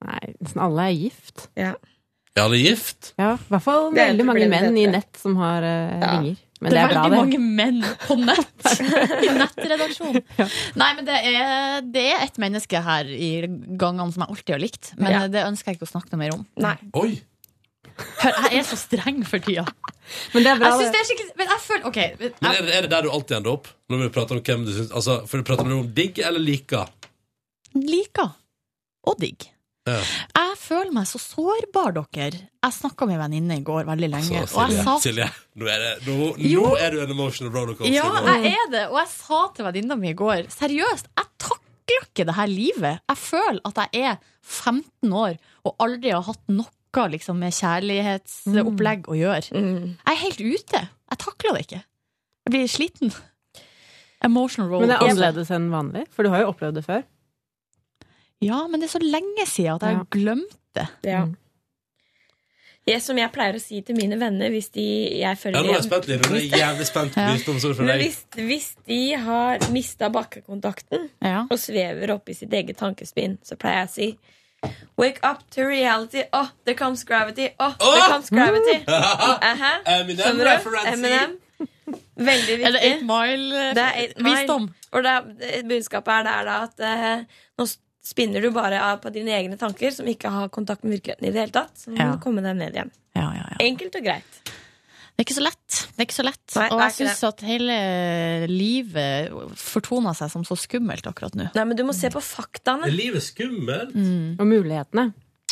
Speaker 8: Nei, nesten alle er gift.
Speaker 3: Ja.
Speaker 2: Ja, alle er gift?
Speaker 8: Ja, i hvert fall
Speaker 3: Det er
Speaker 8: veldig mange
Speaker 3: problemet,
Speaker 8: menn i
Speaker 3: tror jeg.
Speaker 8: nett som har eh, ringer. Men det er bra,
Speaker 1: veldig
Speaker 8: det.
Speaker 1: mange menn på
Speaker 3: [LAUGHS]
Speaker 1: nett. I nettredaksjonen. Nei, men det er, det er et menneske her i gangene som jeg alltid har likt. Men
Speaker 8: Ja.
Speaker 1: det ønsker jeg ikke å snakke noe mer om.
Speaker 2: Oi!
Speaker 1: Hør, jeg er så streng for tida.
Speaker 8: Men det
Speaker 1: Jeg synes det er skikkelig Men jeg føler OK.
Speaker 2: Men er, det- er det der du alltid ender opp? Når du prater om hvem du syns altså, For du prater om om digg eller lika?
Speaker 1: Jeg liker og digg.
Speaker 2: Ja.
Speaker 1: Jeg føler meg så sårbar, dere. Jeg snakka med en venninne i går veldig lenge, og
Speaker 2: Så, Silje,
Speaker 1: jeg sa
Speaker 2: Silje nå, er det, nå, nå
Speaker 1: Jo.
Speaker 2: er du en emotional rollercoaster.
Speaker 1: Ja,
Speaker 2: nå.
Speaker 1: jeg er det. Og jeg sa til venninna mi i går Seriøst, jeg takler ikke det her livet. Jeg føler at jeg er 15 år og aldri har hatt noe liksom, med kjærlighetsopplegg å gjøre. Jeg er helt ute. Jeg takler det ikke. Jeg blir sliten. Emotional roller.
Speaker 8: Men det er annerledes enn vanlig, for du har jo opplevd det før.
Speaker 1: Ja, men det er så lenge siden at jeg har glemt det.
Speaker 8: Ja.
Speaker 3: Det som jeg pleier å si til mine venner hvis de jeg
Speaker 2: Ja,
Speaker 3: føler
Speaker 2: nå er jeg spent, Liv. Nå er jeg jævlig spent på visdomsord fra
Speaker 3: Men
Speaker 2: deg.
Speaker 3: hvis, hvis de har mista bakkekontakten og svever opp i sitt eget tankespinn, så pleier jeg å si Wake up to reality. Oh, there comes gravity. Oh, there
Speaker 2: Åh!
Speaker 3: comes gravity.
Speaker 2: Mm.
Speaker 3: Aha.
Speaker 2: [LAUGHS] Eminem
Speaker 3: Skjønner du?
Speaker 2: referanse.
Speaker 3: Eminem. Veldig viktig.
Speaker 1: Eller Eight Mile, eh,
Speaker 3: Det er eight mile.
Speaker 1: visdom.
Speaker 3: Og da, budskapet er der da at eh, nå spinner du bare av på dine egne tanker, som ikke har kontakt med virkeligheten i det hele tatt. Så nå må
Speaker 1: Ja.
Speaker 3: du komme deg ned igjen. Enkelt og greit.
Speaker 1: Det er ikke så lett. Det er ikke så lett.
Speaker 3: Nei, det er
Speaker 1: og jeg
Speaker 3: ikke
Speaker 1: syns at hele livet fortoner seg som så skummelt akkurat nå.
Speaker 3: Nei, men du må se på faktaene.
Speaker 2: Er livet skummelt?
Speaker 3: Mm.
Speaker 8: Og mulighetene.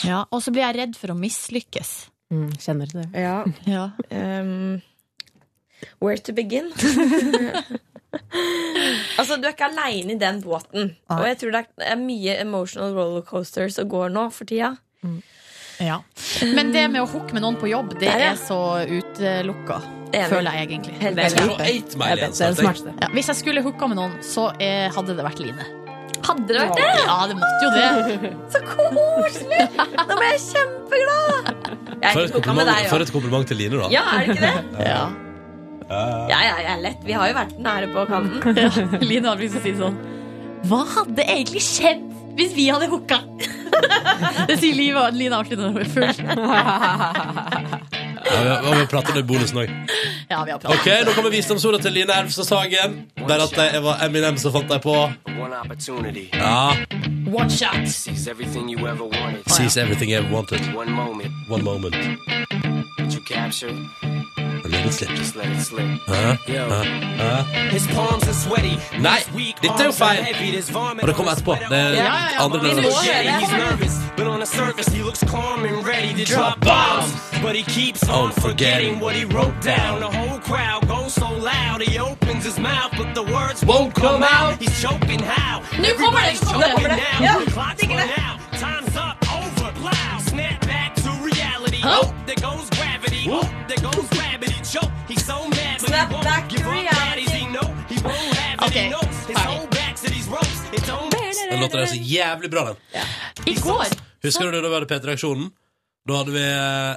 Speaker 1: Ja, og så blir jeg redd for å mislykkes.
Speaker 8: Mm, kjenner til det.
Speaker 3: Ja.
Speaker 1: Ja.
Speaker 3: Um, where to [LAUGHS] begin? altså, du er ikke aleine i den båten.
Speaker 1: Nei.
Speaker 3: Og jeg tror det er mye emotional rollercoasters som går nå for tida.
Speaker 1: Ja. Men det med å hooke med noen på jobb, det
Speaker 3: Der, ja.
Speaker 1: er så utelukka.
Speaker 3: Enig.
Speaker 1: Føler jeg egentlig.
Speaker 3: Helt enig. Jeg skal jo
Speaker 2: eight meg Jeg igjen, vet, det er
Speaker 1: Ja,
Speaker 2: det snart, smarteste.
Speaker 1: Hvis jeg skulle hooka med noen, så eh, hadde det vært Line.
Speaker 3: Hadde det vært det?
Speaker 1: Ja, det måtte jo
Speaker 3: [LAUGHS]
Speaker 1: det.
Speaker 3: Så koselig! Nå ble jeg kjempeglad! Jeg
Speaker 2: For et,
Speaker 3: er ikke koka med
Speaker 2: kompliment,
Speaker 3: deg,
Speaker 2: for
Speaker 3: jo.
Speaker 2: et kompliment til Line, da.
Speaker 3: Ja, er det ikke det?
Speaker 2: Ja.
Speaker 3: Ja, ja, jeg er lett. Vi har jo vært nære på kanten.
Speaker 1: [LAUGHS] Line har lyst til å si sånn Hva hadde egentlig skjedd hvis vi hadde hooka? [LAUGHS] det sier livet og Line alltid når hun er full.
Speaker 2: Ja, vi har- og vi prater om bonusen òg.
Speaker 1: ja, vi har pratet.
Speaker 2: Ok, nå kommer visdomsordet til Line Elvstad Sagen. Der at det var Eminem som fant deg på. Ja.
Speaker 1: One shot.
Speaker 13: Seize everything you ever wanted.
Speaker 2: Seize everything I ever wanted.
Speaker 13: One moment
Speaker 2: One moment.
Speaker 13: that you captured.
Speaker 2: And let it slip.
Speaker 13: Just let it slip.
Speaker 2: Hæ?
Speaker 13: Yo.
Speaker 2: Hæ? Hæ?
Speaker 13: His palms are sweaty.
Speaker 2: Nei,
Speaker 13: He's weak,
Speaker 2: dette er jo
Speaker 13: arms are
Speaker 2: feil.
Speaker 13: heavy, there's vomit
Speaker 2: Og det kommer
Speaker 13: on his
Speaker 2: etterpå.
Speaker 13: sweater
Speaker 2: Det
Speaker 13: all
Speaker 2: er
Speaker 13: over his
Speaker 2: andre
Speaker 13: body.
Speaker 2: delen.
Speaker 13: Yeah, He's nervous, but on the surface he looks calm and ready to drop bombs. But he keeps on forgetting what he wrote down. The whole crowd goes so loud, he opens his mouth, but the words won't come out. He's choking how?
Speaker 1: Nu kommer det,
Speaker 13: Everybody's
Speaker 1: nu kommer det.
Speaker 13: choking
Speaker 1: Ja,
Speaker 13: now. Clock's
Speaker 1: digger det.
Speaker 13: run out. Time's up, over, loud. Snap back to reality.
Speaker 1: Huh?
Speaker 13: Oh, there goes gravity. Oh, there goes gravity. Choke, he's so mad, but
Speaker 3: Snap
Speaker 13: he won't
Speaker 3: back to
Speaker 13: give up. Daddy,
Speaker 3: reality.
Speaker 13: he know he won't have it.
Speaker 1: Okay,
Speaker 13: He knows his
Speaker 1: ferdig.
Speaker 13: whole back to these ropes. It don't
Speaker 2: Den låta der er så jævlig bra, den.
Speaker 1: I går
Speaker 2: Husker du da vi hadde P3-aksjonen? Da hadde vi eh,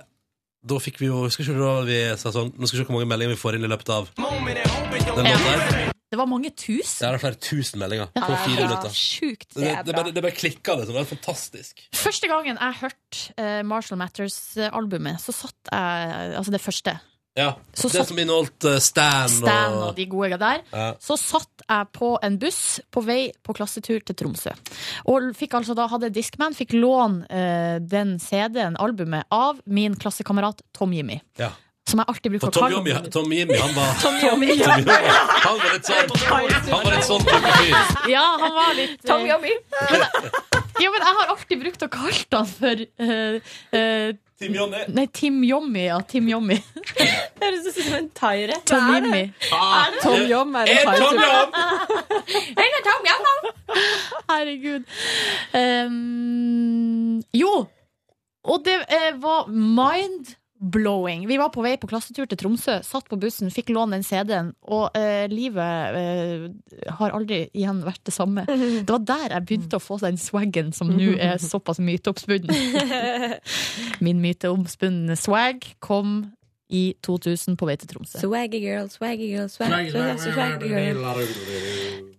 Speaker 2: Da fikk vi jo Husker ikke du da vi sa sånn Nå skal vi se hvor mange meldinger vi får inn i løpet av den låta der.
Speaker 1: Det var mange tusen.
Speaker 2: Der er det flere tusen meldinger på
Speaker 1: Ja,
Speaker 2: fire
Speaker 1: det er
Speaker 2: minutter.
Speaker 1: Sjukt.
Speaker 2: Det, det, bare, det bare klikka, liksom. Det er fantastisk.
Speaker 1: Første gangen jeg hørte eh, Marshall Matters-albumet, så satt jeg Altså det første.
Speaker 2: Ja.
Speaker 1: Så
Speaker 2: det
Speaker 1: satt-
Speaker 2: som inneholdt eh, Stan,
Speaker 1: Stan og
Speaker 2: og
Speaker 1: de gode der.
Speaker 2: Ja.
Speaker 1: Så satt jeg på en buss på vei på klassetur til Tromsø. Og fikk altså da, hadde Discman, fikk låne eh, den CD-en, albumet, av min klassekamerat Tom Jimmy.
Speaker 2: ja.
Speaker 1: Som jeg alltid
Speaker 2: For
Speaker 1: bruker å
Speaker 2: Tom
Speaker 1: kalle
Speaker 2: Jimmy, Tom Jimmy han var
Speaker 1: Tom Jimmy.
Speaker 2: Tom Jimmy. Han var litt sånn Han var litt sånn type fyr.
Speaker 1: [LAUGHS] Ja, han var litt
Speaker 3: [LAUGHS] Tom
Speaker 1: eh,
Speaker 3: Jobby.
Speaker 1: Jo, men jeg har alltid brukt å kalle han for eh, eh,
Speaker 2: Tim Jonny.
Speaker 1: Nei, Tim Jommy. Ja, Tim Jommy.
Speaker 3: Høres ut som en thairett.
Speaker 1: Tom
Speaker 3: Hva er det?
Speaker 1: Jimmy.
Speaker 2: Ah,
Speaker 8: Tom Jom er
Speaker 2: Eh,
Speaker 8: en far
Speaker 2: Tom
Speaker 8: som
Speaker 2: Jom!
Speaker 3: Jeg er Tom Jobby.
Speaker 1: Herregud. Ehm, jo, og det eh, var mind-blowing. Vi var på vei på klassetur til Tromsø, satt på bussen, fikk låne den CD-en, og eh, livet eh, har aldri igjen vært det samme. Det var der jeg begynte å få den swaggen som nå er såpass myteoppspunnen. Min myteomspunne swag kom i 2000 på vei til Tromsø.
Speaker 3: Swaggy girl, swaggy girl, swaggy girl, swaggy girl.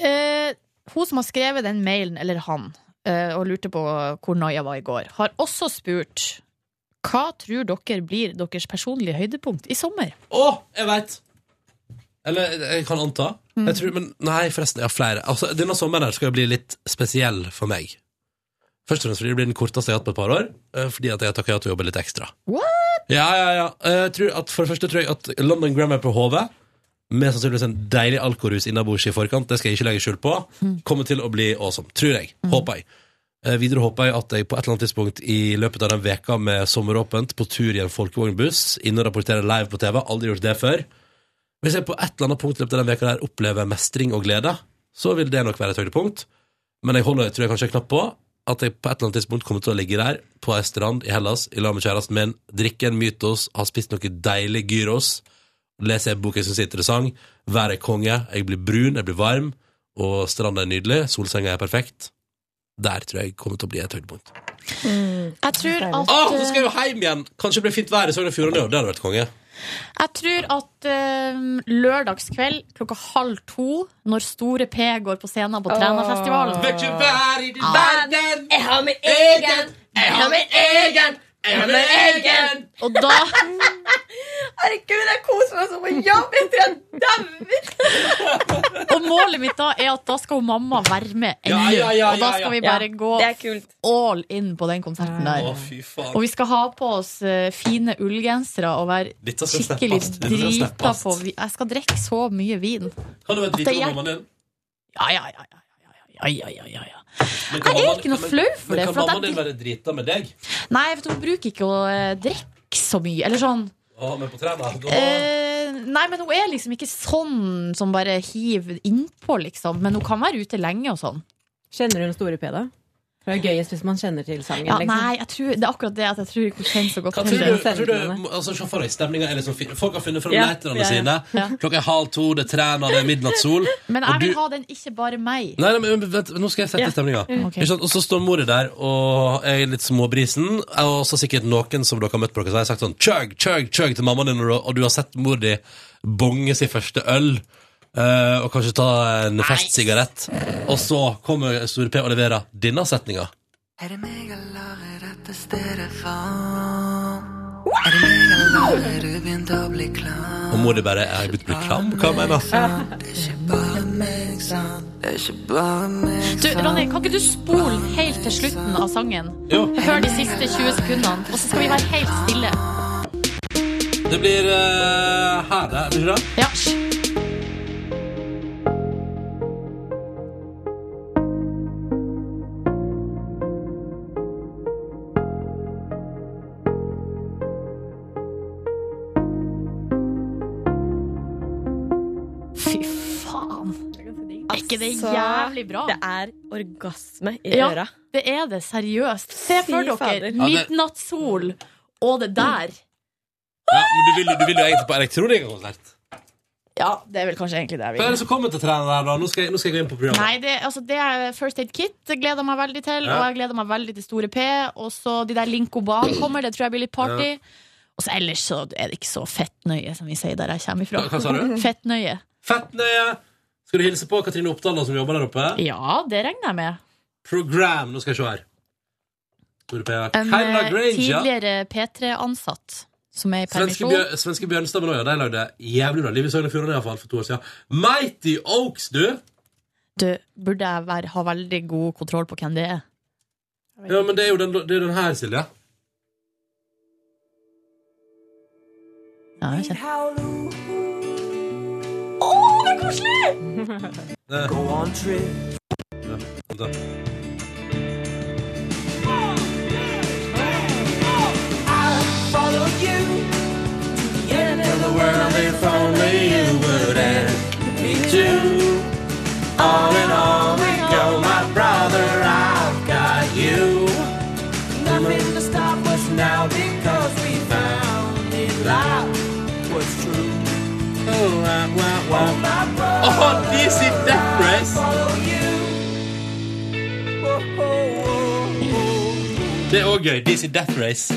Speaker 1: Eh, hun som har skrevet den mailen, eller han, eh, og lurte på hvor Noia var i går, har også spurt hva tror dere blir deres personlige høydepunkt i sommer?
Speaker 2: Å, jeg veit! Eller jeg kan anta.
Speaker 1: Mm.
Speaker 2: Jeg tror, men nei, forresten, jeg har flere. Altså, denne sommeren her skal jo bli litt spesiell for meg. Først og fremst fordi det blir den korteste jeg har hatt på et par år, eh, fordi at jeg har takket ja til å jobbe litt ekstra. Ja, ja, ja. Eh, Jeg tror at, for det første tror jeg at London Grammar på HV, med sannsynligvis en deilig alkoholrus innabords i forkant, det skal jeg ikke legge skjul på, kommer til å bli awesome. Tror jeg. Håper jeg. Eh, Videre håper jeg at jeg på et eller annet tidspunkt i løpet av den veka med sommeråpent på tur i en folkevognbuss, inne og rapportere live på TV, aldri gjort det før. Hvis jeg på et eller annet punkt i løpet av den veka der opplever mestring og glede, så vil det nok være et høydepunkt. Men jeg holder, tror jeg kanskje en knapp på, at jeg på et eller annet tidspunkt kommer til å ligge der, på ei strand i Hellas, i lag med kjæresten min, drikke en mytos, ha spist noe deilig gyros, lese en bok jeg syns er interessant, være konge, jeg blir brun, jeg blir varm, og stranda er nydelig, solsenga er perfekt. Der tror jeg kommer til å bli et høydepunkt.
Speaker 1: Jeg tror
Speaker 2: Å,
Speaker 1: at
Speaker 2: så skal jeg jo hjem igjen! Kanskje det blir fint vær i Sogn og Fjordane, og det hadde vært konge.
Speaker 1: Jeg tror at eh, lørdagskveld klokka halv to, når Store P går på scenen på Trænafestivalen
Speaker 13: Vet du hver i
Speaker 1: Ah.
Speaker 13: verden
Speaker 1: Jeg har min
Speaker 13: egen, jeg har min egen, jeg har min egen
Speaker 1: Og da
Speaker 3: Herregud, jeg koser meg som på jobb etter en
Speaker 1: Og målet mitt da er at da skal jo mamma være med
Speaker 13: Ja,
Speaker 1: ennå.
Speaker 13: ja, ja,
Speaker 1: Og da
Speaker 13: ja,
Speaker 1: skal vi
Speaker 13: ja.
Speaker 1: bare gå all in på den konserten der.
Speaker 2: Å, fy faen.
Speaker 1: Og vi skal ha på oss eh, fine ullgensere og
Speaker 2: Dette
Speaker 1: være
Speaker 2: skal
Speaker 1: skikkelig
Speaker 2: slippast. Dette skal
Speaker 1: drita
Speaker 2: slippast.
Speaker 1: på vi- Jeg skal drikke så mye vin.
Speaker 2: Kan du
Speaker 1: At
Speaker 2: vet
Speaker 1: det
Speaker 2: vite om
Speaker 1: hjelper.
Speaker 2: mammaen din?
Speaker 1: Ja, ja, ja. ja, ja, ja, ja, ja, ja. Jeg er
Speaker 2: Men mammaen-
Speaker 1: ikke noe
Speaker 2: men-
Speaker 1: flau for det,
Speaker 2: Men
Speaker 1: for
Speaker 2: kan
Speaker 1: at
Speaker 2: mammaen
Speaker 1: jeg-
Speaker 2: din være drita med deg?
Speaker 1: Nei, for hun bruker ikke å eh, drikke så mye. Eller sånn
Speaker 2: Å, men på trærne? da-
Speaker 1: Eh, nei, men hun er liksom ikke sånn som bare hiver innpå, liksom. Men hun kan være ute lenge og sånn.
Speaker 8: Kjenner hun Store P, da? Det er gøyest hvis man kjenner til sangen.
Speaker 1: Ja,
Speaker 8: liksom.
Speaker 1: nei, jeg tror, det er akkurat det at jeg tror ikke hun kjenner så godt
Speaker 2: Hva
Speaker 1: til
Speaker 2: tror du,
Speaker 1: det.
Speaker 2: tror du altså, Se for deg stemninga er liksom fin. Folk har funnet fram
Speaker 1: Ja, ja,
Speaker 2: leiterne
Speaker 1: ja.
Speaker 2: sine.
Speaker 1: Ja.
Speaker 2: Klokka er halv to, det er trærne, det er midnattssol.
Speaker 1: Men
Speaker 2: og
Speaker 1: jeg vil
Speaker 2: du-
Speaker 1: ha den ikke bare meg.
Speaker 2: Nei, nei, men vent, nå skal jeg sette
Speaker 1: Ja.
Speaker 2: stemninga.
Speaker 1: Mm. Ok.
Speaker 2: Ikke sant? Og så står mora der og er litt småbrisen, og så sikkert noen som dere har møtt på dere, så har jeg sagt sånn chug, chug, chug til mammaen din, og du- og du har sett mor di bonge sin første øl. eh, og kanskje ta en festsigarett. Og så kommer Store P og leverer denne setninga.
Speaker 13: Er det meg eller er dette stedet faen? Er det meg eller er du begynt å bli klam?
Speaker 2: Og mor di bare Er jeg blitt blitt klam? Hva mener du?
Speaker 13: Det er ikke bare meg, sant? Det er ikke bare meg,
Speaker 1: Du, Ronny, kan ikke du spole helt til slutten av sangen? Hør de siste 20 sekundene, og så skal vi være helt stille.
Speaker 2: Det blir eh, her, det, blir ikke det?
Speaker 1: Ja. Fy faen. Er ikke det jævlig bra?
Speaker 12: Det er orgasme i
Speaker 1: Ja,
Speaker 12: øra.
Speaker 1: det er det. Seriøst. Se
Speaker 12: Fy
Speaker 1: for dere
Speaker 12: fader.
Speaker 1: midnattssol og det der.
Speaker 2: Ja, men du vil, jo- du vil jo egentlig på elektronikakonsert.
Speaker 1: Ja, det er vel kanskje egentlig det jeg
Speaker 2: Hva er
Speaker 1: vil.
Speaker 2: det som kommer til trærne der, da? Nå skal, jeg, nå skal jeg gå inn på programmet.
Speaker 1: Nei, det, altså, det er First Aid Kit. Det gleder jeg meg veldig til.
Speaker 2: Ja.
Speaker 1: Og jeg gleder meg veldig til Store P. Og så de der Linko Ban kommer. Det tror jeg blir litt party.
Speaker 2: Ja.
Speaker 1: Og så ellers så er det ikke så fettnøye, som vi sier der jeg kommer ifra.
Speaker 2: Hva- [LAUGHS] hva sa du?
Speaker 1: Fettnøye.
Speaker 2: Fettnøye! Skal du hilse på Katrine Oppdal, da, som jobber der oppe?
Speaker 1: Ja, det regner jeg med.
Speaker 2: Program! Nå skal jeg se her. Store P.
Speaker 1: En
Speaker 2: Kyla
Speaker 1: eh,
Speaker 2: Granger.
Speaker 1: tidligere P3-ansatt som er i
Speaker 2: Svenske,
Speaker 1: permisjon.
Speaker 2: Bjør, svenske Bjørnstad Menoya, de lagde jævlig bra Liv i Sogn og Fjordane, iallfall, for to år siden. Mighty Oaks, du!
Speaker 1: Du, burde jeg være, ha veldig god kontroll på hvem det er?
Speaker 2: Ja, men det er jo den, det er den her, Silje.
Speaker 1: Ja, jeg kjenner.
Speaker 13: det er koselig!
Speaker 2: Eh.
Speaker 13: Go on trip.
Speaker 2: Ja, vent da.
Speaker 13: I'll follow you to the end of the world if only you would end me too. All in all, we go, my brother, I've got you. Nothing to stop us now because we found it out what's true. Oh, wah, wah, wah. my brother,
Speaker 2: Oh, this is depressed.
Speaker 13: I'll follow you. Oh, Whoa, whoa, whoa, whoa.
Speaker 2: Det er òg gøy. DC Death Race.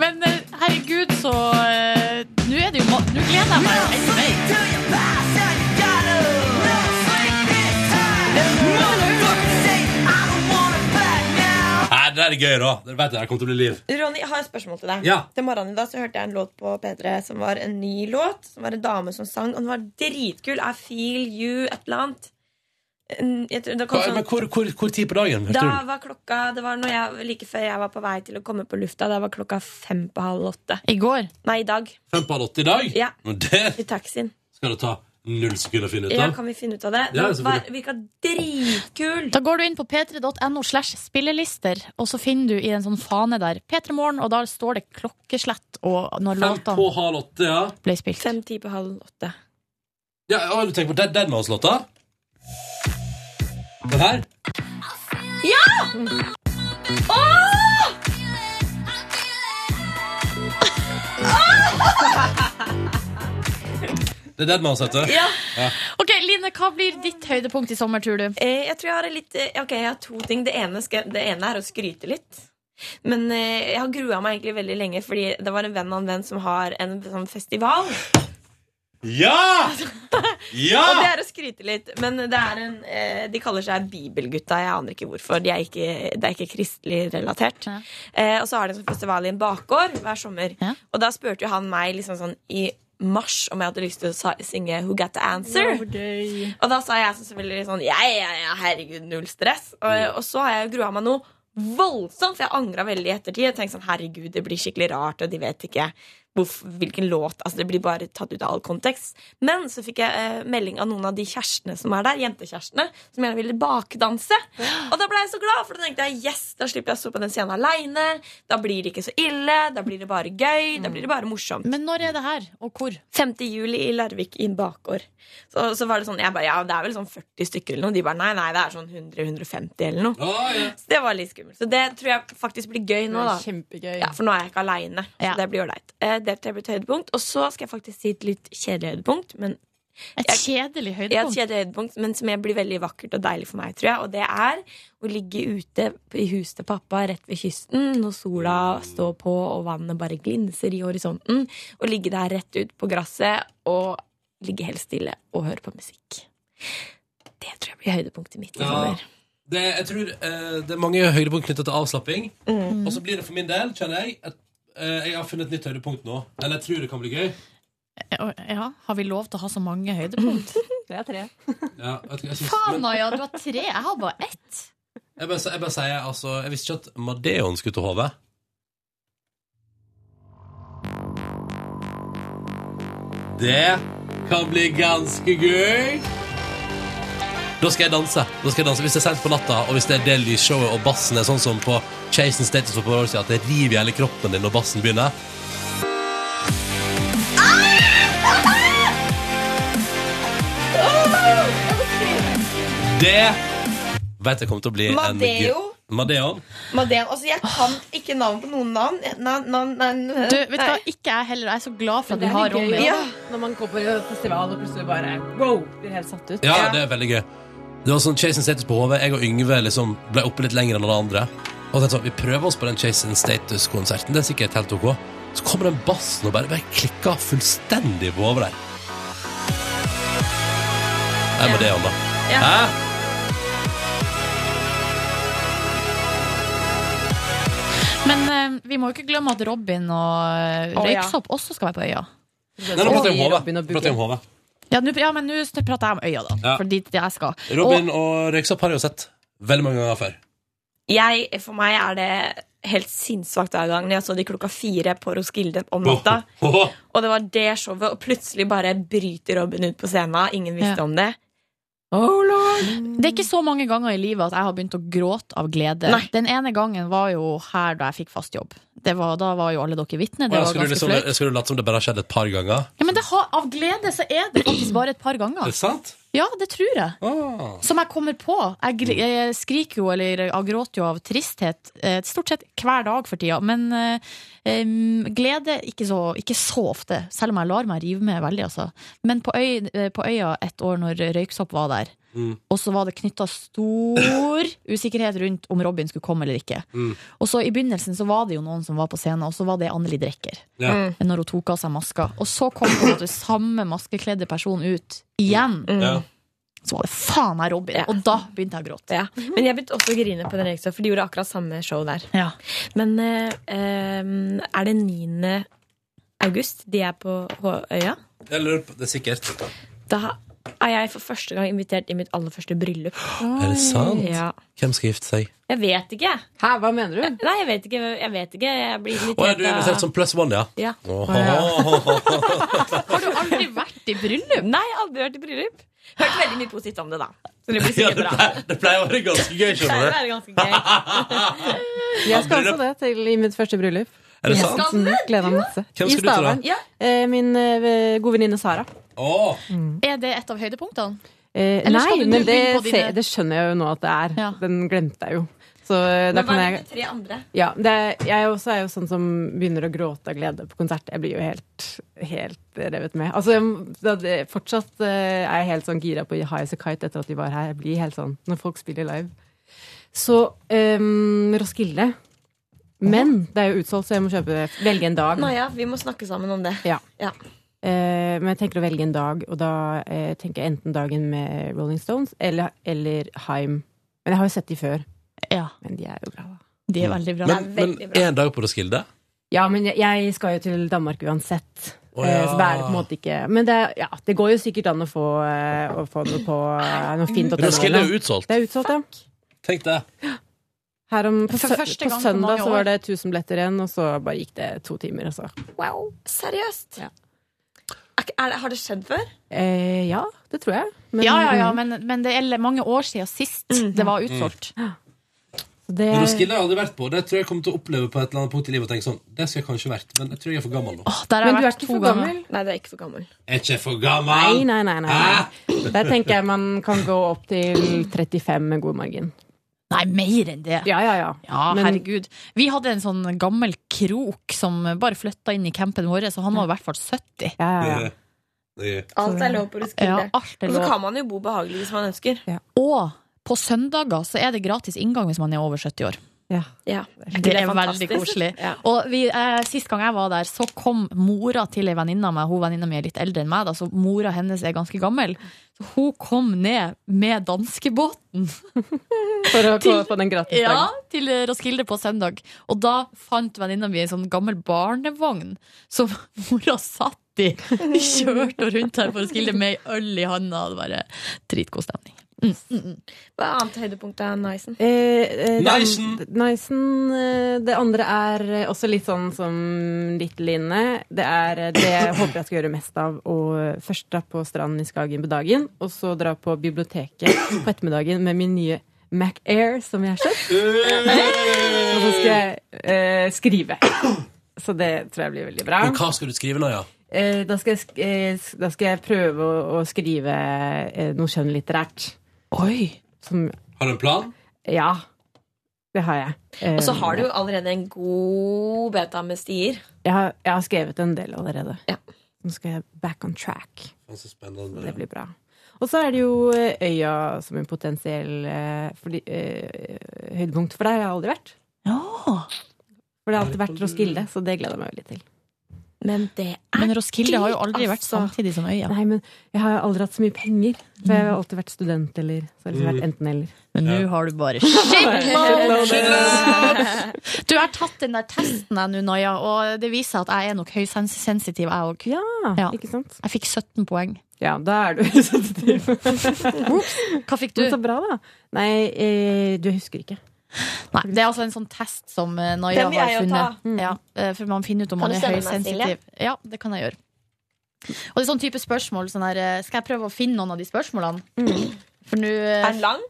Speaker 1: Men eh, herregud, så eh, Nå er det jo ma- Nå gleder jeg meg jo enda
Speaker 2: Nei, det der er gøy, da. Dere vet det her kommer til å bli liv.
Speaker 3: Ronny, jeg har et spørsmål til deg.
Speaker 2: Ja.
Speaker 3: Til morgenen i dag så hørte jeg en låt på P3 som var en ny låt. Som var en dame som sang, og den var dritkul. I feel you, et eller annet. En- Jeg tror det kom
Speaker 2: Hva,
Speaker 3: sånn
Speaker 2: men hvor, hvor, hvor tid på dagen hørte
Speaker 3: Da
Speaker 2: du?
Speaker 3: var klokka Det var når jeg, like før jeg var på vei til å komme på lufta. Da var klokka fem på halv åtte.
Speaker 1: I går?
Speaker 3: Nei, i dag.
Speaker 2: Fem på halv åtte i dag?
Speaker 3: Ja.
Speaker 2: Men det
Speaker 3: I taxien.
Speaker 2: skal det ta null sekunder å finne ut
Speaker 3: Ja,
Speaker 2: av.
Speaker 3: kan vi finne ut av det?
Speaker 2: Ja,
Speaker 3: Den var,
Speaker 2: selvfølgelig.
Speaker 3: virka dritkul.
Speaker 1: Da går du inn på p3.no slash spillelister, og så finner du i en sånn fane der P3 Morgen, og da står det klokkeslett og når
Speaker 2: Fem på
Speaker 1: låta
Speaker 2: halv åtte, ja.
Speaker 1: ble spilt.
Speaker 3: Fem-ti på halv åtte.
Speaker 2: ja å, du tenker på den, den låta? Den her?
Speaker 3: Ja! Åh!
Speaker 2: Det er den man setter?
Speaker 3: Ja.
Speaker 2: ja.
Speaker 1: Ok, Line, hva blir ditt høydepunkt i sommer, tror du?
Speaker 3: Eh, jeg tror jeg har en litt eh, Ok, jeg har to ting. Det ene, skal, det ene er å skryte litt. Men eh, jeg har grua meg egentlig veldig lenge, fordi det var en venn av en venn som har en sånn festival.
Speaker 2: Ja! Ja!
Speaker 3: [LAUGHS] Og det er å skryte litt. Men det er en, eh, de kaller seg Bibelgutta. Jeg aner ikke hvorfor. De er ikke, det er ikke kristelig relatert. Eh, og så har de en sånn festival i en bakgård hver sommer. Og da spurte jo han meg liksom sånn i mars om jeg hadde lyst til å sa- synge Who Got The Answer. Og da sa jeg så selvfølgelig sånn Ja, ja, ja, herregud, null stress. Og, og så har jeg jo grua meg noe voldsomt, for jeg angra veldig i ettertid. Jeg tenkte sånn, herregud, det blir skikkelig rart, og de vet ikke hvorf- hvilken låt Altså, det blir bare tatt ut av all kontekst. Men så fikk jeg eh, melding av noen av de kjærestene som er der, jentekjærestene, som gjerne ville bakdanse. Og da ble jeg så glad, for da tenkte jeg yes, da slipper jeg å stå på den scenen aleine. Da blir det ikke så ille. Da blir det bare gøy. Da blir det bare morsomt.
Speaker 1: Men når er det her, og hvor?
Speaker 3: 5. juli i Larvik i en bakgård. Så, så var det sånn, jeg bare, ja, det er vel sånn 40 stykker eller noe. De bare, nei, nei, det er sånn 100-150 eller noe. Så det var litt skummelt. Så det tror jeg faktisk blir gøy nå, da.
Speaker 8: Det er kjempegøy.
Speaker 3: Ja, for nå er jeg ikke aleine.
Speaker 8: Ja.
Speaker 3: Så det blir ålreit. Eh, Det tror jeg blir et høydepunkt. Og så skal jeg faktisk si et litt kjedelig høydepunkt, men
Speaker 1: Et kjedelig høydepunkt?
Speaker 3: Ja, et kjedelig høydepunkt, men som jeg blir veldig vakkert og deilig for meg, tror jeg. Og det er å ligge ute i huset til pappa rett ved kysten når sola står på og vannet bare glinser i horisonten. Og ligge der rett ut på gresset og ligge helt stille og høre på musikk. Det tror jeg blir høydepunktet mitt i sommer.
Speaker 2: Det, jeg tror eh, det er mange høydepunkt knyttet til avslapping. Og så blir det for min del, kjenner jeg, et, eh, jeg har funnet et nytt høydepunkt nå. Eller jeg tror det kan bli gøy.
Speaker 1: Ja, Har vi lov til å ha så mange høydepunkt?
Speaker 8: [LAUGHS] Det er tre.
Speaker 2: Ja, vet du hva, jeg synes-
Speaker 1: Faen,
Speaker 2: men-
Speaker 1: Naja, du har tre. Jeg har bare ett.
Speaker 2: Jeg bare, jeg bare sier, altså Jeg visste ikke at Madeon skulle til HV. Det kan bli ganske gøy. Da skal jeg danse. Da skal jeg danse Hvis det er sent på natta, og hvis det er det lysshowet og bassen er sånn som på Chase and Status for et par år siden, at det river i hele kroppen din når bassen begynner Det vet jeg kommer til å bli en gøy-
Speaker 3: Madeo?
Speaker 2: Madeon?
Speaker 3: Madén, altså jeg kan ikke navn på noen navn. Navn, navn, navn.
Speaker 1: Du, vet du hva, ikke jeg heller. Jeg er så glad for at
Speaker 8: Det
Speaker 1: vi
Speaker 8: er
Speaker 1: har
Speaker 8: litt
Speaker 1: Ronny.
Speaker 8: gøy da, når man går på festival og plutselig bare wow, blir helt satt ut.
Speaker 2: Ja, det er veldig gøy. Det var sånn Chase and Status på HV. Jeg og Yngve liksom ble oppe litt lenger enn alle andre. Og tenkte sånn, Vi prøver oss på den Chase and Status-konserten. Det er sikkert helt ok. Så kommer den bassen og bare, bare klikker fullstendig på HV der. Det var det, Anna.
Speaker 3: Ja.
Speaker 2: Hæ?
Speaker 1: Men eh, vi må jo ikke glemme at Robin og
Speaker 8: Å, ja.
Speaker 1: Røyksopp også skal være på øya.
Speaker 2: Nei, nå prater jeg om HV. Prater jeg om HV.
Speaker 1: Ja, nå- ja, men nå prater jeg om øya, da.
Speaker 2: Ja.
Speaker 1: For dit jeg skal.
Speaker 2: Robin og Røyksopp har jeg jo sett veldig mange ganger før.
Speaker 3: Jeg, for meg er det helt sinnsvakt hver gang jeg så de klokka fire på Roskilde om natta. Og det var det showet, og plutselig bare bryter Robin ut på scenen. Ingen visste om det.
Speaker 1: Det er ikke så mange ganger i livet at jeg har begynt å gråte av glede. Den ene gangen var jo her da jeg fikk fast jobb. Det var, da var jo alle dere vitne. Det
Speaker 2: Og jeg
Speaker 1: var
Speaker 2: skulle,
Speaker 1: ganske
Speaker 2: liksom,
Speaker 1: flaut.
Speaker 2: jeg skulle late som det bare har skjedd et par ganger.
Speaker 1: Ja, men det har, av glede så er det faktisk bare et par
Speaker 2: Er
Speaker 1: ganger.
Speaker 2: det sant?
Speaker 1: Ja, det tror jeg.
Speaker 2: Ah.
Speaker 1: Som jeg kommer på. Jeg,
Speaker 2: Mm.
Speaker 1: gl- jeg skriker jo, eller jeg gråter jo av tristhet eh, stort sett hver dag for tida. Men eh, em, glede ikke så, ikke så ofte, selv om jeg lar meg rive med veldig, altså. Men på, øy, eh, på øya et år når Røyksopp var der,
Speaker 2: Mm.
Speaker 1: og så var det knytta stor usikkerhet rundt om Robin skulle komme eller ikke.
Speaker 2: Mm.
Speaker 1: Og så I begynnelsen så var det jo noen som var på scenen, og så var det Anneli Drecker.
Speaker 2: Ja. Mm.
Speaker 1: Når hun tok av seg maska. Og så kom på en måte samme maskekledde person ut igjen.
Speaker 2: Ja.
Speaker 1: så var det faen meg Robin. Og da begynte jeg å gråte.
Speaker 3: Mhm. Men jeg begynte også å grine på den reaksa, for de gjorde akkurat samme show der. Men eh, eh, er det 9. august de er på Hå- øya?
Speaker 2: Jeg lurer på, det er sikkert.
Speaker 3: Da er jeg for første gang invitert i mitt aller første bryllup.
Speaker 2: Er det sant?
Speaker 3: Ja.
Speaker 2: Hvem skal gifte seg?
Speaker 3: Jeg vet ikke.
Speaker 9: Hæ, hva mener du?
Speaker 3: Nei, jeg vet ikke. Jeg, vet ikke. jeg
Speaker 2: Å,
Speaker 3: blir
Speaker 2: er
Speaker 3: invitert
Speaker 2: du invitert som plus one, ja?
Speaker 3: Ja.
Speaker 2: Åhå.
Speaker 3: aldri vært i bryllup? Nei, jeg har aldri vært i bryllup. Hørt veldig mye positivt om det, da. Så det blir
Speaker 2: [LAUGHS] Ja,
Speaker 3: sikkert
Speaker 2: det,
Speaker 3: bra.
Speaker 2: pleier, det pleier å være ganske gøy,
Speaker 3: Det
Speaker 2: skjønner
Speaker 3: er
Speaker 2: du.
Speaker 3: ganske gøy.
Speaker 9: Jeg skal også det til i mitt første bryllup.
Speaker 2: Er det
Speaker 9: Ja.
Speaker 2: sant?
Speaker 9: Mm, Gleder meg masse.
Speaker 2: Hvem
Speaker 9: I
Speaker 2: skal du til da?
Speaker 9: Stavern. Eh, Min eh, gode venninne Sara.
Speaker 2: Åh.
Speaker 1: Er det et av høydepunktene?
Speaker 9: Eh,
Speaker 1: Eller skal
Speaker 9: nei,
Speaker 1: du nulle
Speaker 9: men
Speaker 1: inn
Speaker 9: det,
Speaker 1: på dine-
Speaker 9: ser- det skjønner jeg jo nå at det er. Den glemte jeg jo. Så eh,
Speaker 3: Men
Speaker 9: da
Speaker 3: hva
Speaker 9: kan
Speaker 3: er
Speaker 9: jeg
Speaker 3: det med de tre andre?
Speaker 9: Ja, det, er- jeg også er jo sånn som begynner å gråte av glede på konsert. Jeg blir jo helt, helt revet med. Altså, jeg, da, det, fortsatt eh, er jeg helt sånn gira på High As A Kite etter at de var her. Jeg blir helt sånn når folk spiller live. Så eh, Roskilde. Men det er jo utsolgt, så jeg må kjøpe, velge en dag.
Speaker 3: Naja, vi må snakke sammen om det.
Speaker 9: Ja.
Speaker 3: Ja.
Speaker 9: Eh, men jeg tenker å velge en dag, og da eh, tenker jeg enten dagen med Rolling Stones eller, eller Heim. Men jeg har jo sett de før. Men de er jo bra, da.
Speaker 1: De er veldig bra.
Speaker 2: Men, men en dag på Roskilde?
Speaker 9: Ja, men jeg, jeg skal jo til Danmark uansett.
Speaker 2: Å,
Speaker 9: Eh,
Speaker 2: ja.
Speaker 9: Så det er det på en måte ikke Men det, er- ja, det går jo sikkert an å få, eh, å få noe på eh, noe fint.
Speaker 2: Roskilde er jo utsolgt.
Speaker 9: Det er Eh. utsolgt, ja.
Speaker 2: Tenk det.
Speaker 9: Her om, på,
Speaker 3: For
Speaker 9: sø-
Speaker 3: første
Speaker 9: på
Speaker 3: gang på
Speaker 9: søndag
Speaker 3: mange
Speaker 9: så var
Speaker 3: år.
Speaker 9: det 1000 billetter igjen, og så bare gikk det to timer, altså.
Speaker 3: Wow, seriøst? Er ikke- Er det, har det skjedd før?
Speaker 9: Eh, ja, det tror jeg. Men-
Speaker 1: ja, ja, ja,
Speaker 9: mm.
Speaker 1: men, men det er mange år siden sist det var utsolgt.
Speaker 9: Så det-
Speaker 2: Men Roskilde har jeg aldri vært på. Det tror jeg jeg kommer til å oppleve på et eller annet punkt i livet. Og tenke sånn, det skulle jeg kanskje vært, men jeg tror jeg er for gammel nå.
Speaker 1: der har jeg
Speaker 9: men du er
Speaker 1: vært to
Speaker 9: ikke for
Speaker 1: ganger.
Speaker 9: gammel?
Speaker 3: Nei, det er ikke for gammel.
Speaker 2: Er ikke for gammel!
Speaker 9: Nei, nei, nei. nei. nei. Der tenker jeg man kan gå opp til 35 med god margin.
Speaker 1: Nei, mer enn det.
Speaker 9: Ja, ja, ja.
Speaker 1: Ja,
Speaker 9: Men-
Speaker 1: herregud. Vi hadde en sånn gammel krok som bare flytta inn i campen vår, så han var i hvert fall 70.
Speaker 2: Ja, ja.
Speaker 3: Alt er lov på Roskilde.
Speaker 1: Ja, alt er
Speaker 3: Og så
Speaker 1: lov.
Speaker 3: kan man jo bo behagelig hvis man ønsker.
Speaker 1: Og på søndager så er det gratis inngang hvis man er over 70 år.
Speaker 3: Ja.
Speaker 1: Det er veldig
Speaker 3: fantastisk?
Speaker 1: koselig.
Speaker 3: Ja.
Speaker 1: Og vi, eh, Sist gang jeg var der, så kom mora til ei venninne av meg. Hun venninna mi er litt eldre enn meg, da, så mora hennes er ganske gammel. Så hun kom ned med danskebåten
Speaker 9: For å gå på den gratisdagen.
Speaker 1: ja, til Roskilde på søndag. Og da fant venninna mi en sånn gammel barnevogn som [LAUGHS] mora satt i. Vi kjørte rundt her på Roskilde med ei øl i handa. og Det var eh, dritgod stemning.
Speaker 3: Hva er annet høydepunkt av Nicen?
Speaker 9: Eh, eh, det an-
Speaker 3: Nicen.
Speaker 9: Nicen, eh, Det andre er eh, også litt sånn som ditt, Line. Det er eh, det jeg håper jeg skal gjøre mest av. Og først da på stranden i Skagen på dagen, og så dra på biblioteket på ettermiddagen med min nye Mac Air, som jeg har kjøpt. Og så skal jeg eh, skrive. Så det tror jeg blir veldig bra.
Speaker 2: Men hva skal du skrive nå, ja?
Speaker 9: Eh, da, skal jeg, sk- eh, s- da skal jeg prøve å, å skrive eh, noe skjønnlitterært.
Speaker 1: Oi!
Speaker 9: Som,
Speaker 2: Har du en plan?
Speaker 9: ja. Det har jeg.
Speaker 3: Og så
Speaker 9: Eh,
Speaker 3: har du jo allerede en god beta med stier.
Speaker 9: Jeg har, jeg har skrevet en del allerede. Nå skal jeg back on track.
Speaker 2: Faen, så spennende.
Speaker 9: Det blir bra. Og så er det jo eh, øya som en potensiell eh, fordi, eh, høydepunkt, for der har jeg aldri vært. For det har alltid vært Roskilde, så det gleder jeg meg veldig til.
Speaker 3: Men det
Speaker 1: Men Roskilde har jo aldri vært
Speaker 9: altså.
Speaker 1: samtidig som øya. Mm.
Speaker 9: Nei, men jeg har aldri hatt så mye penger, for jeg har alltid vært student eller så har jeg liksom vært enten eller.
Speaker 1: Men nå har du
Speaker 9: [LAUGHS]
Speaker 1: bare Du jeg har tatt den der testen jeg nå, Naja, og det viser seg at jeg er nok høysensitiv, jeg òg.
Speaker 9: Ja, ikke sant?
Speaker 1: Jeg fikk 17 poeng.
Speaker 9: Ja, da er du [LAUGHS] sensitiv.
Speaker 1: Hva fikk du?
Speaker 9: Men så bra, da. Nei, eh, du husker ikke.
Speaker 1: Nei, det er altså en sånn test som eh, Naja
Speaker 9: Den vil
Speaker 1: har
Speaker 9: jeg jo
Speaker 1: funnet. Ja, eh, for man finner ut om
Speaker 3: Kan
Speaker 1: man
Speaker 3: du
Speaker 1: er
Speaker 3: sende meg, Silje?
Speaker 1: høysensitiv. Ja, det kan jeg gjøre. Og det er sånn type spørsmål. Sånn her, eh, skal jeg prøve å finne noen av de spørsmålene? For nå Er
Speaker 3: Mm. den lang?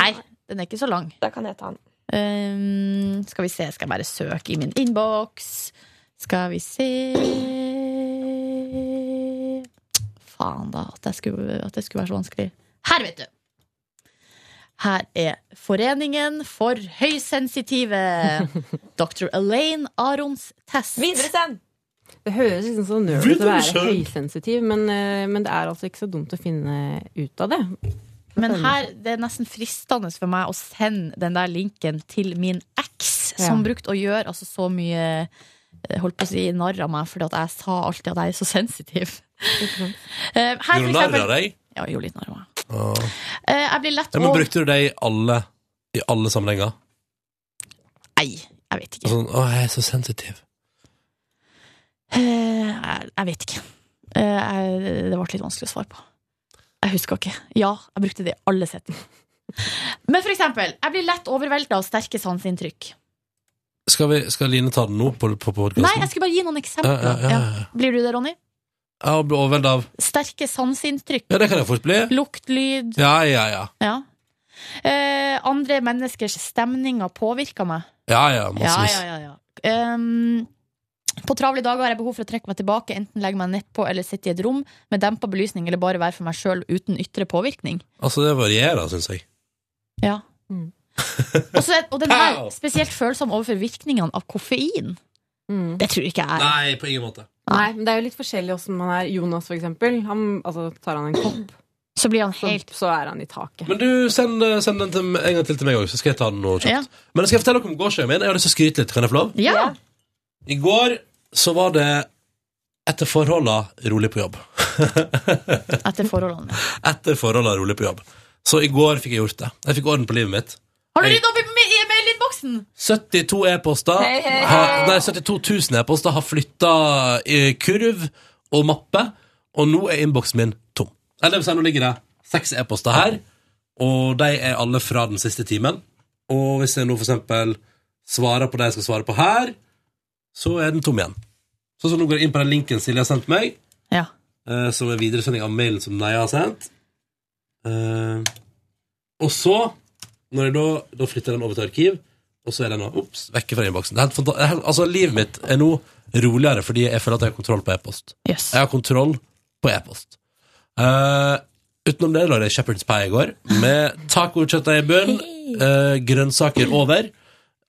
Speaker 1: Nei, den er ikke så lang.
Speaker 3: Da kan jeg ta den.
Speaker 1: Um, skal vi se, skal jeg bare søke i min innboks? Skal vi se Faen, da. At det skulle, at det skulle være så vanskelig. Her, vet du! Her er Foreningen for høysensitive. Dr. Elaine Arons test.
Speaker 3: Videresend!
Speaker 9: Det høres liksom så nerd ut å være
Speaker 1: Videresend.
Speaker 9: høysensitiv, men, eh, men det er altså ikke så dumt å finne ut av det.
Speaker 1: Men her, det er nesten fristende for meg å sende den der linken til min eks,
Speaker 9: Ja.
Speaker 1: som brukte å gjøre altså, så mye eh, Holdt på å si narr av meg, fordi at jeg sa alltid at jeg er så sensitiv. [LAUGHS] Eh, her, for
Speaker 2: Gjorde du narr
Speaker 1: eksempel-
Speaker 2: av deg?
Speaker 1: Ja, jeg gjorde litt narr av meg. Eh, jeg blir lett
Speaker 2: Ja, men
Speaker 1: over-
Speaker 2: brukte du det i alle, i alle sammenhenger?
Speaker 1: Nei, jeg vet ikke.
Speaker 2: Sånn, å, jeg er så sensitiv.
Speaker 1: Eh, jeg, jeg vet ikke. Eh, jeg, det ble litt vanskelig å svare på. Jeg husker ikke. Ja, jeg brukte det i alle sett. Men for eksempel, jeg blir lett overvelda av sterke sanseinntrykk.
Speaker 2: Skal, vi, skal Line ta den nå på, på podkasten?
Speaker 1: Nei, jeg skulle bare gi noen eksempler.
Speaker 2: Ja, ja, ja, ja.
Speaker 1: Blir du det, Ronny?
Speaker 2: Jeg blir overveldet av
Speaker 1: Sterke sanseinntrykk.
Speaker 2: Ja, det kan jeg fort bli.
Speaker 1: Lukt, lyd.
Speaker 2: Ja, ja, ja.
Speaker 1: Ja. Eh, andre menneskers stemninger påvirker meg.
Speaker 2: Ja, ja,
Speaker 1: Ja,
Speaker 2: massevis.
Speaker 1: ja, ja, ja. Ehm, på travle dager har jeg behov for å trekke meg tilbake, enten legge meg nedpå eller sitte i et rom med dempa belysning, eller bare være for meg sjøl uten ytre påvirkning.
Speaker 2: Altså, det varierer, syns jeg.
Speaker 1: Ja. Og så er- og den her
Speaker 2: [LAUGHS] Pow!
Speaker 1: spesielt følsom overfor virkningene av koffein. Det tror ikke jeg er
Speaker 2: Nei, på ingen måte.
Speaker 8: Nei, men det er jo litt forskjellig åssen man er. Jonas, for eksempel. Han, altså, tar han en kopp,
Speaker 1: så blir han
Speaker 8: helt Så, er han i taket.
Speaker 2: Men du, send, eh, send den til, en gang til til meg òg, så skal jeg ta den nå kjapt.
Speaker 8: Ja.
Speaker 2: Men skal jeg fortelle dere om gårsdagen min? Jeg har lyst til å skryte litt. Kan jeg få lov?
Speaker 1: Ja.
Speaker 2: I går så var det etter forholda rolig på jobb.
Speaker 1: etter forholdene.
Speaker 2: Etter forholda rolig på jobb. Så i går fikk jeg gjort det. Jeg fikk orden på livet mitt.
Speaker 1: Har du
Speaker 2: Jeg-
Speaker 1: rydda opp i mi- i mailinnboksen?
Speaker 2: 72 e-poster
Speaker 1: Hei, hei, hei.
Speaker 2: har- Nei, 72 000 e-poster har flytta kurv og mappe, og nå er innboksen min tom. Eller det vil si, nå ligger det seks e-poster her, og de er alle fra den siste timen. Og hvis jeg nå for eksempel svarer på det jeg skal svare på her, så er den tom igjen. Så, så nå går jeg inn på den linken Silje har sendt meg,
Speaker 1: Ja.
Speaker 2: eh, som er videresending av mailen som Neia har sendt. Eh, og så, når jeg da, da flytter jeg den over til arkiv, og så er den nå, ups, vekke fra innboksen. Det er helt fanta- det er helt- Altså, livet mitt er nå roligere fordi jeg føler at jeg har kontroll på e-post. Jeg har kontroll på e-post. Eh, utenom det lagde jeg shepherd's pie i går, med tacokjøttdeig i bunnen, eh, grønnsaker over.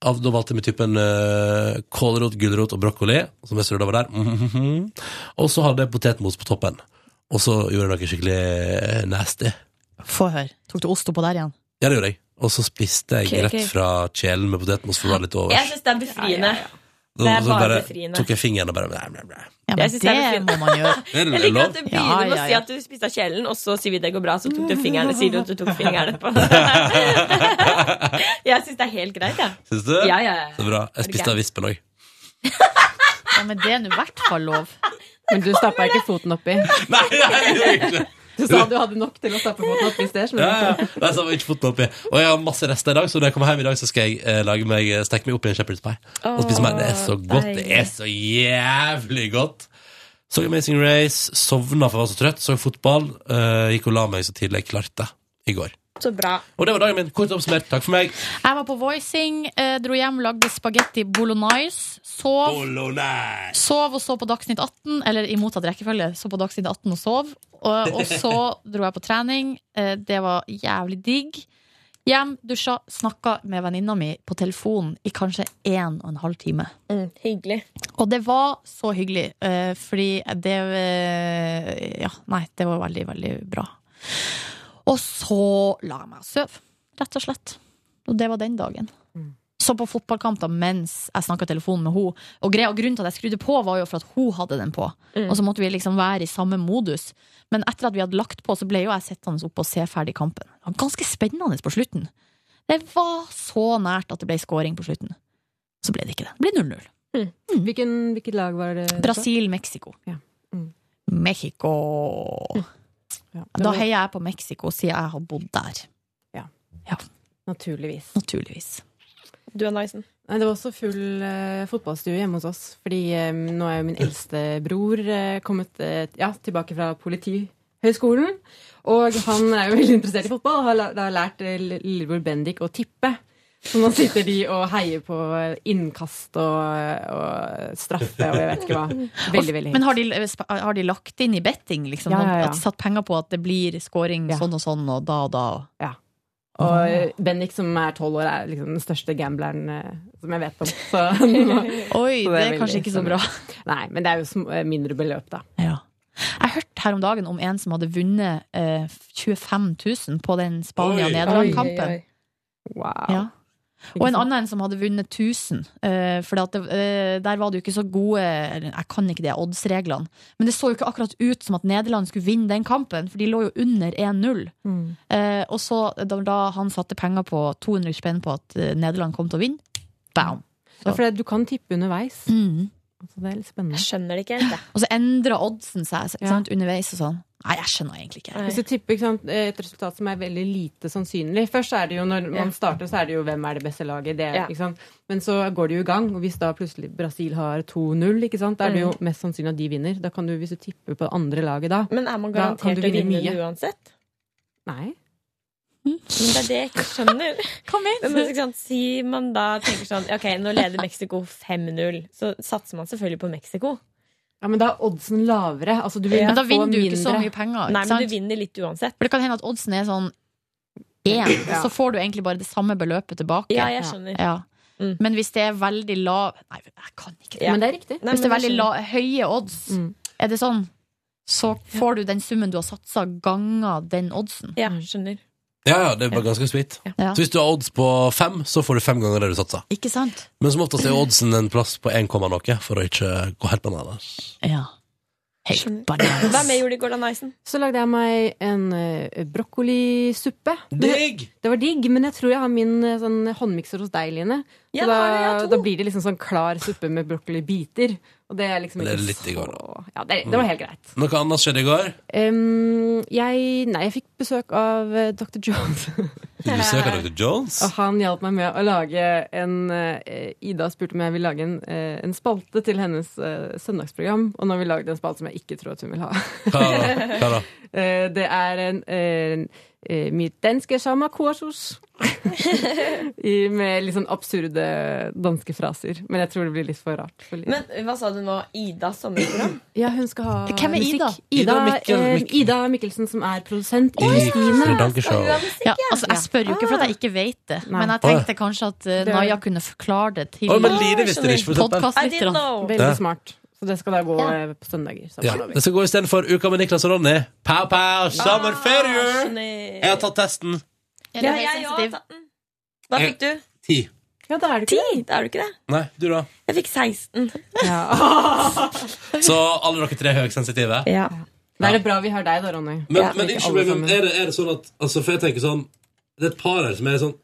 Speaker 2: Av, da valgte jeg med typen eh, kålrot, gulrot og brokkoli, som jeg strødde over der. [LAUGHS] Mhm. Og så hadde jeg potetmos på toppen. Og så gjorde jeg noe skikkelig eh, nasty.
Speaker 1: Få høre. Tok du ost oppå der igjen?
Speaker 2: Ja, det gjorde jeg. Og så spiste jeg
Speaker 1: Ok, ok.
Speaker 2: rett fra kjelen med potetmos, for det var litt over.
Speaker 12: Jeg syns det er befriende.
Speaker 2: Så-
Speaker 12: Det er
Speaker 2: så
Speaker 12: bare
Speaker 2: bare
Speaker 12: befriende.
Speaker 2: tok jeg fingeren og bare blæ, blæ, blæ.
Speaker 1: Ja,
Speaker 12: Jeg
Speaker 1: men
Speaker 12: synes
Speaker 1: det,
Speaker 12: det er
Speaker 1: må man gjøre.
Speaker 2: Er det
Speaker 12: Jeg liker
Speaker 2: lov?
Speaker 12: at du begynner med å
Speaker 1: Ja, ja,
Speaker 12: si
Speaker 1: ja.
Speaker 12: at du spiste av kjelen, og så sier vi det går bra, så tok du fingeren, sier du at du
Speaker 1: [LAUGHS]
Speaker 12: tok fingeren etterpå. jeg syns det er helt greit, jeg.
Speaker 2: Syns du?
Speaker 12: Ja, ja, ja.
Speaker 2: Så bra.
Speaker 12: Er
Speaker 2: Jeg
Speaker 12: du
Speaker 2: spiste
Speaker 12: gæren?
Speaker 2: av vispen òg.
Speaker 1: Ja, men det er nå i hvert fall lov.
Speaker 8: Men du stappa ikke foten oppi.
Speaker 2: Nei, nei,
Speaker 8: Du sa du hadde nok til å stappe foten oppi i sted.
Speaker 2: Ja,
Speaker 8: skjønner
Speaker 2: ja.
Speaker 8: du?
Speaker 2: Nei, så har jeg ikke fått den oppi. Og jeg har masse rester i dag, så når jeg kommer hjem i dag, så skal jeg eh, lage meg, stekke meg opp i en shepherd's pie. Og spise meg. Det er så godt. Det er så jævlig godt. Så Amazing Race, sovna for jeg var så trøtt, så fotball. eh, gikk og la meg så tidlig jeg klarte i går.
Speaker 12: Så bra.
Speaker 2: Og det var dagen min. Kort oppsummert. Takk for meg.
Speaker 1: Jeg var på voicing, eh, dro hjem, lagde spagetti bolognese, sov.
Speaker 2: Bolognese.
Speaker 1: Sov og så på Dagsnytt 18, eller i motsatt rekkefølge. Så på Dagsnytt 18 og sov. Og, og så dro jeg på trening. Eh, Det var jævlig digg. Hjem, dusja, snakka med venninna mi på telefon i kanskje én og en halv time.
Speaker 12: hyggelig.
Speaker 1: Og det var så hyggelig, eh, fordi det eh, Ja, nei, det var veldig, veldig bra. Og så la jeg meg og sov, rett og slett. Og det var den dagen. Så på fotballkamp da, mens jeg snakka telefon med henne. Og greia, grunnen til at jeg skrudde på, var jo for at hun hadde den på.
Speaker 12: Mm.
Speaker 1: Og så måtte vi liksom være i samme modus. Men etter at vi hadde lagt på, så ble jo jeg sittende oppe og se ferdig kampen. Det var ganske spennende på slutten. Det var så nært at det ble scoring på slutten. Så ble det ikke det. Det ble 0-0.
Speaker 8: Hvilken, hvilket lag var det? du sa?
Speaker 1: Brasil, Mexico.
Speaker 8: Mm.
Speaker 1: Mexico. Da heier jeg på Mexico, siden jeg har bodd der.
Speaker 8: Naturligvis.
Speaker 1: Naturligvis.
Speaker 12: Du er nice.
Speaker 8: Nei, det var også full eh, fotballstue hjemme hos oss. Fordi eh, nå er jo min eldste bror eh, kommet eh, ja, tilbake fra Politihøgskolen. Og han er jo veldig interessert i fotball og har la- da lært eh, l- lillebror Bendik å tippe. Så nå sitter de og heier på innkast og, og straffe og jeg vet ikke hva. Veldig, veldig
Speaker 1: Men
Speaker 8: høyt.
Speaker 1: har de, eh, har de lagt inn i betting, liksom?
Speaker 8: Ja, ja, ja.
Speaker 1: At de satt penger på at det blir scoring sånn og sånn, og da og da? Og.
Speaker 8: Og eh,
Speaker 1: Ah.
Speaker 8: Bendik som er tolv år, er liksom den største gambleren eh, som jeg vet om. Så, Oi,
Speaker 1: det er kanskje ikke så bra.
Speaker 8: [LAUGHS] Nei, men det er jo sm- eh, mindre beløp, da.
Speaker 1: [LAUGHS] Jeg hørte her om dagen om en som hadde vunnet eh, 25 000 på den
Speaker 8: Oi.
Speaker 1: Spania-Nederland-kampen.
Speaker 8: Wow.
Speaker 1: Ja. Og en annen som hadde vunnet 1000. eh, For at det, eh, der var det jo ikke så gode eller, Jeg kan ikke det, oddsreglene. Men det så jo ikke akkurat ut som at Nederland skulle vinne den kampen, for de lå jo under 1-0.
Speaker 3: Mm.
Speaker 1: Eh, og så, da, da han satte penger på 200 spenn på at eh, Nederland kom til å vinne, bam!
Speaker 9: Ja, for det- du kan tippe underveis.
Speaker 3: Mm.
Speaker 9: Så det er litt spennende.
Speaker 3: Jeg skjønner det ikke helt,
Speaker 1: Og så endra oddsen seg sant, underveis og sånn. Nei, jeg skjønner egentlig ikke.
Speaker 3: Eh,
Speaker 9: Hvis du tipper ikke sant, eh, et resultat som er veldig lite sannsynlig Først er det jo når
Speaker 1: Ja.
Speaker 9: man starter, så er det jo hvem er det beste laget. Det, er-
Speaker 1: Ja.
Speaker 9: ikke sant? Men så går det jo i gang, og hvis da plutselig Brasil har 2-0, ikke sant, da er det jo
Speaker 3: Mm.
Speaker 9: mest sannsynlig at de vinner. Da kan du, hvis du tipper på det andre laget da
Speaker 3: Men er man
Speaker 9: da kan
Speaker 3: garantert
Speaker 9: du
Speaker 3: å vinne
Speaker 9: mye.
Speaker 3: uansett?
Speaker 9: Nei.
Speaker 3: Men det er det jeg ikke
Speaker 9: [LAUGHS]
Speaker 3: skjønner. Men ikke sant, si man da tenker sånn Ok, nå leder Mexico 5-0, så satser man selvfølgelig på Mexico.
Speaker 9: Ja, men da er oddsen lavere. Altså, du vil
Speaker 1: Men da
Speaker 9: få
Speaker 1: vinner du ikke så
Speaker 9: mindre.
Speaker 1: mye penger. ikke
Speaker 3: Nei, men
Speaker 1: sant?
Speaker 3: du vinner litt uansett.
Speaker 1: For det kan hende at oddsen er sånn én,
Speaker 3: Ja.
Speaker 1: så får du egentlig bare det samme beløpet tilbake.
Speaker 3: Ja, jeg skjønner.
Speaker 1: Ja. Men hvis det er veldig lav Nei, jeg kan ikke det.
Speaker 3: Ja. Men det er riktig. Nei,
Speaker 1: hvis det er
Speaker 3: men jeg
Speaker 1: veldig la, høye odds, er det sånn, så får du den summen du har satsa, ganger den oddsen.
Speaker 3: Ja, skjønner.
Speaker 2: Ja, ja, det var ganske sweet.
Speaker 1: Ja.
Speaker 2: Så hvis du har odds på fem, så får du fem ganger det du satsa.
Speaker 1: Ikke sant?
Speaker 2: Men som oftest er oddsen en plass på 1, noe, for å ikke gå helt bananas.
Speaker 1: Ja. Helt bananas.
Speaker 3: Hva med gjorde i Gordon Isen?
Speaker 9: Så lagde jeg meg en eh, brokkolisuppe.
Speaker 2: Digg!
Speaker 9: Det var digg, men jeg tror jeg har min eh, sånn, håndmikser hos deg, Line. Så
Speaker 3: Ja,
Speaker 9: da,
Speaker 3: det har jeg to.
Speaker 9: da blir det liksom sånn klar suppe med brokkolibiter. Og det er liksom
Speaker 2: Men det er
Speaker 9: ikke
Speaker 2: litt i går,
Speaker 9: så Ja, det, det var helt greit.
Speaker 2: Noe annet skjedde i går?
Speaker 9: Em, jeg Nei, jeg fikk besøk av eh, Dr. Jones.
Speaker 2: Du besøker Dr. Jones?
Speaker 9: Og han hjalp meg med å lage en eh, Ida spurte om jeg ville lage en, eh, en spalte til hennes eh, søndagsprogram. Og nå har vi lagd en spalte som jeg ikke tror at hun vil ha. [LAUGHS]
Speaker 2: Hva da?
Speaker 9: Eh, det er en, en eh, Mitt danske sommerkursus. [LAUGHS] I- med litt sånn absurde danske fraser. Men jeg tror det blir litt for rart. For litt.
Speaker 3: Men hva sa du nå? Ida
Speaker 2: [LAUGHS]
Speaker 3: sommerprogram?
Speaker 9: ja, hun skal ha
Speaker 3: Hvem er Ida?
Speaker 9: musikk.
Speaker 8: Mm.
Speaker 9: Ida,
Speaker 3: Ida Mikkel-
Speaker 9: eh,
Speaker 3: Mikkel.
Speaker 9: Ida Mikkelsen, som er produsent i
Speaker 2: I
Speaker 9: Kristine.
Speaker 2: Dankeschau.
Speaker 1: Ja, altså, jeg spør jo ikke for at jeg ikke vet det, men jeg tenkte kanskje at eh,
Speaker 9: Det-
Speaker 1: Naja kunne forklare det til
Speaker 2: Å, men Line visste det ikke, for eksempel.
Speaker 1: podcastlytterne.
Speaker 2: Ja.
Speaker 9: Veldig smart. Så det skal da gå eh, på søndager. så
Speaker 2: Ja,
Speaker 9: da har vi-
Speaker 2: det skal gå istedenfor Uka med Niklas og Ronny. Pow, pow, sommerferie!
Speaker 3: snill.
Speaker 2: Jeg har tatt testen.
Speaker 3: Ah, Ja, jeg òg. Hva fikk du?
Speaker 2: Ti.
Speaker 9: Ja, da er du
Speaker 3: ikke det. Da er du ikke det.
Speaker 2: Nei, du [LAUGHS] da?
Speaker 3: Jeg fikk 16.
Speaker 2: Så alle dere tre er høysensitive?
Speaker 3: Ja.
Speaker 9: Da er det bra vi har deg da, Ronny.
Speaker 2: Men,
Speaker 9: Ja.
Speaker 2: men
Speaker 9: Ikke
Speaker 2: ikke,
Speaker 9: alle
Speaker 2: men,
Speaker 9: sammen.
Speaker 2: er, det, er det sånn at altså, For jeg tenker sånn Det er et par her som er sånn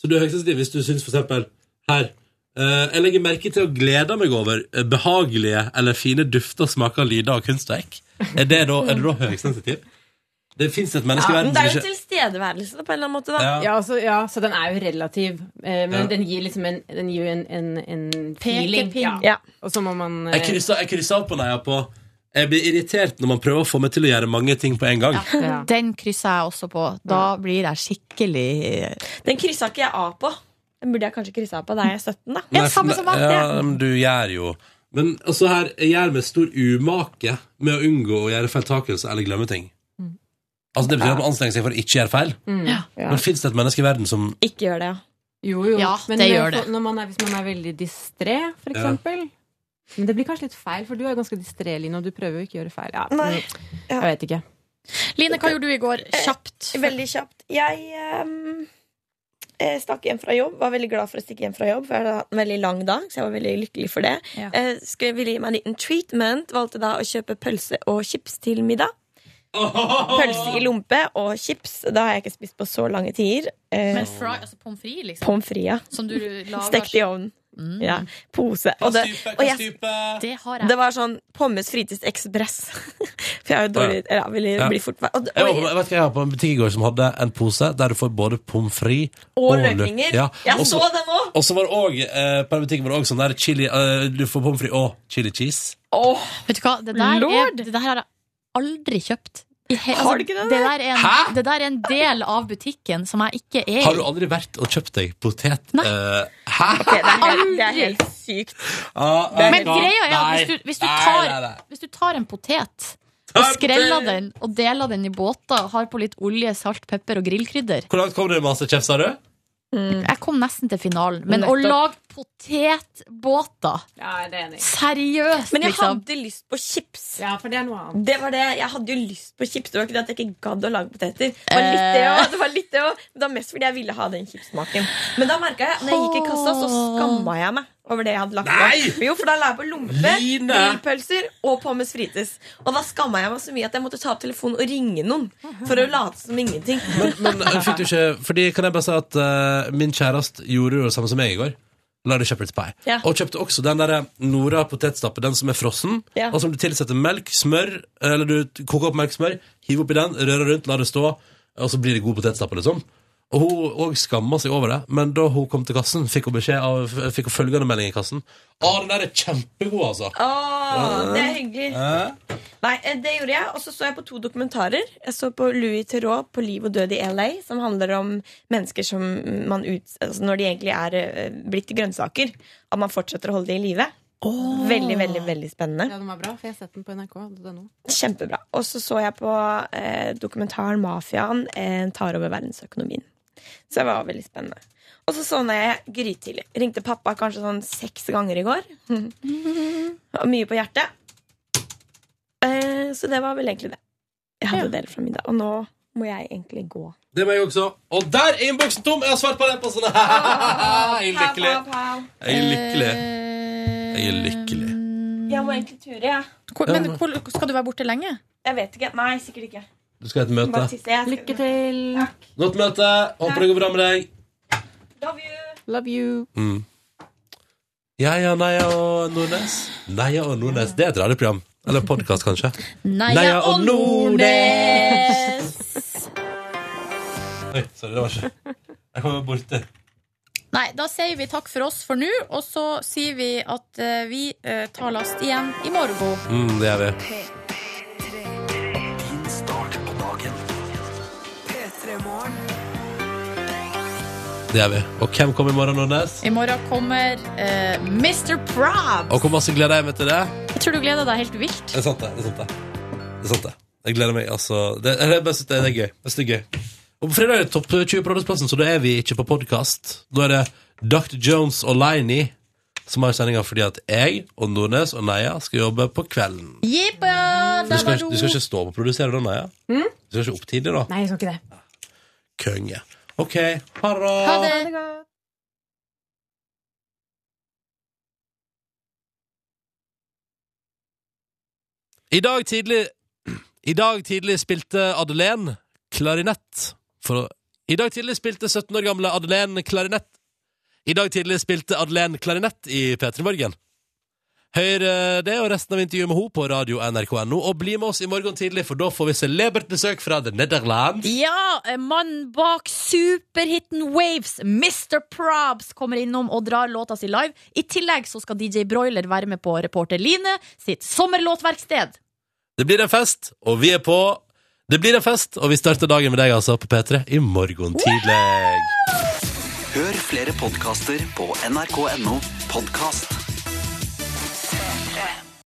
Speaker 2: Så du er høysensitiv hvis du syns for eksempel Her eh, Jeg legger merke til å glede meg over eh, Behagelige eller fine dufter, smaker, lyder og kunstverk Er det da, er det da høysensitiv? Det finnes et menneske i
Speaker 3: Ja,
Speaker 2: verden
Speaker 3: men det er
Speaker 2: som
Speaker 3: jo
Speaker 2: ikke
Speaker 3: tilstedeværelse da, på en eller annen måte, da.
Speaker 2: Ja.
Speaker 9: Ja, altså, ja, så den er jo relativ. Eh, men
Speaker 2: Ja.
Speaker 9: den gir liksom en, den gir jo en, en, en
Speaker 3: Pekepinn.
Speaker 9: feeling. Ja.
Speaker 3: Ja.
Speaker 9: Og så må man eh,
Speaker 2: Jeg krysser, jeg krysser av på Neia på Jeg blir irritert når man prøver å få meg til å gjøre mange ting på en gang
Speaker 1: Ja. [LAUGHS] Den krysser jeg også på. Da blir jeg skikkelig eh,
Speaker 3: Den kryssa ikke jeg av på. Den burde jeg kanskje kryssa av på da jeg er 17, da.
Speaker 2: Nei, nei, ja, men Du gjør jo Men altså her, jeg gjør meg stor umake Med å unngå å gjøre feiltakelse eller glemme ting
Speaker 3: Mm.
Speaker 2: Altså det betyr at man anstrenger seg for å ikke gjøre feil
Speaker 9: Mm.
Speaker 2: Men finnes det et menneske i verden som
Speaker 3: [LAUGHS] Ikke gjør det, ja.
Speaker 9: Jo, jo.
Speaker 3: Ja,
Speaker 9: men
Speaker 3: det
Speaker 9: eh,
Speaker 3: gjør
Speaker 9: for-
Speaker 3: det.
Speaker 9: Når man er, hvis man er veldig distré, for
Speaker 2: Ja.
Speaker 9: eksempel. Men det blir kanskje litt feil, for du er ganske distré, Line, og du prøver jo ikke å gjøre feil. Ja,
Speaker 3: Nei.
Speaker 9: Jeg vet ikke.
Speaker 1: Line, hva gjorde du i går? Kjapt.
Speaker 3: Eh, Veldig kjapt. Jeg ehm, eh, stakk hjem fra jobb. Var veldig glad for å stikke hjem fra jobb, for jeg hadde hatt en veldig lang dag. Så jeg var veldig lykkelig for det.
Speaker 1: Ja.
Speaker 3: Eh, skulle ville gi meg en liten treatment. Valgte da å kjøpe pølse og chips til middag. Pølse i lompe og chips. Da har jeg ikke spist på så lange tider. Eh,
Speaker 1: Men fry, altså pommes frites, liksom?
Speaker 3: Pommes frites, ja.
Speaker 1: Som du lager
Speaker 3: Stekt i ovnen. Ja. Pose. Og det, og jeg,
Speaker 1: Det har jeg.
Speaker 3: det var sånn Pommes Fritids Ekspress. [LAUGHS] For jeg er jo dårlig
Speaker 2: Ja.
Speaker 3: Eller jeg vil
Speaker 2: Ja.
Speaker 3: bli fort og, og,
Speaker 2: Jeg, jeg vet hva jeg har på en butikk i går som hadde en pose Der du får både pomfri
Speaker 3: og løkringer.
Speaker 2: ja.
Speaker 3: Jeg
Speaker 2: Og
Speaker 3: så den òg!
Speaker 2: Og så var det òg eh, på den butikken var det også sånn der chili eh, Du får pommes frites og chili cheese.
Speaker 1: Vet du hva, det der, er,
Speaker 3: Lord!
Speaker 1: det der har jeg aldri kjøpt. I he-
Speaker 3: Har
Speaker 1: altså,
Speaker 3: du ikke det
Speaker 1: det
Speaker 3: der?
Speaker 1: der, er en, det der er en del av butikken som jeg ikke er
Speaker 2: Har du
Speaker 1: i.
Speaker 2: aldri vært og kjøpt deg potet? Eh, hæ?
Speaker 3: Det er helt sykt.
Speaker 2: Ah, vet
Speaker 1: Men
Speaker 2: du hva?
Speaker 1: greia er at
Speaker 2: Nei,
Speaker 1: hvis du, hvis du,
Speaker 2: nei, nei,
Speaker 1: tar,
Speaker 2: nei.
Speaker 1: hvis du tar en potet og skreller den og deler den i båter, har på litt olje, salt, pepper og grillkrydder
Speaker 2: Hvor langt kom du i Masterchef, sa du?
Speaker 3: Mm.
Speaker 1: Jeg kom nesten til finalen. Men å
Speaker 12: Nettopp.
Speaker 1: lage potetbåter Seriøst,
Speaker 3: Men jeg
Speaker 1: liksom.
Speaker 3: hadde lyst på chips.
Speaker 8: Ja, for det er noe annet.
Speaker 3: Det var det. Jeg hadde jo lyst på chips. Det var ikke det at jeg ikke gadd å lage poteter. Det var litt det også, Det var litt det også. Men det var mest fordi jeg ville ha den chipsmaken. Men da merka jeg når jeg gikk i kassa, så skamma jeg meg over det jeg hadde lagt på. Jo, for da la jeg på lompe,
Speaker 14: Line!
Speaker 3: grillpølser og pommes frites. Og da skamma jeg meg så mye at jeg måtte ta opp telefonen og ringe noen for å late som ingenting.
Speaker 2: Men eh, fikk du ikke Fordi kan jeg bare si at eh, min kjæreste gjorde jo det samme som meg i går. Lagde shepherd's pie.
Speaker 3: Ja.
Speaker 2: Og kjøpte også den derre Nora potetstappe, den som er frossen.
Speaker 3: Ja.
Speaker 2: Og som du tilsetter melk, smør, eh, eller du koker opp melk, smør, hiver oppi den, rører rundt, lar det stå, og så blir det god potetstappe, liksom. Og hun òg skamma seg over det, men da hun kom til kassen, fikk hun beskjed av, fikk hun følgende melding i kassen. Å, den der er kjempegod, altså!
Speaker 3: Åh, det er hyggelig.
Speaker 2: Ja.
Speaker 3: Nei, eh, det gjorde jeg. Og så så jeg på to dokumentarer. Jeg så på Louis Theroux på liv og død i LA, som handler om mennesker som man ut, altså Når de egentlig er eh, blitt til grønnsaker, at man fortsetter å holde det i live. Veldig, veldig, veldig spennende.
Speaker 8: Ja, den var bra, for jeg har sett den på nrk.no.
Speaker 3: Kjempebra. Og så så jeg på eh, dokumentaren 'Mafiaen eh, tar over verdensøkonomien'. Så det var veldig spennende. Og så sovna jeg grytidlig. Ringte pappa kanskje sånn seks ganger i går. [LAUGHS] Og mye på hjertet. Eh, så det var vel egentlig det. Jeg hadde det fra middag. Og nå må jeg egentlig gå.
Speaker 2: Det må jeg også. Og der er innboksen tom! Jeg har svart på den posten! Jeg er lykkelig. Jeg er lykkelig. Eh, Jeg er lykkelig.
Speaker 3: Jeg må egentlig ture, jeg.
Speaker 1: Hvor- Men hvor, skal du være borte lenge?
Speaker 3: Jeg vet ikke. Nei, sikkert ikke.
Speaker 2: Du skal ha et møte.
Speaker 3: Bare tisse, jeg skal-
Speaker 8: Lykke til.
Speaker 2: Godt møte. Håper det går bra med deg.
Speaker 8: Love you.
Speaker 2: Mm. Ja, ja, Neia og Nordnes. Neia og Nordnes. Det er et radioprogram. Eller podkast, kanskje.
Speaker 1: Neia
Speaker 2: og
Speaker 1: Nordnes!
Speaker 2: [LAUGHS] Oi, sorry, det var ikke Jeg kom borti.
Speaker 1: Nei, da sier vi takk for oss for nå, og så sier vi at eh, vi eh, tar last igjen i morgen.
Speaker 2: Mm, det gjør vi.
Speaker 4: Din start på dagen.
Speaker 2: Det gjør vi. Og hvem kommer i morgen, Nordnes?
Speaker 1: I morgen kommer eh, Mr. Prob.
Speaker 2: Og hvor masse gleder jeg meg til det?
Speaker 1: Jeg tror du gleder deg helt vilt.
Speaker 2: Det er sant, det. Det er sant, det. det, er sant, det. Jeg gleder meg. altså Det, jeg bare synes det, det er gøy. Jeg synes det er gøy. Og på fredag er det Topp 20 på Rådhusplassen, så da er vi ikke på podkast. Da er det Dr. Jones og Liney som har sendinga fordi at jeg og Nordnes og Neia skal jobbe på kvelden.
Speaker 1: Jippa,
Speaker 2: Du
Speaker 1: der
Speaker 2: skal,
Speaker 1: var
Speaker 2: ikke-
Speaker 1: ro.
Speaker 2: du skal ikke stå opp og produsere da, Neia?
Speaker 1: Mm?
Speaker 2: Du skal ikke opp tidlig da?
Speaker 8: Nei, jeg skal ikke det.
Speaker 2: Konge. OK, ha det!
Speaker 1: Ha det.
Speaker 2: I dag tidlig I dag tidlig spilte Madeleine klarinett. For, I dag tidlig spilte 17 år gamle Madeleine klarinett. I dag tidlig spilte Madeleine klarinett i P3 Morgen. Hør eh, det og resten av intervjuet med henne på radio nrk.no. Og bli med oss i morgen tidlig, for da får vi celebert besøk fra The Netherlands.
Speaker 1: Ja, eh, mannen bak superhiten Waves, Mr. Probs, kommer innom og drar låta si live. I tillegg så skal DJ Broiler være med på reporter Line sitt sommerlåtverksted.
Speaker 2: Det blir en fest, og vi er på. Det blir en fest, og vi starter dagen med deg altså på P3 i morgen tidlig.
Speaker 4: Hør flere podkaster på nrk.no podkast.